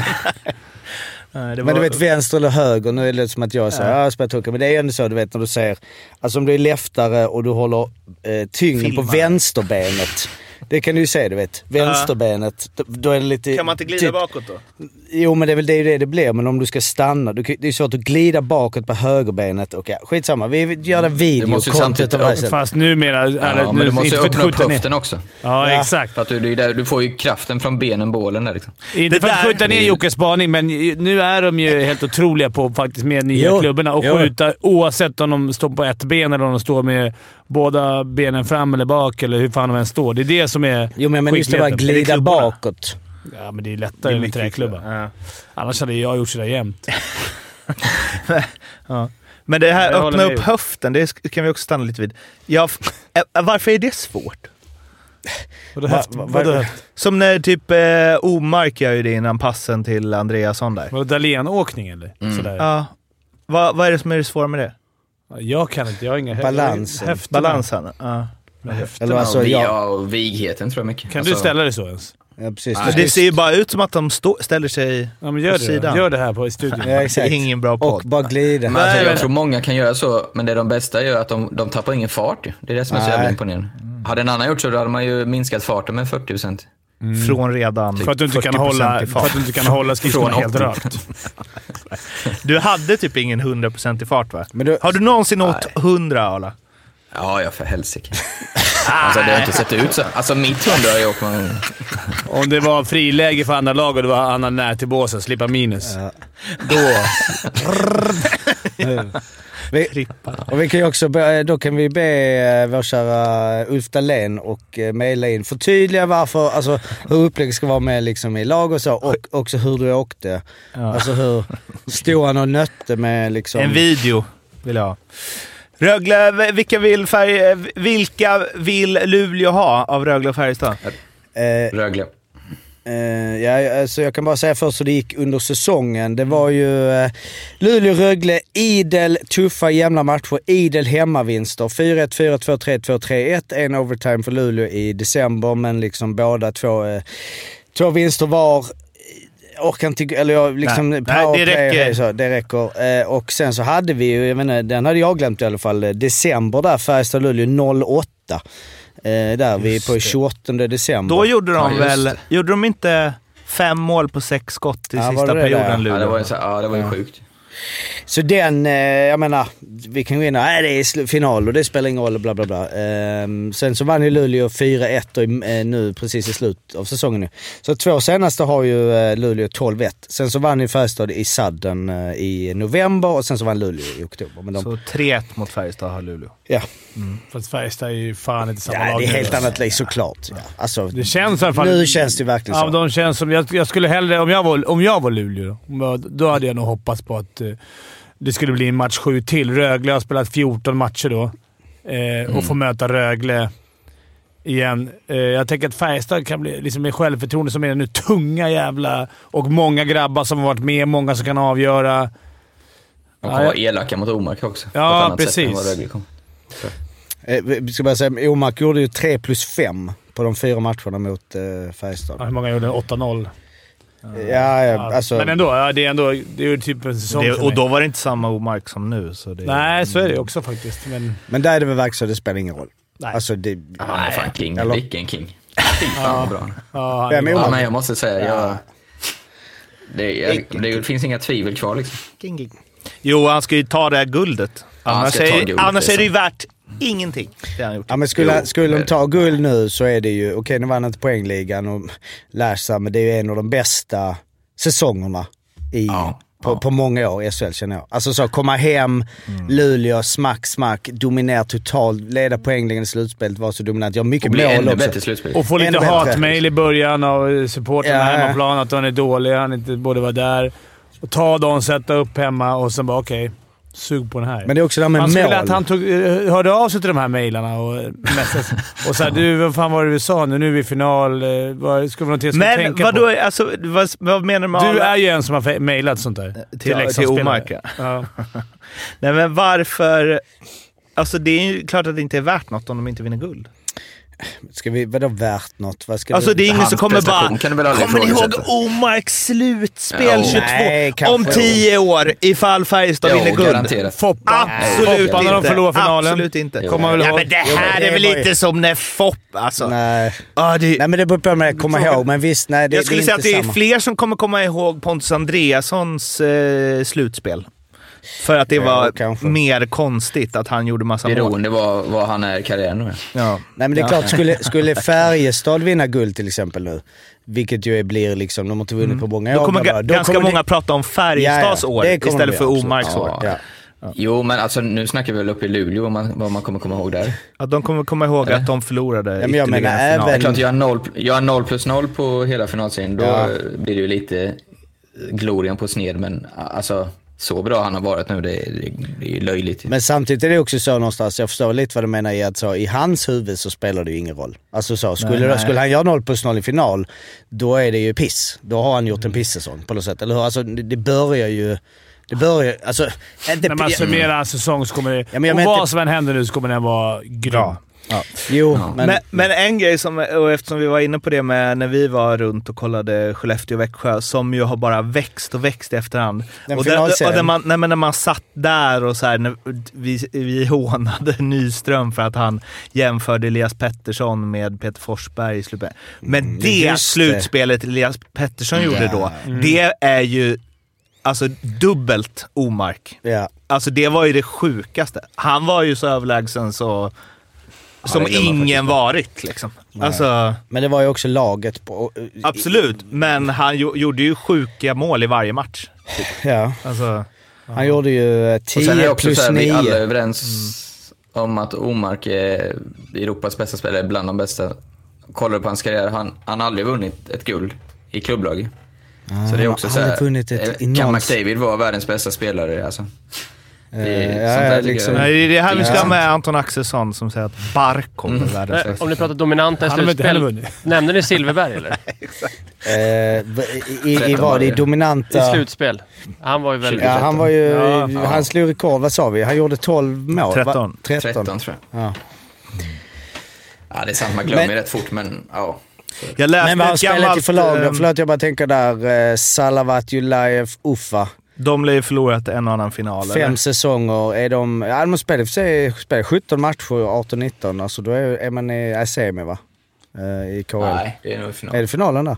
Speaker 2: Nej, det
Speaker 4: men
Speaker 2: var-
Speaker 4: du vet vänster eller höger, nu är det som att jag säger ja. jag spelar hooker", men det är ju ändå så du vet när du säger, alltså om du är leftare och du håller eh, tyngden på vänsterbenet. Det kan du ju säga du vet. Vänsterbenet, då, då är det lite...
Speaker 2: Kan man inte glida
Speaker 4: typ-
Speaker 2: bakåt då?
Speaker 4: Jo men det är väl det, det det blir, men om du ska stanna, du, kan- det är svårt att glida bakåt på högerbenet. Okej, skitsamma. Vi gör
Speaker 2: Mm.
Speaker 4: det
Speaker 1: Du måste ju
Speaker 4: videokontent
Speaker 1: samtidigt-
Speaker 4: av det här sen.
Speaker 3: Fast numera... Ja,
Speaker 1: Ja, men du måste ju öppna upp höften också.
Speaker 3: Ja,
Speaker 4: Ja.
Speaker 3: exakt.
Speaker 1: För att du, det är där, du får ju kraften från benen, bålen där liksom.
Speaker 3: Inte
Speaker 2: Det
Speaker 3: för att
Speaker 2: där-
Speaker 3: skjuta ner Jockes spaning, men ju- nu är de ju helt otroliga på faktiskt med nya
Speaker 4: Jo,
Speaker 3: klubborna och
Speaker 4: jo.
Speaker 3: skjuta oavsett om de står på ett ben eller om de står med båda benen fram eller bak eller hur fan de än står. Det är det som är
Speaker 4: Jo men jag menar just det bara
Speaker 2: Är
Speaker 3: skickligheten.
Speaker 2: det
Speaker 4: glida
Speaker 2: klubborna?
Speaker 4: bakåt.
Speaker 3: Ja, men det är lättare med träklubba.
Speaker 2: Ja.
Speaker 3: Annars hade jag gjort sådär jämt.
Speaker 2: Men det här
Speaker 8: Jag
Speaker 2: öppna
Speaker 8: håller med
Speaker 2: upp
Speaker 8: ju.
Speaker 2: höften, det sk- kan vi också stanna lite vid. Ja, f- äh, varför är det svårt?
Speaker 3: Vadå
Speaker 4: Va-
Speaker 3: höft?
Speaker 4: va-
Speaker 3: Vadå
Speaker 4: va-
Speaker 3: höft?
Speaker 2: Som när typ eh, Omark gör ju det innan passen till Andreasson där.
Speaker 3: Vadå Dahlén-åkning eller? Sådär.
Speaker 2: Ja. Va, vad är det som är det svåra med det?
Speaker 3: Jag kan inte. Jag har inga hö-
Speaker 4: Balansen.
Speaker 3: höfterna.
Speaker 2: Balansen? Ja.
Speaker 3: Med höfterna.
Speaker 4: Eller alltså,
Speaker 1: ja, vi-
Speaker 4: jag-
Speaker 1: ja, och vigheten tror jag mycket.
Speaker 3: Kan du
Speaker 1: Alltså,
Speaker 3: ställa dig så ens?
Speaker 4: Ja, precis.
Speaker 1: Nej.
Speaker 4: Du
Speaker 2: Men
Speaker 4: ska ju
Speaker 2: det ser ju bara ut som att de stå, ställer sig...
Speaker 3: Ja, men gör
Speaker 2: På
Speaker 3: det då.
Speaker 2: sidan.
Speaker 3: Gör det här på, i studion.
Speaker 4: Ja,
Speaker 2: Det är
Speaker 4: exakt.
Speaker 2: ingen bra
Speaker 4: Och
Speaker 2: podd.
Speaker 4: bara glida.
Speaker 1: Men alltså,
Speaker 2: Nej, men-
Speaker 1: jag tror många kan göra så, men det de bästa gör är att de, de tappar ingen fart ju. Det är det som är så jävla
Speaker 4: Nej.
Speaker 1: imponerande. Hade en annan gjort så, då hade man ju minskat farten med 40 procent.
Speaker 4: Mm.
Speaker 2: Från redan
Speaker 3: För att du inte kan
Speaker 2: 40%
Speaker 3: hålla,
Speaker 2: i
Speaker 3: för att
Speaker 2: fart.
Speaker 3: du inte kan hålla skridskorna
Speaker 1: Från
Speaker 3: helt
Speaker 1: 80.
Speaker 3: rakt.
Speaker 2: Du hade typ ingen 100% i fart va?
Speaker 4: Men du-
Speaker 2: Har du någonsin åkt 100 Arla?
Speaker 1: Ja, ja, för helsike. alltså, det har inte sett ut så. Alltså, mitt hundra har ju åkt man...
Speaker 3: Om det var friläge för andra lag och det var annan när till båsen, slippa minus.
Speaker 4: Vi, och vi kan ju också be, då kan vi be eh, vår kära Ulf Dahlén och eh, mejla in förtydliga varför, alltså hur upplägget ska vara med liksom i lag och så och också hur du åkte. Alltså hur stod han och nötte med liksom...
Speaker 2: En video vill jag ha. Rögle, v- vilka vill, färg, vilka vill Luleå ha av Rögle och Färjestad?
Speaker 4: eh,
Speaker 1: Rögle.
Speaker 4: Eh, ja, alltså jag kan bara säga först hur det gick under säsongen. Det var ju eh, Luleå-Rögle, idel tuffa jämna matcher, idel hemmavinster. 4-1, 4-2, 3-2, 3-1. En overtime för Luleå i december, men liksom båda två, eh, två vinster var. Jag Orkar inte, eller jag liksom
Speaker 2: Nej, nej, det
Speaker 4: powerplay och
Speaker 2: räcker.
Speaker 4: Så, det räcker. Eh, och sen så hade vi ju, jag menar, den hade jag glömt i alla fall, eh, december där, Färjestad-Luleå 08. Eh, där vi på 28 december.
Speaker 2: Då gjorde de
Speaker 1: Ja, just
Speaker 2: väl...
Speaker 1: det.
Speaker 2: Gjorde de inte fem mål på sex skott i
Speaker 4: Ja, var
Speaker 2: sista
Speaker 4: det det
Speaker 2: perioden,
Speaker 4: där?
Speaker 1: Ja,
Speaker 2: Luleå?
Speaker 1: det var ju, så, ja, det var ju sjukt.
Speaker 4: Så den, eh, jag menar, vi kan gå in och nej det är sl- final och det spelar ingen roll och bla bla bla. Ehm, sen så vann ju Luleå 4-1 och, eh, nu precis i slutet av säsongen nu. Så två senaste har ju eh, Luleå 12-1. Sen så vann ju Färjestad i sadden eh, i november och sen så vann Luleå i oktober. Men de,
Speaker 2: Så 3-1 mot Färjestad har Luleå.
Speaker 4: ja.
Speaker 3: Fast Färjestad är ju fan inte samma
Speaker 4: ja,
Speaker 3: lag
Speaker 4: det är
Speaker 3: nu.
Speaker 4: helt annat läge såklart. Ja. Alltså,
Speaker 3: Det känns i alla fall...
Speaker 4: Nu känns det ju verkligen
Speaker 3: ja,
Speaker 4: så.
Speaker 3: De känns som, jag, jag skulle hellre, om jag var, om jag var Luleå, om jag- då hade jag nog hoppats på att eh, det skulle bli en match sju till. Rögle har spelat 14 matcher då eh,
Speaker 4: Mm.
Speaker 3: och får möta Rögle igen. Eh, jag tänker att Färjestad kan bli, liksom med självförtroende som är det nu, tunga jävla och många grabbar som har varit med, många som kan avgöra.
Speaker 1: De
Speaker 3: Ja,
Speaker 1: kommer
Speaker 3: jag-
Speaker 1: vara elaka mot Omark också.
Speaker 3: Ja,
Speaker 1: På ett annat sätt än
Speaker 3: precis.
Speaker 1: vad Rögle kommer.
Speaker 4: Eh, vi ska bara säga, Omark gjorde ju 3 plus 5 på de fyra matcherna mot eh, Färjestad.
Speaker 3: Ja, Hur många gjorde den? 8-0?
Speaker 4: Ja, ja,
Speaker 3: Ja,
Speaker 4: alltså...
Speaker 3: men ändå, ja, det är ändå det är ju typ en säsong
Speaker 2: Det,
Speaker 3: för
Speaker 2: och
Speaker 3: mig.
Speaker 2: då var det inte samma Omark som nu. Så det,
Speaker 3: Nej, så är det ju också faktiskt. Men,
Speaker 4: Men där är det väl verkligen så det spelar ingen roll.
Speaker 3: Nej.
Speaker 4: Alltså det...
Speaker 1: Han är fan king.
Speaker 4: Eller-
Speaker 1: Vilken king. Fy fan vad bra han är.
Speaker 3: ja,
Speaker 4: Vem är
Speaker 1: Ja,
Speaker 4: Omark?
Speaker 1: men jag måste säga, jag... Det, jag, det finns inga tvivel kvar liksom.
Speaker 2: Jo, han ska ju ta det här guldet.
Speaker 1: han
Speaker 2: Annars,
Speaker 1: ska ta
Speaker 2: är,
Speaker 1: guldet,
Speaker 2: annars
Speaker 1: det är
Speaker 2: är det ju värt ingenting. Det har han gjort.
Speaker 4: Ja men skulle,
Speaker 1: Jo,
Speaker 4: skulle de
Speaker 1: men-
Speaker 4: ta guld nu så är det ju, okej nu vann inte poängligan och Larsa, men det är ju en av de bästa säsongerna i,
Speaker 1: Ja,
Speaker 4: på, på många år i SHL känner jag. Alltså så komma hem, Luleå, smack smack, dominera totalt, leda poängligan i slutspelet, vara så dominant, göra mycket
Speaker 1: Och bli
Speaker 4: mål
Speaker 1: ännu
Speaker 4: också.
Speaker 1: bättre i slutspelet.
Speaker 3: Och få
Speaker 4: Ännu
Speaker 3: lite
Speaker 4: bättre.
Speaker 3: hatmejl i början av eh, supportrarna
Speaker 4: Ja.
Speaker 3: hemmaplan att han är dålig, han inte borde vara där. Och ta dem, sätta upp hemma och sen bara okej, sug på den här.
Speaker 4: Men det är också det här med
Speaker 3: han
Speaker 4: mål.
Speaker 3: skulle att han tog, eh, hörde av sig till de här mejlarna och eh, messades. och såhär du, vad fan var det vi sa nu? Nu är vi i final. eh, Vad ska vi någonting jag ska
Speaker 2: Men
Speaker 3: tänka
Speaker 2: vadå,
Speaker 3: på?
Speaker 2: alltså, vad, vad menar du med
Speaker 3: Du
Speaker 2: alla-
Speaker 3: är ju en som har fe- mejlat sånt
Speaker 4: Eh,
Speaker 3: där. Till,
Speaker 2: till
Speaker 3: Leksandsspelare.
Speaker 2: Omark, ja.
Speaker 3: Ja.
Speaker 2: Nej men varför... Alltså det är ju klart att det inte är värt något om de inte vinner guld.
Speaker 4: Ska vi, vadå värt något? Vad ska
Speaker 2: Alltså
Speaker 4: vi-
Speaker 2: det är ingen
Speaker 1: Hans
Speaker 2: som kommer
Speaker 1: prestation
Speaker 2: bara
Speaker 1: kan du väl aldrig
Speaker 2: “Kommer ni ihåg
Speaker 1: ifrågasätta?"
Speaker 2: Omarks slutspel
Speaker 1: Ja,
Speaker 2: 22?
Speaker 4: nej, kanske
Speaker 2: om 10 år ifall Färjestad
Speaker 1: Jo,
Speaker 2: vinner guld?”
Speaker 1: garanterat.
Speaker 3: Foppa.
Speaker 2: Absolut
Speaker 3: Foppa
Speaker 2: inte.
Speaker 3: när de förlorar finalen.
Speaker 2: Absolut inte.
Speaker 1: Jo.
Speaker 3: Kommer väl
Speaker 2: ja,
Speaker 3: ihåg.
Speaker 2: men det
Speaker 4: Jo, men
Speaker 2: här
Speaker 4: det
Speaker 2: är väl
Speaker 4: var ju-
Speaker 2: lite som när Fopp alltså.
Speaker 4: Nej.
Speaker 2: Ja, det,
Speaker 4: nej men det beror på med att komma ihåg, men visst, nej det,
Speaker 2: jag skulle
Speaker 4: det är
Speaker 2: säga
Speaker 4: inte
Speaker 2: att det är
Speaker 4: samma.
Speaker 2: fler som kommer komma ihåg Pontus Andreassons eh, slutspel. För att det
Speaker 4: Ja,
Speaker 2: var
Speaker 4: kanske.
Speaker 2: mer konstigt att han gjorde massa mål.
Speaker 1: Beroende vad, vad han är i karriären nu.
Speaker 2: Ja.
Speaker 4: Nej men det är klart, skulle, skulle Färjestad vinna guld till exempel nu, vilket ju är- blir liksom, de har inte vunnit på många år.
Speaker 2: Mm. Då kommer
Speaker 4: bla, bla,
Speaker 2: ga-
Speaker 4: då
Speaker 2: ganska
Speaker 4: kommer det-
Speaker 2: många prata om Färjestads
Speaker 4: Ja, ja,
Speaker 2: år
Speaker 4: det kommer
Speaker 2: istället
Speaker 4: vi,
Speaker 2: för
Speaker 4: absolut.
Speaker 2: Omarks år.
Speaker 1: Ja.
Speaker 4: Ja.
Speaker 1: Jo, men alltså nu snackar vi väl uppe i Luleå om man, vad man kommer komma ihåg där.
Speaker 2: Att de kommer komma ihåg att de förlorade
Speaker 4: jag
Speaker 2: ytterligare
Speaker 4: menar
Speaker 2: en final.
Speaker 1: Det är
Speaker 4: även-
Speaker 1: klart, jag har noll, jag har noll plus noll på hela finalserien. Då
Speaker 4: Ja.
Speaker 1: blir det ju lite glorian på sned, men alltså så bra han har varit nu, det, är- det är ju löjligt.
Speaker 4: Men samtidigt är det också så någonstans, jag förstår lite vad du menar i att så, i hans huvud så spelar det ju ingen roll. Alltså så, skulle,
Speaker 2: Nej, nej.
Speaker 4: skulle han göra 0 plus 0 i final, då är det ju piss. Då har han
Speaker 2: Mm.
Speaker 4: gjort en pissäsong på något sätt, eller hur? Alltså det det börjar ju... Det börjar alltså... Inte
Speaker 3: När man
Speaker 4: pi-
Speaker 3: summerar en säsong så kommer det...
Speaker 4: Ja, men jag
Speaker 3: och
Speaker 4: menar
Speaker 3: vad
Speaker 4: inte-
Speaker 3: som än händer nu så kommer den vara grym.
Speaker 2: Ja.
Speaker 4: Jo, men...
Speaker 2: Men, men en grej som, och eftersom vi var inne på det med när vi var runt och kollade Skellefteå och Växjö, som ju har bara växt och växt i efterhand.
Speaker 4: Den
Speaker 2: och där-
Speaker 4: finalserien.
Speaker 2: och där man, nej, men när man satt där och så här, när vi, vi hånade Nyström för att han jämförde Elias Pettersson med Peter Forsberg i slutet. Men det
Speaker 4: Mm, just det. Mm.
Speaker 2: slutspelet Elias Pettersson gjorde då, det är ju alltså dubbelt omark.
Speaker 4: Ja.
Speaker 2: Alltså det var ju det sjukaste. Han var ju så överlägsen så... Som
Speaker 1: det glömmer man
Speaker 2: ingen varit liksom. Alltså,
Speaker 4: Men det var ju också laget på...
Speaker 2: absolut. Men han jo- gjorde ju sjuka mål i varje match.
Speaker 4: Ja.
Speaker 2: Alltså,
Speaker 4: Han gjorde ju eh,
Speaker 1: Och sen är det
Speaker 4: 10
Speaker 1: också så
Speaker 4: plus
Speaker 1: här, vi
Speaker 4: 9.
Speaker 1: alla är överens om att Omark är Europas bästa spelare, bland de bästa. Kollar du på hans karriär, han han har aldrig vunnit ett guld i klubblag. så det är
Speaker 4: han
Speaker 1: också
Speaker 4: har
Speaker 1: så här,
Speaker 4: aldrig vunnit ett
Speaker 1: eh,
Speaker 4: i
Speaker 1: kan
Speaker 4: någons-
Speaker 1: McDavid vara världens bästa spelare alltså? Det
Speaker 4: Eh,
Speaker 1: är,
Speaker 4: ja,
Speaker 1: sånt där
Speaker 4: ja,
Speaker 1: tycker
Speaker 4: liksom.
Speaker 1: jag.
Speaker 2: nej, det är det här vi ska ha
Speaker 1: Intressant.
Speaker 2: med Anton Axelsson som säger att Barkov är
Speaker 4: Mm.
Speaker 2: världens
Speaker 8: Nej,
Speaker 2: bästa.
Speaker 8: om ni pratar dominanta i
Speaker 3: Han har väl inte heller
Speaker 8: slutspel.
Speaker 3: vunnit.
Speaker 8: Nämnde ni Silverberg eller?
Speaker 4: Eh, i, i, i vad? I
Speaker 8: I
Speaker 4: dominanta...
Speaker 8: slutspel. Han var ju väldigt...
Speaker 4: Ja, han var ju...
Speaker 3: Ja.
Speaker 4: Han slog rekord, vad sa vi? Han gjorde 12 mål. va?
Speaker 2: 13.
Speaker 4: 13.
Speaker 1: 13 tror jag.
Speaker 4: Ja.
Speaker 1: Ja, det är sant. Man glömmer
Speaker 4: Men-
Speaker 1: rätt fort, men ja.
Speaker 2: Jag läste
Speaker 4: Men vad har han
Speaker 2: ett
Speaker 4: spelat i
Speaker 2: gammalt...
Speaker 4: för lag då?
Speaker 2: ehm,
Speaker 4: Förlåt, jag bara tänker där. Eh, Salavat, Julajev, Uffa.
Speaker 2: de lär ju förlorat en annan final. eller?
Speaker 4: Fem säsonger. Är de... Ja, de har spelat, för sig, spelat 17 matcher, 18-19. Alltså då är, är man i semi va? eh, i KHL.
Speaker 1: Nej, det är nog final.
Speaker 4: Är det finalen där?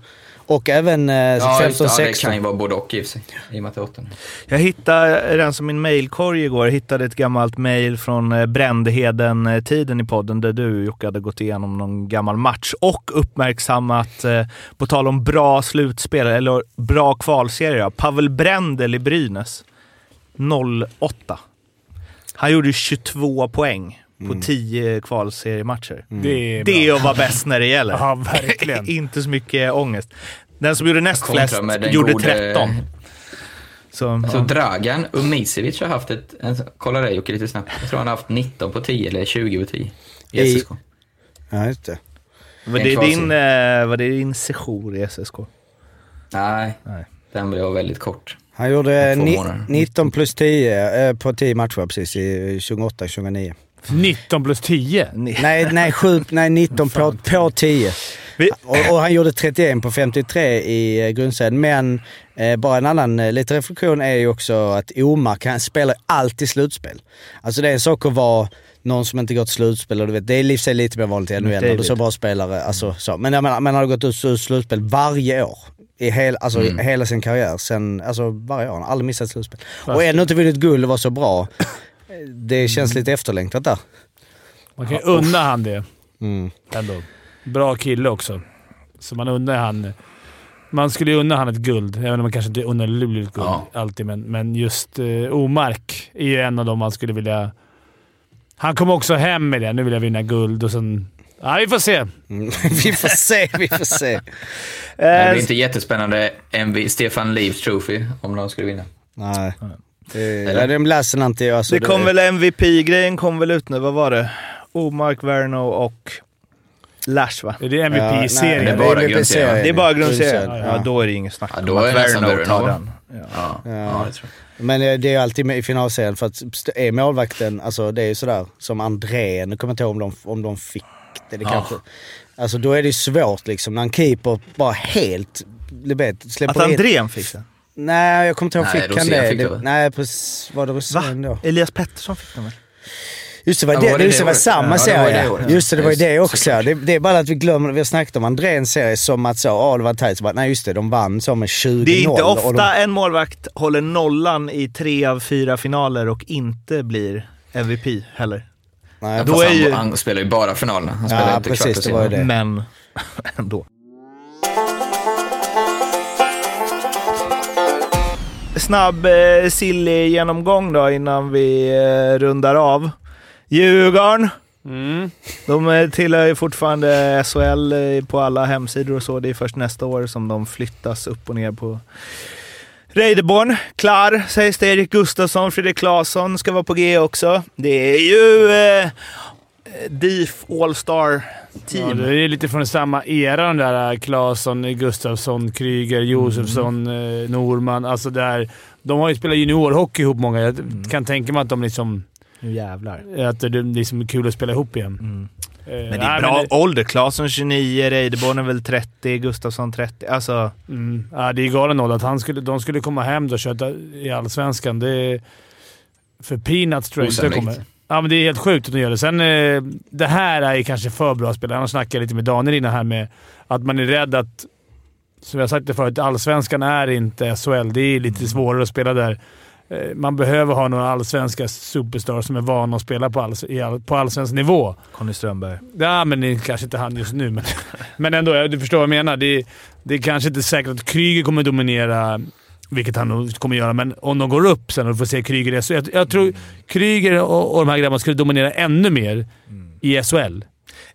Speaker 4: Och även eh,
Speaker 1: Ja, just, det. ja, det
Speaker 4: 15-16.
Speaker 1: kan ju vara både och i och för sig. I och med att det är åttonde.
Speaker 2: Jag hittade den som min mailkorg igår. Jag hittade ett gammalt mail från eh, Brändheden-tiden i podden där du Jocke hade gått igenom någon gammal match och uppmärksammat, eh, på tal om bra slutspel, eller bra kvalserie, ja, Pavel Brändel i Brynäs. 08. Han gjorde 22 poäng på
Speaker 1: Mm.
Speaker 2: 10 kvalseriematcher.
Speaker 3: Det är bra.
Speaker 2: Det är att vara bäst när det gäller.
Speaker 3: Ja, verkligen.
Speaker 2: Inte så mycket ångest. Den som gjorde näst
Speaker 1: Kontra
Speaker 2: flest
Speaker 1: med den
Speaker 2: gjorde
Speaker 1: gode- Alltså,
Speaker 2: 13. Så,
Speaker 1: Så
Speaker 2: ja.
Speaker 1: Dragan Umicevic har haft ett, en, kolla det Jocke lite snabbt, jag tror han har haft 19 på 10 eller 20 på 10 i
Speaker 4: I-
Speaker 1: SSK.
Speaker 4: Ja, just det.
Speaker 2: Var
Speaker 1: En
Speaker 2: det,
Speaker 1: kvalserie.
Speaker 2: din, eh, var det din session i SSK?
Speaker 1: Nej,
Speaker 2: Nej.
Speaker 1: den blev väldigt kort.
Speaker 4: Han gjorde
Speaker 1: Två
Speaker 4: ni-
Speaker 1: månader.
Speaker 4: 19 plus 10 eh, på 10 matcher precis, i 28-29.
Speaker 3: 19 plus 10.
Speaker 1: alltså
Speaker 4: Nej, nej, sju, nej 19 på, på 10.
Speaker 2: Vi-
Speaker 4: Och, och han gjorde 31 på 53 i eh, grundserien. Men eh, bara en annan eh, liten reflektion är ju också att Omark, han spelar alltid slutspel. Alltså det är en sak att vara någon som inte gått slutspel och du vet, det är i och för sig lite mer vanligt i NHL när du
Speaker 2: David.
Speaker 4: så bra spelare. Alltså, så. Men jag menar, man har gått ut ur slutspel varje år. I hel, alltså, i hela sin karriär. Sen, alltså varje år. Han har aldrig missat slutspel. Och ändå inte vunnit guld och var så bra. Det känns lite efterlängtat där.
Speaker 3: Man kan ju unna han det.
Speaker 4: Mm.
Speaker 3: Ändå. Bra kille också. Så man undrar han... Man skulle ju unna han ett guld, även om man kanske inte unnar Luleå ett guld
Speaker 1: Ja.
Speaker 3: alltid. Men, men just eh, Omark är ju en av dem man skulle vilja... Han kom också hem med det. Nu vill jag vinna guld och sen... Ja, vi får se.
Speaker 4: Mm. vi får se, vi får se.
Speaker 1: Det blir
Speaker 2: Eh,
Speaker 1: inte jättespännande MV, Stefan Leafs Trophy om de skulle vinna.
Speaker 4: Nej. Det, nej, de läser inte jag. Alltså,
Speaker 2: det kom väl MVP-grejen kom väl ut nu, vad var det? Omark, Verno och Lash va?
Speaker 3: Är det
Speaker 4: Ja, nej,
Speaker 3: MVP-serien?
Speaker 1: Det är bara
Speaker 4: MVP -serien.
Speaker 1: grundserien.
Speaker 2: Det är bara grundserien.
Speaker 4: Grundserien,
Speaker 2: Ja, då är det inget snack
Speaker 1: Ja,
Speaker 2: om
Speaker 1: då
Speaker 2: att
Speaker 1: är det nästan
Speaker 2: Verno
Speaker 1: Verno.
Speaker 2: tar den. Ja.
Speaker 1: Ja, ja. det tror
Speaker 4: Men eh, det är ju alltid med i finalserien för att st- är målvakten, alltså det är ju sådär som André, nu kommer jag inte ihåg om de, om de fick det, det kanske. Alltså då är det ju svårt liksom när en keeper bara helt, du vet,
Speaker 2: Att
Speaker 4: släpper in.
Speaker 2: Andrén fick den?
Speaker 4: Nej, jag kommer inte ihåg,
Speaker 1: Nej,
Speaker 4: fick han
Speaker 1: Rosén
Speaker 4: det?
Speaker 1: fick det,
Speaker 4: det
Speaker 1: va?
Speaker 4: nej, precis. Var det
Speaker 2: Va?
Speaker 4: Rosén då?
Speaker 2: Elias Pettersson fick den väl?
Speaker 4: Just det, var
Speaker 1: Ja,
Speaker 4: det,
Speaker 1: var det
Speaker 4: just det
Speaker 1: det
Speaker 4: var
Speaker 1: året? Ja,
Speaker 4: samma
Speaker 1: det var
Speaker 4: serie.
Speaker 1: det året.
Speaker 4: just det, det var ju
Speaker 1: Just-
Speaker 4: det också.
Speaker 1: såklart.
Speaker 4: Det, det är bara att vi glömmer, vi har snackat om Andréns serie som att så, ja det var tajt. Så bara, Nej just det, de vann så med 20-0.
Speaker 2: Det är inte
Speaker 4: och de-
Speaker 2: ofta en målvakt håller nollan i tre av fyra finaler och inte blir MVP heller.
Speaker 4: Nej,
Speaker 1: jag. Fast
Speaker 2: är
Speaker 1: han,
Speaker 2: ju-
Speaker 1: han spelar ju bara finalerna. Han spelar
Speaker 4: Ja,
Speaker 1: inte
Speaker 4: precis. Det
Speaker 1: kvart
Speaker 4: var ju
Speaker 1: och
Speaker 4: det.
Speaker 2: Men ändå. Snabb eh, silly genomgång då innan vi eh, rundar av. Djurgården.
Speaker 8: Mm.
Speaker 2: De eh, tillhör ju fortfarande SHL eh, på alla hemsidor och så. Det är först nästa år som de flyttas upp och ner på Reideborn. Klar, sägs det. Erik Gustafsson, Fredrik Claesson ska vara på G också. Det är ju eh, DIF
Speaker 3: Ja,
Speaker 2: All-Star-team.
Speaker 3: det är lite från samma era de där äh, Claesson, Gustafsson, Kryger, Josefsson,
Speaker 1: Mm.
Speaker 3: eh, Norman. Alltså där, de har ju spelat juniorhockey ihop många. Jag
Speaker 1: Mm.
Speaker 3: kan tänka mig att de liksom,
Speaker 2: Nu jävlar.
Speaker 3: att det är liksom kul att spela ihop igen. Eh,
Speaker 2: Mm. Men det är
Speaker 3: nej,
Speaker 2: bra
Speaker 3: Men
Speaker 2: ålder. Claesson 29, Reideborn är väl 30, Gustafsson 30. Alltså,
Speaker 3: det, mm, ja, det är galen ålder. Att han skulle, de skulle komma hem då och köta i Allsvenskan. Det är för peanuts tror jag inte det
Speaker 1: Osannolikt.
Speaker 3: kommer. Ja, men det är helt sjukt att de gör det. Sen, eh, det här är ju kanske för bra spelare. Jag snackade lite med Daniel innan här med att man är rädd att som jag sagt det förut, allsvenskan är inte SHL. Det är
Speaker 2: Mm.
Speaker 3: lite svårare att spela där. Eh, Man behöver ha några allsvenska superstars som är vana att spela på, alls, i all, på allsvensk nivå.
Speaker 2: Conny Strömberg.
Speaker 3: Ja, men det är kanske inte han just nu, men, men ändå. jag- Du förstår vad jag menar. Det, det är kanske inte säkert att Kryger kommer dominera, vilket han nog kommer göra, men om de går upp sen och du får se Kryger i SHL. Jag, jag tror Kryger och, och de här grabbarna skulle dominera ännu mer i SHL. Även om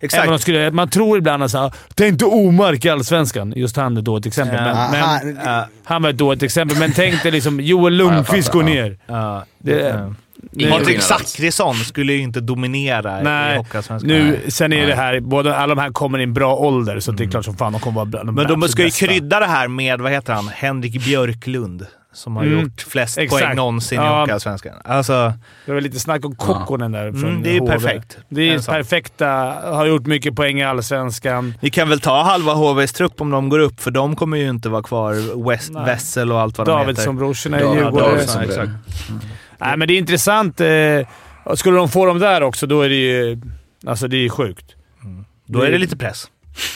Speaker 3: de
Speaker 2: Exakt.
Speaker 3: skulle, man tror ibland att såhär, tänk dig Omark i Allsvenskan. Just han är då ett exempel.
Speaker 2: Ja.
Speaker 3: Men,
Speaker 4: Aha,
Speaker 3: men, han var ett dåligt exempel, men tänk dig liksom Joel
Speaker 1: jag
Speaker 3: Lundqvist
Speaker 1: fattar,
Speaker 3: går
Speaker 1: ja.
Speaker 3: ner.
Speaker 2: Ja,
Speaker 3: Det-
Speaker 2: det,
Speaker 3: det-
Speaker 1: Ingen
Speaker 2: Patrik
Speaker 1: skillnad alls.
Speaker 2: Zackrisson skulle ju inte dominera i
Speaker 3: Nej,
Speaker 2: Hockeyallsvenskan.
Speaker 3: nu, sen är det här, båda, alla de här kommer i en bra ålder, så det är klart som fan de kommer vara bland
Speaker 2: Men de
Speaker 3: absolut
Speaker 2: ska ju
Speaker 3: bästa.
Speaker 2: krydda det här med, vad heter han, Henrik Björklund. Som har
Speaker 3: Mm,
Speaker 2: gjort flest
Speaker 3: exakt.
Speaker 2: poäng någonsin i
Speaker 3: Ja.
Speaker 2: Hockeyallsvenskan. Alltså,
Speaker 3: Det var lite snack om Kokkonen där. från
Speaker 2: mm, det är ju
Speaker 3: HV.
Speaker 2: perfekt.
Speaker 3: Det är
Speaker 2: En sak.
Speaker 3: perfekta. Har gjort mycket poäng i Allsvenskan.
Speaker 2: Ni kan väl ta halva HVs trupp om de går upp, för de kommer ju inte vara kvar. West,
Speaker 3: Nej.
Speaker 2: Wessel och allt vad de heter.
Speaker 3: Davidsson-brorsorna i
Speaker 1: Ja,
Speaker 3: Djurgården.
Speaker 1: Davidsson,
Speaker 2: Ja,
Speaker 1: det.
Speaker 2: exakt.
Speaker 3: Nej, men det är intressant. eh, Skulle de få dem där också, då är det ju... Alltså, det är ju sjukt.
Speaker 2: Då är det lite press.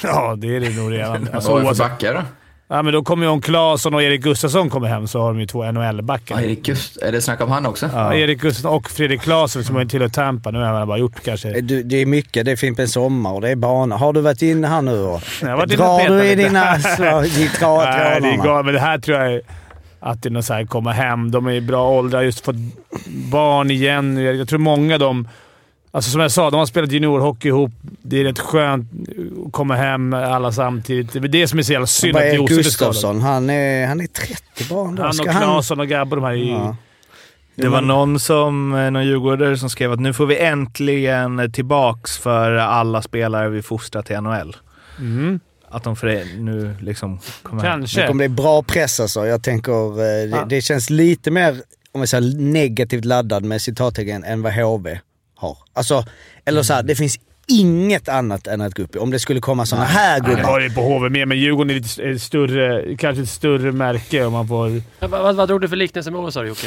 Speaker 3: Ja, det är det nog redan. Alltså,
Speaker 1: Vad är det för
Speaker 3: oavsett-
Speaker 1: backar då?
Speaker 3: ja, men då kommer ju om Claesson och Erik Gustafsson kommer hem så har de ju två NHL-backar.
Speaker 1: Ja, Erik Gust- är det snack om han också?
Speaker 3: Ja. Erik Gustafsson och Fredrik Claesson som har ju tillhört Tampa. Nu har han bara gjort kanske...
Speaker 4: Du, det är mycket. Det är Fimpens Sommar och det är bana. Har du varit inne här nu? Och,
Speaker 3: Jag har varit inne och
Speaker 4: drar
Speaker 3: petat
Speaker 4: du i
Speaker 3: lite.
Speaker 4: dina slå- i tra-
Speaker 3: Nej, det är
Speaker 4: trådarna?
Speaker 3: galet. Men det här tror jag är att det är något så här komma hem. De är i bra åldrar, just fått barn igen. Jag jag tror många av dem... Alltså som jag sa, de har spelat juniorhockey ihop. Det är rätt skönt att komma hem alla samtidigt. Det är det som är så jävla synd
Speaker 4: Vad
Speaker 3: att
Speaker 4: är
Speaker 3: Josef är skadad.
Speaker 4: Gustafsson? Han är, han är 30 bara ändå.
Speaker 3: Han och
Speaker 4: Ska han...
Speaker 3: Claesson och Gabbo, de här är ju...
Speaker 4: Ja.
Speaker 2: Det var någon, som, eh, någon djurgårdare som skrev att nu får vi äntligen tillbaks för alla spelare vi fostrar till NHL.
Speaker 3: Mm,
Speaker 2: Att de för nu liksom kommer hem.
Speaker 4: Det
Speaker 3: kanske.
Speaker 4: kommer bli bra press alltså. Jag tänker, eh, det,
Speaker 3: Ja.
Speaker 4: det känns lite mer, om jag säger negativt laddad med citattecken, än vad HV har. Alltså, eller så här,
Speaker 3: Mm.
Speaker 4: det finns inget annat än att gå upp i. Om det skulle komma sådana här
Speaker 3: Nej, det
Speaker 4: gubbar.
Speaker 3: har det på HV med, men Djurgården är lite är ett större, kanske ett större märke om man får...
Speaker 8: Vad, vad, vad drog du för liknelse med Åsa Jocke?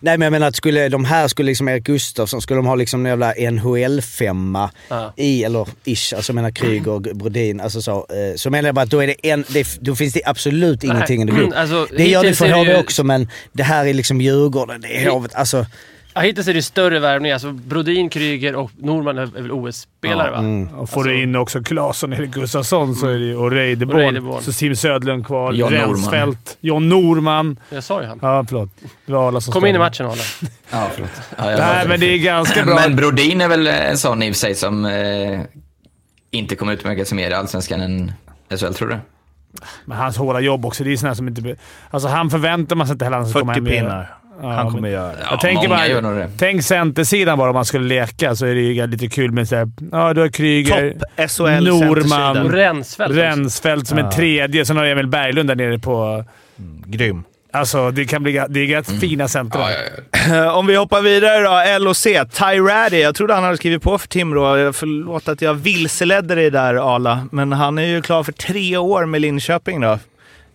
Speaker 4: Nej men jag menar att skulle de här, skulle liksom Erik Gustafsson, skulle de ha liksom en jävla NHL-femma
Speaker 8: Ja.
Speaker 4: i, eller ish, alltså jag menar Kryger och Brodin, alltså så. eh, Så menar jag bara att då är det en, det, då finns det absolut ingenting i det
Speaker 3: Mm,
Speaker 4: grupp.
Speaker 8: Alltså,
Speaker 4: Det gör det
Speaker 8: hittills
Speaker 4: för
Speaker 8: är
Speaker 4: HV
Speaker 8: ju-
Speaker 4: också men det här är liksom Djurgården, det är HV, alltså.
Speaker 8: Ja, hittills är det ju större värvningar. Alltså Brodin, Kryger och Norman är är väl OS-spelare va?
Speaker 4: mm.
Speaker 3: Och får
Speaker 8: Alltså-
Speaker 3: du in också Claesson, Erik Gustafsson så är det, ju- och
Speaker 8: Och
Speaker 3: Reideborn.
Speaker 8: Reideborn.
Speaker 3: Så Tim Södlund kvar.
Speaker 1: John Norman.
Speaker 3: Rensfeldt. John Norman.
Speaker 8: Jag sa ju han.
Speaker 3: Ja, förlåt. Det var alla som
Speaker 8: Kom
Speaker 3: stod.
Speaker 8: in i matchen Arne.
Speaker 1: Ja, förlåt. Ja, jag
Speaker 3: Nej, men det är ganska bra.
Speaker 1: Men Brodin är väl en sån i och för sig som eh, inte kommer utmärka sig mer i Allsvenskan än SHL, tror du?
Speaker 3: Men hans hårda jobb också. Det är sådana som inte... Alltså han förväntar man sig inte heller att han ska komma
Speaker 2: 40
Speaker 3: hem och göra.
Speaker 2: pinnar.
Speaker 3: Ja,
Speaker 2: Han kommer
Speaker 3: men-
Speaker 2: göra det.
Speaker 1: Ja,
Speaker 3: Jag tänker
Speaker 1: många gör nog
Speaker 3: bara,
Speaker 1: det.
Speaker 3: tänk centersidan bara om man skulle leka så är det ju lite kul med såhär... Ja, du har Kryger.
Speaker 2: Topp SHL
Speaker 3: Norman.
Speaker 8: Och
Speaker 2: Norman.
Speaker 8: Rensfeldt. också.
Speaker 3: Rensfeldt som är tredje. Sen har du Emil Berglund där nere på...
Speaker 2: Grym.
Speaker 3: Alltså, det kan bli... ga- Det är
Speaker 1: Mm.
Speaker 3: rätt fina centra.
Speaker 2: Eh, Om vi hoppar vidare då. LOC. Ty Raddy. Jag trodde han hade skrivit på för Timrå. Jag- Förlåt att jag vilseledde dig där, Arla. Men han är ju klar för tre år med Linköping då.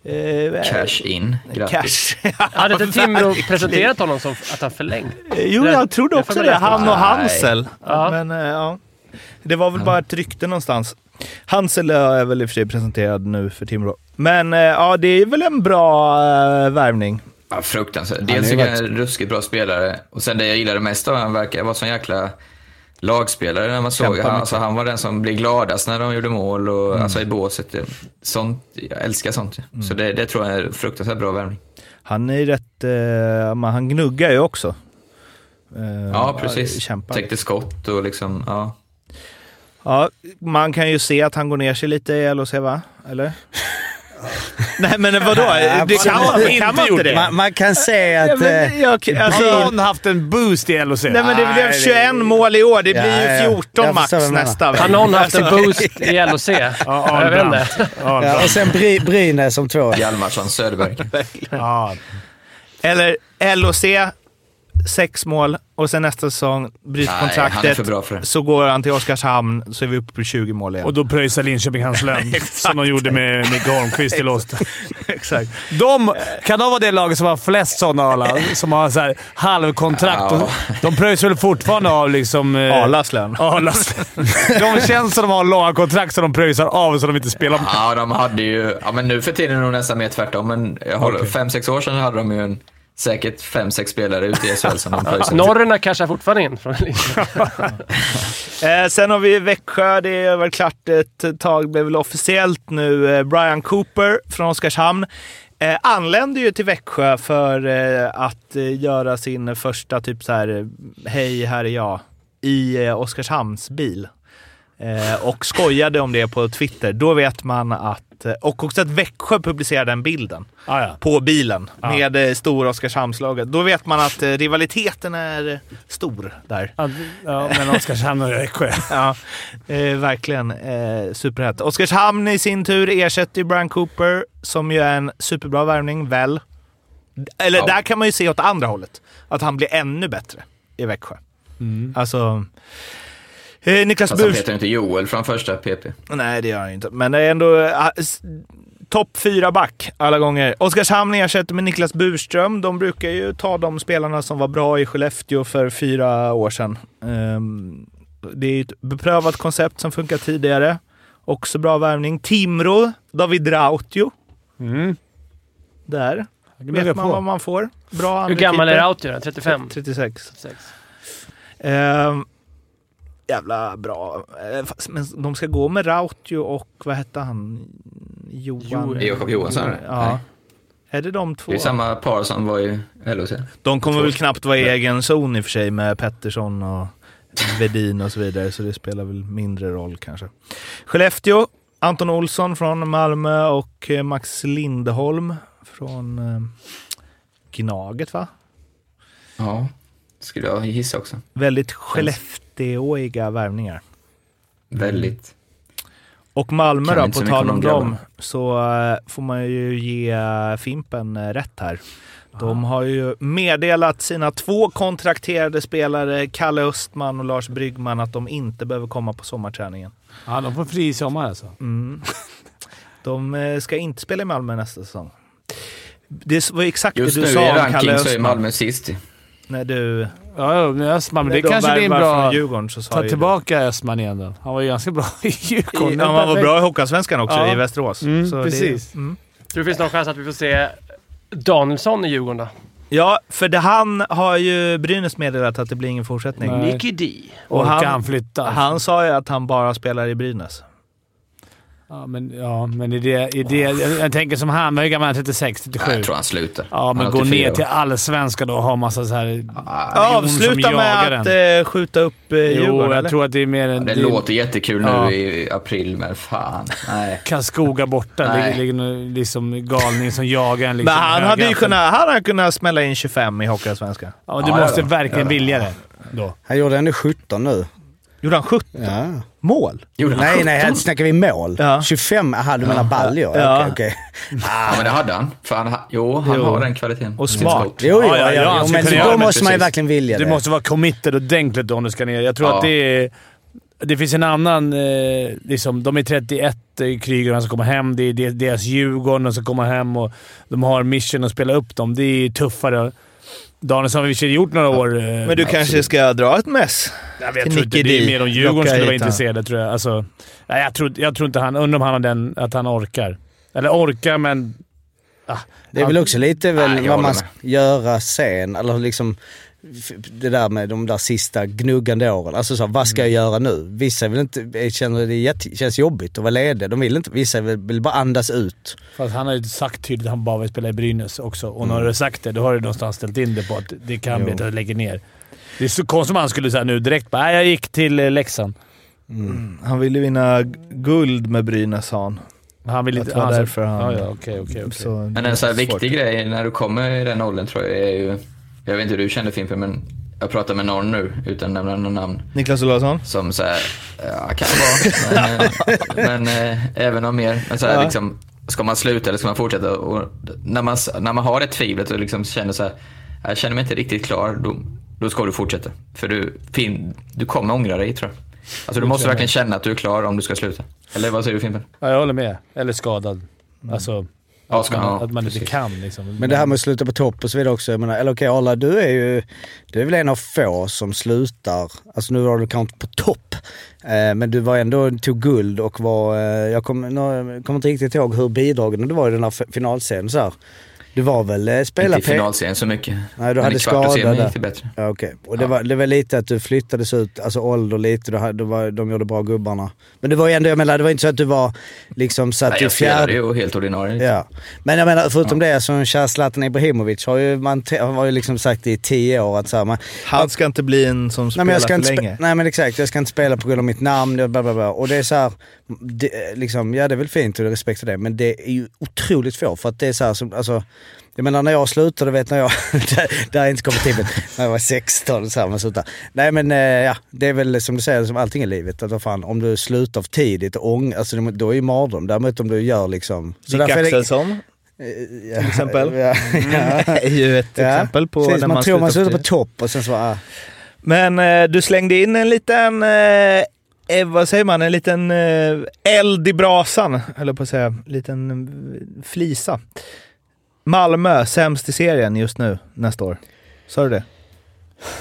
Speaker 2: Eh,
Speaker 1: Cash in. Grattis.
Speaker 2: Cash.
Speaker 8: Hade inte Timrå presenterat honom som att han förlängt?
Speaker 2: Jo, jag trodde
Speaker 8: Jag
Speaker 2: också
Speaker 8: får
Speaker 2: det.
Speaker 8: berätta.
Speaker 2: Han och
Speaker 1: Nej.
Speaker 2: Hansel.
Speaker 8: Ja.
Speaker 2: Men, eh, ja. Det var väl bara ett rykte någonstans. Hansel eh, är väl i och för sig presenterad nu för Timrå. Men eh, ja, det är väl en bra eh, värvning.
Speaker 1: Ja, fruktansvärt.
Speaker 4: är
Speaker 1: Dels
Speaker 4: ju
Speaker 1: tycker jag han är en ruskigt bra spelare. Och sen det jag gillade mest av han verkar vara som jäkla lagspelare när man såg han, alltså, han var den som blev gladast när de gjorde mål och alltså i båset. Sånt, jag älskar sånt. Så det, det tror jag är en fruktansvärt bra värvning.
Speaker 2: Han är ju rätt... Eh, men han gnuggar ju också. Eh,
Speaker 1: Ja, precis.
Speaker 2: Kämpar.
Speaker 1: Täckte skott och liksom, ja.
Speaker 2: Ja, man kan ju se att han går ner sig lite i LHC, va? Eller? Nej, men vadå? Det kan,
Speaker 4: absolut.
Speaker 2: man- det kan man inte det?
Speaker 4: Man, man kan se
Speaker 2: Ja,
Speaker 4: att... eh,
Speaker 2: men, jag,
Speaker 3: Har
Speaker 2: alltså,
Speaker 3: någon haft en boost i LHC?
Speaker 2: nej, men det blev
Speaker 4: Nej, det-
Speaker 2: 21 mål i år. Det blir
Speaker 4: Ja,
Speaker 2: ju
Speaker 4: ja.
Speaker 2: 14
Speaker 4: Jag
Speaker 2: max
Speaker 4: förstår vad du menar.
Speaker 2: nästa
Speaker 8: Har
Speaker 2: vecka.
Speaker 8: någon haft en boost i LHC?
Speaker 3: Ja,
Speaker 8: jag vet
Speaker 3: Arnbrandt.
Speaker 8: inte.
Speaker 4: Ja, och
Speaker 3: Arnbrandt.
Speaker 4: sen Bry, Brynäs som två.
Speaker 1: Hjalmarsson, Söderberg.
Speaker 3: Ja.
Speaker 2: Eller LHC, sex mål och sen nästa säsong
Speaker 1: Nej,
Speaker 2: bryts
Speaker 1: han är
Speaker 2: kontraktet.
Speaker 1: för bra för det.
Speaker 2: Så går han till Oskarshamn så är vi uppe på 20 mål igen.
Speaker 3: Och då pröjsar Linköping hans lön, som de gjorde med Micke Holmqvist i Lost.
Speaker 2: exakt.
Speaker 3: De, kan de vara det laget som har flest sådana Arla? Som har så här halvkontrakt.
Speaker 1: Ja.
Speaker 3: De pröjsar väl fortfarande av liksom... eh,
Speaker 2: Arlas lön.
Speaker 3: Arlas. De känns som de har långa kontrakt som de pröjsar av så de inte spelar.
Speaker 1: Ja, de hade ju... Ja, men nu för tiden är det nog nästan mer tvärtom. Men jag håller,
Speaker 3: Okej.
Speaker 1: fem, sex år sedan hade de ju en, säkert fem, sex spelare ute i SHL som de pröjsade.
Speaker 8: Norrena cashar fortfarande in från Linköping.
Speaker 2: Eh, sen har vi Växjö. Det har varit klart ett tag. blev väl officiellt nu. Eh, Brian Cooper från Oskarshamn. Eh, anlände ju till Växjö för eh, att eh, göra sin första typ så här eh, “Hej, här är jag” i eh, Oskarshamns bil. Eh, och skojade om det på Twitter. Då vet man att... eh, Och också att Växjö publicerade den bilden
Speaker 3: Ah, ja.
Speaker 2: på bilen
Speaker 3: Ja.
Speaker 2: med eh, stora Oskarshamnslaget. Då vet man att eh, rivaliteten är eh, stor där.
Speaker 3: Ja, men Oskarshamn och Växjö.
Speaker 2: Ja, eh, verkligen. Eh, superhett. Oskarshamn i sin tur ersätter ju Brian Cooper, som ju är en superbra värvning, väl? Eller
Speaker 1: Ja.
Speaker 2: där kan man ju se åt andra hållet. Att han blir ännu bättre i Växjö. Alltså... Eh, Niklas
Speaker 1: Mm. Fast han
Speaker 2: Burs...
Speaker 1: heter ju inte Joel från första PP.
Speaker 2: Nej, det gör han ju inte. Men det är ändå... eh, s- Topp fyra back alla gånger. Oskarshamn ersätter med Niklas Burström. De brukar ju ta de spelarna som var bra i Skellefteå för fyra år sedan. Ehm, det är ju ett beprövat koncept som funkar tidigare. Också bra värvning. Timrå, David Rautio.
Speaker 3: Mm.
Speaker 2: Där
Speaker 3: Det blir
Speaker 2: vet man vad
Speaker 3: på.
Speaker 2: man får. Bra
Speaker 8: Hur
Speaker 2: andra
Speaker 8: gammal är
Speaker 2: keeper.
Speaker 8: Rautio då? 35?
Speaker 2: 36.
Speaker 8: 36.
Speaker 2: Ehm, jävla bra. Eh, fast- Men de ska gå med Rautio och vad hette han? Johan?
Speaker 8: Jo-
Speaker 1: Jakob Johansson, eller? Nej.
Speaker 2: Ja. Är det de två?
Speaker 1: Det är samma par som var i LHC.
Speaker 2: De kommer väl knappt vara i egen zon i och för sig med Pettersson och Vedin och så vidare, så det spelar väl mindre roll kanske. Skellefteå, Anton Olsson från Malmö och eh, Max Lindholm från eh, Gnaget va?
Speaker 1: Ja, skulle jag gissa också.
Speaker 2: Väldigt Skellefteåiga värvningar.
Speaker 1: Väldigt.
Speaker 2: Och Malmö
Speaker 1: Kan
Speaker 2: då,
Speaker 1: inte
Speaker 2: på
Speaker 1: så
Speaker 2: tal
Speaker 1: mycket
Speaker 2: om
Speaker 1: om
Speaker 2: dem,
Speaker 1: grabbarna.
Speaker 2: så eh, får man ju ge eh, Fimpen eh, rätt här. De
Speaker 3: Ah.
Speaker 2: har ju meddelat sina två kontrakterade spelare, Kalle Östman och Lars Bryggman, att de inte behöver komma på sommarträningen.
Speaker 3: Ja, de får fri i sommar alltså.
Speaker 2: Mm. De eh, ska inte spela i Malmö nästa säsong. Det var ju exakt
Speaker 1: Just
Speaker 2: det
Speaker 1: nu
Speaker 2: du sa
Speaker 1: i
Speaker 2: om Kalle
Speaker 1: ranking så är
Speaker 2: Östman.
Speaker 1: Malmö sist.
Speaker 2: När du...
Speaker 3: Ja, ja, men Östman, men
Speaker 2: när
Speaker 3: det
Speaker 2: de
Speaker 3: kanske blir en
Speaker 2: värvar
Speaker 3: bra...
Speaker 2: från Djurgården så sa
Speaker 3: Ta
Speaker 2: ju
Speaker 3: tillbaka Östman igen då. Han var ju ganska bra
Speaker 2: du...
Speaker 3: i Djurgården.
Speaker 2: Ja, man var bra i Hockeyallsvenskan också,
Speaker 3: Ja.
Speaker 2: i Västerås.
Speaker 3: Mm,
Speaker 2: det-
Speaker 3: precis.
Speaker 2: mm.
Speaker 8: Tror du det finns någon chans att vi får se Danielsson i Djurgården då?
Speaker 2: Ja, för det, han har ju Brynäs meddelat att det blir ingen fortsättning.
Speaker 3: Nej.
Speaker 8: Nicky D.
Speaker 2: Och alltså.
Speaker 3: Och han,
Speaker 2: han-
Speaker 3: han flytta.
Speaker 2: Han sa ju att han bara spelar i Brynäs.
Speaker 3: Ja, men, ja, men är det, är det, jag, jag tänker som han. Hur gammal är han? 36, 37?
Speaker 1: Jag tror han slutar.
Speaker 3: Ja, men
Speaker 1: Han
Speaker 3: gå
Speaker 1: 84
Speaker 3: ner
Speaker 1: år. Ah,
Speaker 3: till allsvenskan då och ha massa så här...
Speaker 2: Ja,
Speaker 3: Jon som
Speaker 2: avsluta
Speaker 3: jagar
Speaker 2: med att eh, skjuta upp eh,
Speaker 3: Jo,
Speaker 2: Djurgården,
Speaker 3: jag
Speaker 2: eller?
Speaker 3: tror att det är mer en...
Speaker 1: Det
Speaker 3: det är-
Speaker 1: låter jättekul nu
Speaker 3: Ja.
Speaker 1: i april, men fan. Nej.
Speaker 3: Karlskoga borta.
Speaker 1: Nej.
Speaker 3: Det ligger någon liksom galning som jagar en. Liksom,
Speaker 2: Men han
Speaker 3: höger
Speaker 2: hade ju
Speaker 3: appen.
Speaker 2: kunnat, han hade kunnat smälla in 25 i Hockeyallsvenskan.
Speaker 3: Ja, du
Speaker 1: Ja,
Speaker 3: måste
Speaker 1: ja, ja.
Speaker 3: verkligen
Speaker 1: Ja, ja.
Speaker 3: vilja det. Då.
Speaker 4: Han gjorde ändå 17 nu.
Speaker 2: Gjorde han 17
Speaker 4: Ja.
Speaker 2: mål?
Speaker 1: Gjorde han
Speaker 4: Nej,
Speaker 1: 17?
Speaker 4: nej, här snackar vi mål.
Speaker 2: Ja.
Speaker 4: 25? Aha, du menar baljor?
Speaker 2: Ja.
Speaker 4: Okej, okej.
Speaker 1: Ja, men det hade han. För han ha- jo, han
Speaker 2: Jo.
Speaker 1: har den kvaliteten.
Speaker 2: Och
Speaker 1: Sitt
Speaker 2: smart.
Speaker 1: skott.
Speaker 4: Jo, jo,
Speaker 3: Ja, ja,
Speaker 4: ja,
Speaker 3: ja, han
Speaker 4: jo,
Speaker 3: ska
Speaker 4: men
Speaker 3: kunna göra
Speaker 4: då
Speaker 1: det,
Speaker 4: måste man ju
Speaker 1: precis.
Speaker 4: verkligen vilja
Speaker 3: Du
Speaker 4: det.
Speaker 3: måste vara committed ordentligt då om du ska ner. Jag tror
Speaker 1: Ja.
Speaker 3: att det är... Det finns en annan... Eh, liksom, de är 31, eh, Kryger och han som kommer hem. Det är de- deras Djurgården som kommer hem och de har mission att spela upp dem. Det är tuffare. Danielsson har vi i och för sig gjort några år. eh,
Speaker 2: Men du kanske ska dra ett mess?
Speaker 3: Nej, men jag
Speaker 2: till
Speaker 3: tror inte,
Speaker 2: Nicky
Speaker 3: det är
Speaker 2: D.
Speaker 3: mer om Djurgården
Speaker 2: Locka
Speaker 3: skulle
Speaker 2: hit
Speaker 3: vara
Speaker 2: han.
Speaker 3: intresserade, tror jag. Alltså, nej, jag, tror, jag tror inte han... Undrar om han har den... Att han orkar. Eller orkar, men...
Speaker 4: Det är väl också lite väl
Speaker 1: Nej, jag
Speaker 4: vad
Speaker 1: håller
Speaker 4: man ska göra sen, eller liksom f- det där med de där sista gnuggande åren. Alltså så här, vad ska jag göra nu? Vissa vill inte, eh, känner det jätte, känns jobbigt att vara ledig. De vill inte, vissa vill, vill bara andas ut.
Speaker 3: Fast han har ju sagt tydligt att han bara vill spela i Brynäs också. Och
Speaker 4: Mm.
Speaker 3: när du har sagt det, då har du någonstans ställt in det på att det kan bli att jag lägger ner. Det är så konstigt om han skulle säga nu direkt bara, "Nej, jag gick till eh, Leksand.
Speaker 2: Han ville vinna g- guld med Brynäs, sa han.
Speaker 3: Han vill
Speaker 2: Jag
Speaker 3: inte...
Speaker 2: tror
Speaker 3: sa-
Speaker 2: därför han-
Speaker 3: Ja, ja, okej, okej. okej.
Speaker 2: Så
Speaker 1: Men en så här
Speaker 2: svårt.
Speaker 1: viktig grej när du kommer i den åldern tror jag är ju... Jag vet inte hur du kände Fimpen, men jag pratar med någon nu utan att nämna några namn.
Speaker 2: Niklas Olausson?
Speaker 1: Som så här, ja, kan det vara, men, eh, men eh, även om mer. Men så här,
Speaker 2: Ja.
Speaker 1: liksom, ska man sluta eller ska man fortsätta? Och när, man, s- när man har det tvivlet och liksom känner så här, jag känner mig inte riktigt klar, då, då ska du fortsätta. För du, fin, du kommer ångra dig tror jag. Alltså du måste verkligen känna att du är klar om du ska sluta. Eller vad säger du Fimpen?
Speaker 3: Ja, jag håller med. Eller skadad. Alltså,
Speaker 1: Ja,
Speaker 3: att
Speaker 1: ska-
Speaker 3: man,
Speaker 1: ja,
Speaker 3: att man inte
Speaker 1: precis.
Speaker 3: kan liksom.
Speaker 4: Mm. Men det här med att sluta på topp och så vidare också. Jag menar, eller okej Arla, du är ju, du är väl en av få som slutar, alltså nu var du kanske inte på topp, eh, men du var ändå, tog guld och var, eh, jag kommer nu- kommer inte riktigt ihåg hur bidragen du var i den här f- finalserien så här. Du var väl eh, spela
Speaker 1: Inte i finalserien så mycket.
Speaker 4: Nej, du
Speaker 1: Men
Speaker 4: hade
Speaker 1: i kvart och
Speaker 4: skada
Speaker 1: semin
Speaker 4: där.
Speaker 1: gick det bättre.
Speaker 4: Ja, okej. Och det, var, det var lite att du flyttades ut, alltså ålder lite, du hade, du var, de gjorde bra gubbarna. Men det var ju ändå, jag menar det var inte så att du var liksom så att
Speaker 1: Nej,
Speaker 4: du
Speaker 1: jag spelade
Speaker 4: fjärde...
Speaker 1: ju helt ordinarie.
Speaker 4: Ja. Men jag menar förutom det, så kär Zlatan Ibrahimovic har ju, man, te- har ju liksom sagt i tio år att så här, man,
Speaker 2: Han ska inte bli en som
Speaker 4: Nej
Speaker 2: spelar
Speaker 4: men, jag ska
Speaker 2: för
Speaker 4: inte spe-
Speaker 2: länge.
Speaker 4: nej men exakt, jag ska inte spela på grund av mitt namn och bla bla bla. Och det är så här, det, är liksom, ja det är väl fint och respekt för det men det är ju otroligt få för att det är så här som, alltså jag menar när jag slutade, vet när jag, det, det här är inte kompatibelt, när jag var 16 och så här, man slutar. Nej men eh, ja, det är väl som du säger, som allting i livet, att vad fan, om du slutar för tidigt och ång, alltså det- då är ju mardröm. Däremot om du gör liksom... så
Speaker 2: Dick
Speaker 4: därför är det-
Speaker 2: Axelsson
Speaker 4: Ja,
Speaker 2: till exempel.
Speaker 4: Ja, ja.
Speaker 2: är ju ett exempel på
Speaker 4: Precis,
Speaker 2: när
Speaker 4: man, tror man
Speaker 2: för
Speaker 4: slutar på
Speaker 2: tidigt.
Speaker 4: topp och sen så bara, ah.
Speaker 2: Men eh, du slängde in en liten, eh, eh, vad säger man, en liten eh, eld i brasan, höll jag på att säga. En liten eh, flisa. Malmö, sämst i serien just nu, nästa år. Sa du det?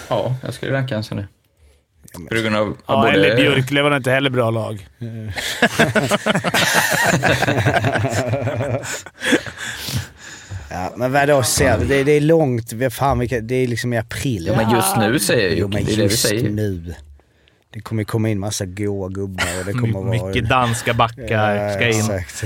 Speaker 1: Ja, jag skulle ranka en sån där. På grund av av
Speaker 3: Ja,
Speaker 1: både...
Speaker 3: eller Björklöven har inte heller bra lag.
Speaker 4: Ja, men vadå Sev? Det, det är långt. Vad Fan, vilka, det är liksom i april.
Speaker 1: Ja, men just nu säger jag ju.
Speaker 4: Jo,
Speaker 1: Det
Speaker 4: men
Speaker 1: är det vi
Speaker 4: just
Speaker 1: säger.
Speaker 4: nu. Det kommer ju komma in massa goa gubbar och det kommer
Speaker 2: My-
Speaker 4: vara...
Speaker 2: Mycket danska backar ska in.
Speaker 4: Exakt.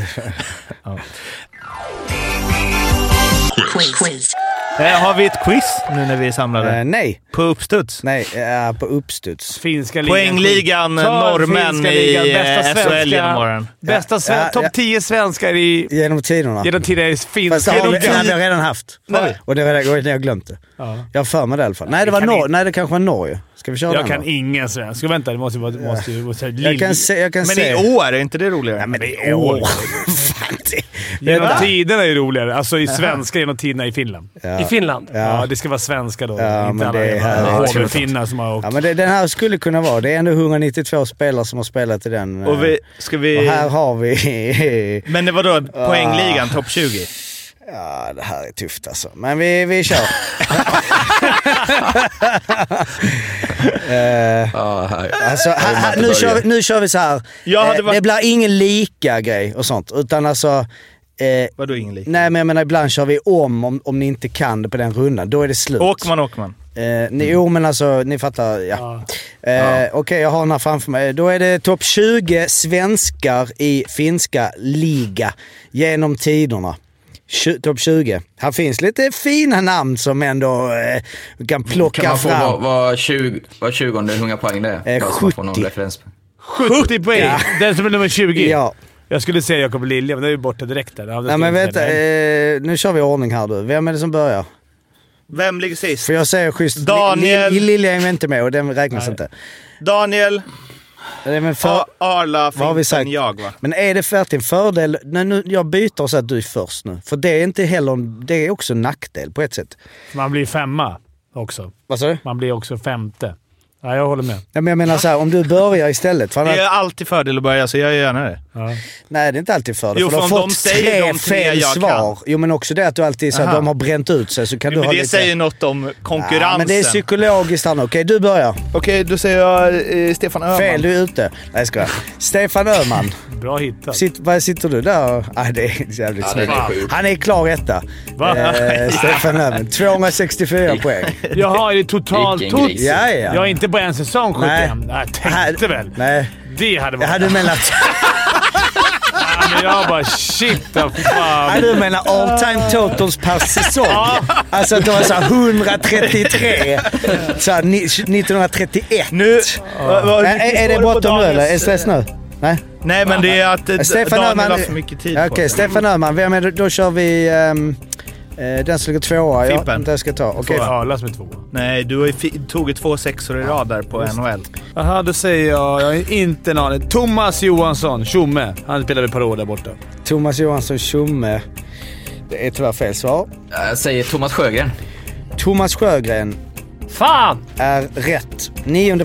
Speaker 2: Eh, har vi ett quiz nu när vi är samlade?
Speaker 4: Eh, nej,
Speaker 2: På uppstuds?
Speaker 4: nej, eh, på uppstuds.
Speaker 3: Finska ligan.
Speaker 2: Poängligan,
Speaker 3: Ta
Speaker 2: norrmän
Speaker 3: finska
Speaker 2: i
Speaker 3: ligan,
Speaker 2: eh,
Speaker 3: bästa
Speaker 2: SHL
Speaker 3: svenska.
Speaker 2: genom åren.
Speaker 3: Bästa sven-
Speaker 4: Ja, ja.
Speaker 3: topp 10 svenskar i...
Speaker 4: Genom tiderna.
Speaker 3: Genom tiden är
Speaker 4: Fast det
Speaker 3: finska
Speaker 4: har vi, det
Speaker 3: ligan.
Speaker 4: hade jag redan haft.
Speaker 3: Nej.
Speaker 4: Och det har jag jag har glömt det.
Speaker 3: Ja.
Speaker 4: Jag har för mig det i alla fall. Nej, det, var
Speaker 3: kan
Speaker 4: Nor-
Speaker 3: inte-
Speaker 4: nej, det kanske var Norge. Ska vi köra
Speaker 3: Jag
Speaker 4: den
Speaker 3: kan
Speaker 4: då?
Speaker 3: ingen svensk. Vänta, det måste ju vara... det Måste ju, måste,
Speaker 4: Jag kan se... Jag kan
Speaker 2: Men
Speaker 4: se.
Speaker 2: i år, är inte det roligare?
Speaker 4: Nej, men
Speaker 3: i
Speaker 4: i
Speaker 3: år.
Speaker 4: år. Fan, det-
Speaker 3: Genom
Speaker 4: Vänta.
Speaker 3: tiderna är roligare. Alltså i svenska genom tiderna i Finland.
Speaker 8: I Finland?
Speaker 3: Ja, det ska vara svenska då.
Speaker 4: Ja,
Speaker 3: inte
Speaker 4: men
Speaker 3: alla
Speaker 4: det är
Speaker 3: jävla
Speaker 4: här-
Speaker 3: HV-finnar som har åkt.
Speaker 4: Ja, men det, den här skulle kunna vara. Det är ändå 192 spelare som har spelat i den. eh,
Speaker 2: Och vi, ska
Speaker 4: och
Speaker 2: vi...
Speaker 4: här har vi...
Speaker 2: Men det var då poängligan, topp 20?
Speaker 4: Ja, det här är tufft alltså. Men vi, vi kör.
Speaker 1: Ja, här.
Speaker 4: Alltså, här, här, nu, kör vi, nu kör vi så här.
Speaker 2: Jag hade
Speaker 4: Eh,
Speaker 2: varit-
Speaker 4: Det blir ingen lika grej och sånt. Utan alltså... Eh,
Speaker 2: Vadå ingen lik?
Speaker 4: nej, men jag menar ibland kör vi om, om om ni inte kan det på den rundan. Då är det slut.
Speaker 2: Åkman, Åkman.
Speaker 4: Eh, ni, jo, men alltså ni fattar. Ja. Eh, Okej, jag har den här framför mig. Då är det topp 20 svenskar i finska liga genom tiderna. Tju- Topp 20. Här finns lite fina namn som ändå eh, vi kan plocka
Speaker 1: Kan man få
Speaker 4: fram.
Speaker 1: vad var, 20, var 20 hur många poäng det är?
Speaker 4: Eh,
Speaker 1: Bara så man får någon
Speaker 4: 70.
Speaker 1: referens.
Speaker 3: 70 poäng! Den som är nummer 20.
Speaker 4: Ja.
Speaker 3: Jag skulle säga Jakob Lilja, men den är ju borta direkt där. Ja, det
Speaker 4: Nej
Speaker 3: skulle
Speaker 4: men
Speaker 3: jag
Speaker 4: vänta,
Speaker 3: säga.
Speaker 4: eh, nu kör vi i ordning här du. Vem är det som börjar?
Speaker 2: Vem ligger sist?
Speaker 4: För jag säger schysst...
Speaker 2: Daniel.
Speaker 4: Li- Li- Lilja är inte med och den räknas inte.
Speaker 2: Daniel,
Speaker 4: Det är väl
Speaker 2: A-
Speaker 4: för,
Speaker 2: Arla,
Speaker 4: vad har vi sagt?
Speaker 2: Finten, jag va?
Speaker 4: Men är det verkligen fördel? Nej, nu, jag byter så att du är först nu. För det är inte heller... en- Det är också en nackdel på ett sätt.
Speaker 3: Man blir femma också.
Speaker 4: Vad sa du?
Speaker 3: Man blir också femte. Ja, jag håller med.
Speaker 4: Nej, men jag menar så här, om du börjar istället. För
Speaker 2: Det är
Speaker 4: annars,
Speaker 2: alltid fördel att börja, så jag gör gärna det.
Speaker 3: Ja.
Speaker 4: nej, det är inte alltid fördel.
Speaker 2: Jo,
Speaker 4: för du har
Speaker 2: för om
Speaker 4: fått
Speaker 2: de säger
Speaker 4: tre
Speaker 2: de tre
Speaker 4: fel
Speaker 2: jag
Speaker 4: svar. Jo, men också det att du alltid så att
Speaker 2: Aha.
Speaker 4: de har bränt ut sig så kan du
Speaker 2: Men
Speaker 4: ha
Speaker 2: det
Speaker 4: lite...
Speaker 2: säger något om konkurrensen.
Speaker 4: Ja, men det är psykologiskt här nu. Okej, du börjar.
Speaker 2: Okej, då säger jag eh, Stefan Öhman.
Speaker 4: Fel, du är ute. Nej, jag skojar. Stefan Öhman.
Speaker 3: Bra hittat.
Speaker 4: Sitt, var sitter du där? Nej, det är jävligt
Speaker 1: Ja, den
Speaker 4: snyggt.
Speaker 1: är sjuk.
Speaker 4: Han är klar etta.
Speaker 3: Va?
Speaker 4: Eh, Stefan Öhman. 264 poäng.
Speaker 3: Jaha, är det totalt
Speaker 1: Vilken gris.
Speaker 3: tot?
Speaker 4: Ja,
Speaker 3: Jag är
Speaker 4: ja.
Speaker 3: inte på en säsong 75. Nej. Jag tänkte väl.
Speaker 4: Nej.
Speaker 3: Det hade
Speaker 4: Jag
Speaker 3: varit...
Speaker 4: hade menat,
Speaker 3: Ja, men jag bara shit, ja, för fan.
Speaker 4: hade menat all time totals per säsong. Alltså att det var såhär 133. Såhär ni- 1931.
Speaker 2: Nu... vad- vad-
Speaker 4: Är, är- är det
Speaker 2: var på eh,
Speaker 4: bortom nu
Speaker 2: Daniels-
Speaker 4: eller? Är det stress nu? Nej?
Speaker 2: Nej, men det är att eh,
Speaker 4: Stefan
Speaker 2: Daniel har
Speaker 4: Öhman.
Speaker 2: för mycket tid
Speaker 4: Okej,
Speaker 2: på sig.
Speaker 4: Stefan Öhman. Vem är det? Då kör vi... ehm, eh, den som ligger tvåa. Ja,
Speaker 2: Fimpen.
Speaker 4: den ska jag ta. Okej.
Speaker 3: Okej, Arla som är tvåa.
Speaker 2: Nej, du har ju fi- tog ju två sexor i rad där på NHL.
Speaker 3: Jaha, då säger jag... Jag har inte en aning. Thomas Johansson, Tjomme. Han spelade ett par år där borta.
Speaker 4: Thomas Johansson Tjomme. Det är tyvärr fel svar.
Speaker 1: Jag säger Thomas Sjögren.
Speaker 4: Thomas Sjögren
Speaker 8: Fan!
Speaker 4: är rätt. Nionde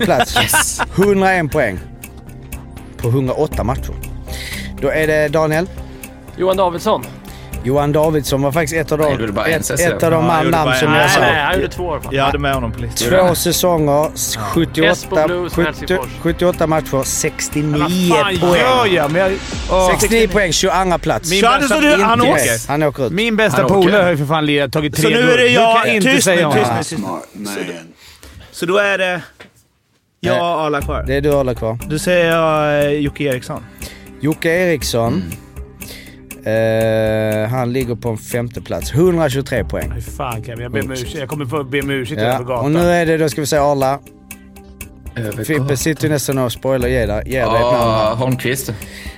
Speaker 4: plats. 101 poäng. På 108 matcher. Då är det Daniel.
Speaker 8: Johan Davidsson?
Speaker 4: Johan Davidsson var faktiskt ett av
Speaker 1: Nej, du
Speaker 4: de,
Speaker 1: gjorde bara en
Speaker 4: ett,
Speaker 1: säsong.
Speaker 4: ett av de
Speaker 2: Ja, jag
Speaker 4: man-
Speaker 2: gjorde
Speaker 4: namn
Speaker 2: bara
Speaker 4: som
Speaker 2: en.
Speaker 4: jag
Speaker 8: Nej, nej,
Speaker 4: sa.
Speaker 8: han gjorde två år. fan.
Speaker 2: Jag hade med honom på listan.
Speaker 4: Två säsonger, 78,
Speaker 8: Esbo Blues,
Speaker 4: 70,
Speaker 8: Helsingfors.
Speaker 4: 78 matcher, 69
Speaker 3: Vad fan gör
Speaker 4: poäng.
Speaker 3: jag? Men jag Åh.
Speaker 4: 69 poäng, 22 plats.
Speaker 3: Min
Speaker 2: Kör det så du, han
Speaker 4: Inte
Speaker 2: åker!
Speaker 4: med. Han åker ut.
Speaker 3: Min
Speaker 1: Han
Speaker 3: bästa
Speaker 1: åker.
Speaker 3: polare har ju för fan lirat- tagit tre
Speaker 2: Så nu
Speaker 3: guld.
Speaker 2: är det jag...
Speaker 3: Du kan inte
Speaker 2: tyst
Speaker 3: säga
Speaker 2: nu,
Speaker 3: om
Speaker 2: tyst nu,
Speaker 3: det.
Speaker 2: tyst nu. Så då är det... Jag och Arla kvar.
Speaker 4: Det är du Arla kvar.
Speaker 2: Då säger jag eh, Jocke Eriksson.
Speaker 4: Jocke Eriksson.
Speaker 1: Mm.
Speaker 4: Eh, han ligger på en femte plats. 123 poäng.
Speaker 3: Fy fan Kevin, jag ber om ursäkt. Jag kommer få be om ursäkt
Speaker 4: Ja.
Speaker 3: över gatan.
Speaker 4: Och nu är det, då ska vi säga Arla. Frippe sitter ju nästan och spoilar. Ge dig ge dig ett namn.
Speaker 1: Ja, Holmqvist.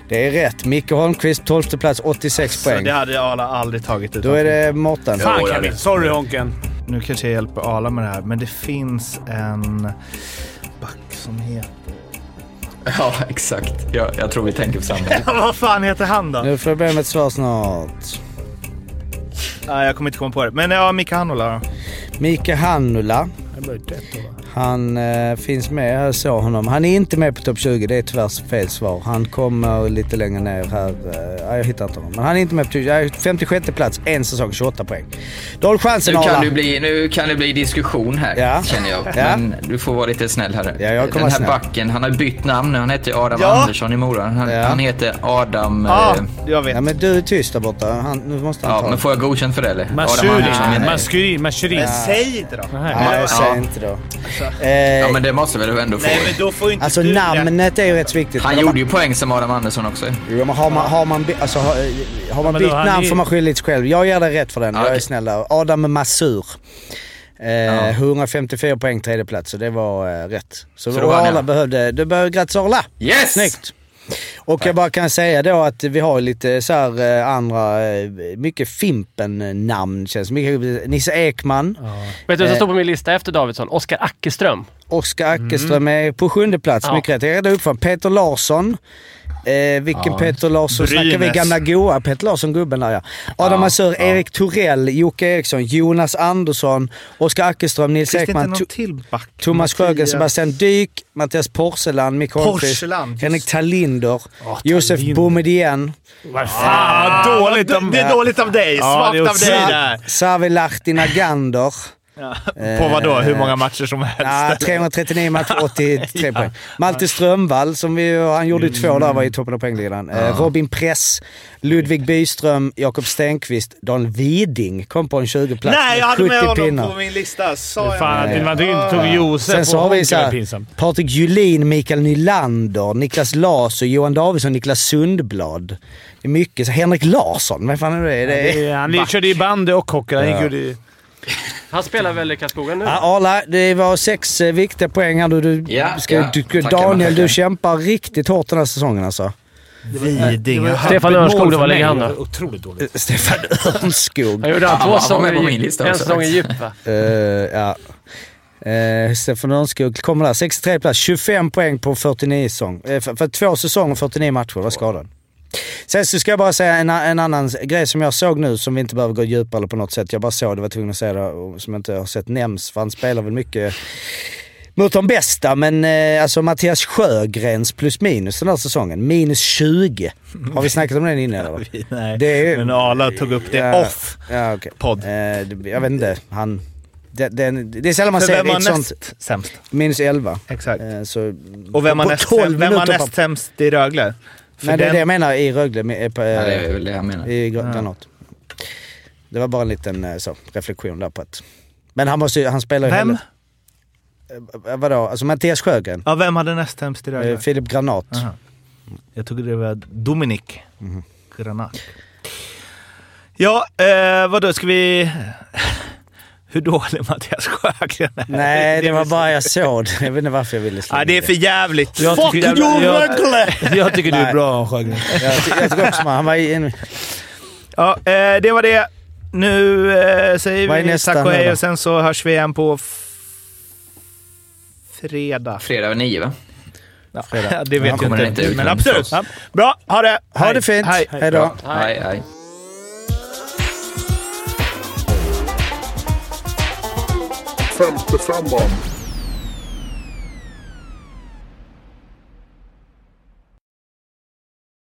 Speaker 4: Det är rätt. Micke Holmqvist, 12 plats, 86
Speaker 2: Så
Speaker 4: poäng.
Speaker 2: det hade Arla aldrig tagit
Speaker 4: Då
Speaker 2: utan
Speaker 4: är det Mårten.
Speaker 3: Fan
Speaker 1: Jo, det är
Speaker 3: Kevin,
Speaker 1: det.
Speaker 3: sorry Honken.
Speaker 2: Nu kanske jag hjälper Arla med det här, men det finns en back som heter...
Speaker 1: Ja, exakt. Jag, jag tror vi tänker på samma.
Speaker 2: Vad fan heter han då?
Speaker 4: Nu får jag be om ett svar snart.
Speaker 2: Nej, jag kommer inte komma på det. Men ja, Mika Hanola då.
Speaker 4: Mika Hannula.
Speaker 3: Jag börjar trött då, va?
Speaker 4: Han eh, finns med, jag såg honom. Han är inte med på topp 20, det är tyvärr fel svar. Han kommer lite längre ner här. Eh, ja, jag hittar inte honom. Men han är inte med på topp 20. Eh, 56 plats, en säsong, 28 poäng. Du har
Speaker 1: Nu
Speaker 4: chansen
Speaker 1: kan,
Speaker 4: Arla.
Speaker 1: det bli, nu kan det bli diskussion här,
Speaker 4: Ja.
Speaker 1: känner jag.
Speaker 4: Ja.
Speaker 1: Men du får vara lite snäll här.
Speaker 4: Ja, jag kommer
Speaker 1: Den här
Speaker 4: vara snäll.
Speaker 1: backen, han har bytt namn nu. Han heter Adam
Speaker 2: Ja.
Speaker 1: Andersson i Mora. Han,
Speaker 4: Ja.
Speaker 1: han heter Adam...
Speaker 2: Ja,
Speaker 1: eh,
Speaker 2: jag vet.
Speaker 4: Ja, men du är tyst där borta. Han, nu måste han
Speaker 1: ja,
Speaker 4: ta
Speaker 1: men får jag godkänt för det eller? Adam Andersson
Speaker 3: Mashurin.
Speaker 1: menar jag.
Speaker 3: Mashurin. Mashurin.
Speaker 2: Men säg inte då.
Speaker 3: Nej.
Speaker 4: Nej, jag säger
Speaker 1: Ja. Alltså,
Speaker 4: inte då.
Speaker 1: Ja,
Speaker 4: Eh,
Speaker 1: men det måste väl du ändå få?
Speaker 2: Nej, men då får inte
Speaker 4: alltså
Speaker 2: du det.
Speaker 4: namnet är ju rätt viktigt.
Speaker 1: Han
Speaker 4: Men om
Speaker 1: gjorde ju poäng som Adam Andersson också.
Speaker 4: Jo, men har man, har man, by- alltså, har, har man
Speaker 3: men
Speaker 4: bytt
Speaker 3: då, han
Speaker 4: namn
Speaker 3: är-
Speaker 4: får man skylla lite själv. Jag ger dig rätt för den.
Speaker 1: Ja,
Speaker 4: Jag är
Speaker 1: okej.
Speaker 4: snäll där. Adam Masur. Eh, 154 poäng, tredje plats så det var eh, rätt. Så,
Speaker 1: Så då
Speaker 4: och
Speaker 1: vann jag.
Speaker 4: Arla behövde... Du behöver, grattis Arla!
Speaker 1: Yes!
Speaker 4: Snyggt! Och jag bara kan säga då att vi har lite så här eh, andra, eh, mycket Fimpen-namn känns mycket, Nisse Ekman,
Speaker 8: Vet du vad
Speaker 4: Eh.
Speaker 8: som står på min lista efter Davidsson? Oskar Ackerström.
Speaker 4: Oskar Ackerström är på sjunde plats,
Speaker 8: Ja.
Speaker 4: mycket rätt. Jag är upp för honom. Peter Larsson. Eh, vilken Peter Larsson?
Speaker 9: Brynäs.
Speaker 4: Snackar vi gamla goa Peter Larsson-gubben där ja. Adam Azur, Erik Torell, Jocke Eriksson, Jonas Andersson, Oskar Ackerström, Nils
Speaker 9: Finns det inte
Speaker 4: Ekman,
Speaker 9: någon
Speaker 4: To-
Speaker 9: till back?
Speaker 4: Thomas Sjögren,
Speaker 9: Mattias-
Speaker 4: Sebastian Dyk, Mattias Porselan, Micke Holmqvist,
Speaker 9: Porselan, just.
Speaker 4: Henrik Tallinder, Josef
Speaker 3: Tallinder.
Speaker 4: Boumedienne,
Speaker 3: Vad fan!
Speaker 9: Ah, dåligt
Speaker 2: Det-
Speaker 9: om,
Speaker 2: Det är dåligt av dig.
Speaker 9: Ja,
Speaker 2: Svagt
Speaker 9: det är
Speaker 2: av dig
Speaker 9: också-
Speaker 2: där.
Speaker 4: Savi Lahti Nagander.
Speaker 9: På vad då? Hur många matcher som helst?
Speaker 4: Ja, 339 matcher, 83 poäng. Malte Strömvall, som vi, han gjorde ju
Speaker 2: Mm.
Speaker 4: två där, var i toppen av poängligan. Eh, Robin Press, Ludvig Byström, Jakob Stenqvist, Dan Widing kom på en 20-plats
Speaker 2: Nej, jag hade
Speaker 4: med
Speaker 2: med
Speaker 4: 70
Speaker 2: honom
Speaker 4: pinnar.
Speaker 2: på min lista. Sa
Speaker 3: Fy
Speaker 2: jag
Speaker 3: Fan,
Speaker 2: det?
Speaker 3: att man inte tog Josef
Speaker 4: Sen så
Speaker 3: och
Speaker 4: har vi
Speaker 3: Honka,
Speaker 4: så
Speaker 3: det är
Speaker 4: här,
Speaker 3: pinsamt.
Speaker 4: Patrik Julin, Mikael Nylander, Niklas Larsson, Johan Davidsson, Niklas Sundblad. Det är mycket. Så Henrik Larsson, vem fan är det? det är...
Speaker 3: Det är- Han körde ju bandy och hockey. Han gick ju i-
Speaker 8: Han spelar väl i Karlskoga nu?
Speaker 4: Ja, Arla, det var sex eh, viktiga poäng här. Du, du,
Speaker 1: Ja,
Speaker 4: ska,
Speaker 1: ja.
Speaker 4: du,
Speaker 1: Tackar,
Speaker 4: Daniel,
Speaker 1: tackar.
Speaker 4: du kämpar riktigt hårt den här säsongen alltså.
Speaker 9: Vidinge.
Speaker 8: Stefan
Speaker 3: Mål
Speaker 8: Örnskog, det
Speaker 3: för
Speaker 8: var lägger
Speaker 3: mig.
Speaker 8: han då?
Speaker 3: Otroligt dåligt.
Speaker 4: Stefan Örnskog.
Speaker 8: Han gjorde han
Speaker 1: han
Speaker 8: två
Speaker 1: var med på
Speaker 8: säsonger i
Speaker 1: min
Speaker 8: djup.
Speaker 1: lista
Speaker 8: En
Speaker 1: också,
Speaker 8: säsong i djup va?
Speaker 4: Eh, ja. Eh, Stefan Örnskog kommer där. 63 plats, 25 poäng på 49 säsong. Eh, för, för två säsonger, 49 matcher var skadad. Sen så ska jag bara säga en, en annan grej som jag såg nu som vi inte behöver gå djupare på något sätt. Jag bara såg det, var tvungen att säga det, och som jag inte har sett nämns. För han spelar väl mycket mot de bästa, men eh, alltså Mattias Sjögrens plus minus den här säsongen. Minus 20. Har vi snackat om den innan eller?
Speaker 9: Nej,
Speaker 4: Det är ju-
Speaker 9: men Arla tog upp det
Speaker 4: Ja.
Speaker 9: off.
Speaker 4: Ja, okej.
Speaker 9: Podd.
Speaker 4: Eh, det- jag vet inte. Han... Det, det, det är sällan man
Speaker 9: För
Speaker 4: ser
Speaker 9: vem var
Speaker 4: ett sånt...
Speaker 9: näst sämst?
Speaker 4: Minus 11.
Speaker 9: Exakt.
Speaker 4: Eh, så,
Speaker 9: Och vem var
Speaker 4: på
Speaker 9: näst,
Speaker 4: 12
Speaker 9: sämst- vem var
Speaker 4: minuter
Speaker 9: näst
Speaker 4: på-
Speaker 9: sämst i Rögle? För
Speaker 4: Nej, det är
Speaker 9: den-
Speaker 4: det jag menar i Rögle. Med, eh, på, eh,
Speaker 1: Ja, det är väl det jag menar.
Speaker 4: I Gr- Granat. Det var bara en liten eh, så, reflektion där på att... Men han, måste, ju- han spelar ju
Speaker 9: Vem?
Speaker 4: hela- eh, Vadå? Alltså Mattias Sjögren.
Speaker 9: Ja, vem hade näst sämst i
Speaker 4: Eh,
Speaker 9: Rögle?
Speaker 4: Filip Granat.
Speaker 9: Aha. Jag tog det var Dominik
Speaker 4: Mhm.
Speaker 9: Granat. Ja, eh, vadå ska vi... Hur dålig Mattias Sjögren är.
Speaker 4: Nej, det var
Speaker 9: väl-
Speaker 4: bara jag såg det. Jag vet inte varför jag ville slänga
Speaker 9: Ja, det är för jävligt.
Speaker 3: Jag
Speaker 9: Fuck
Speaker 3: tycker-
Speaker 9: you
Speaker 3: jag-
Speaker 9: Rögle!
Speaker 3: Jag tycker du
Speaker 4: Nej.
Speaker 3: är bra, Sjögren.
Speaker 4: det. Jag, ty- jag tycker också man, han var i en...
Speaker 9: Ja, eh, det var det. Nu eh, säger
Speaker 4: Vad är
Speaker 9: vi
Speaker 4: nästa
Speaker 9: tack och
Speaker 4: nu
Speaker 9: hej
Speaker 4: då?
Speaker 9: och sen så hörs vi igen på f- fredag.
Speaker 1: Fredag vid nio, va?
Speaker 9: Ja, det vet
Speaker 1: kommer
Speaker 9: jag
Speaker 1: den
Speaker 9: inte.
Speaker 1: inte ut
Speaker 9: men
Speaker 1: än.
Speaker 9: absolut. Ja. Bra, ha det!
Speaker 4: Ha
Speaker 9: Hej.
Speaker 4: det fint!
Speaker 9: Hej.
Speaker 4: Hej då!
Speaker 1: Hej, hej.
Speaker 10: Femte femman.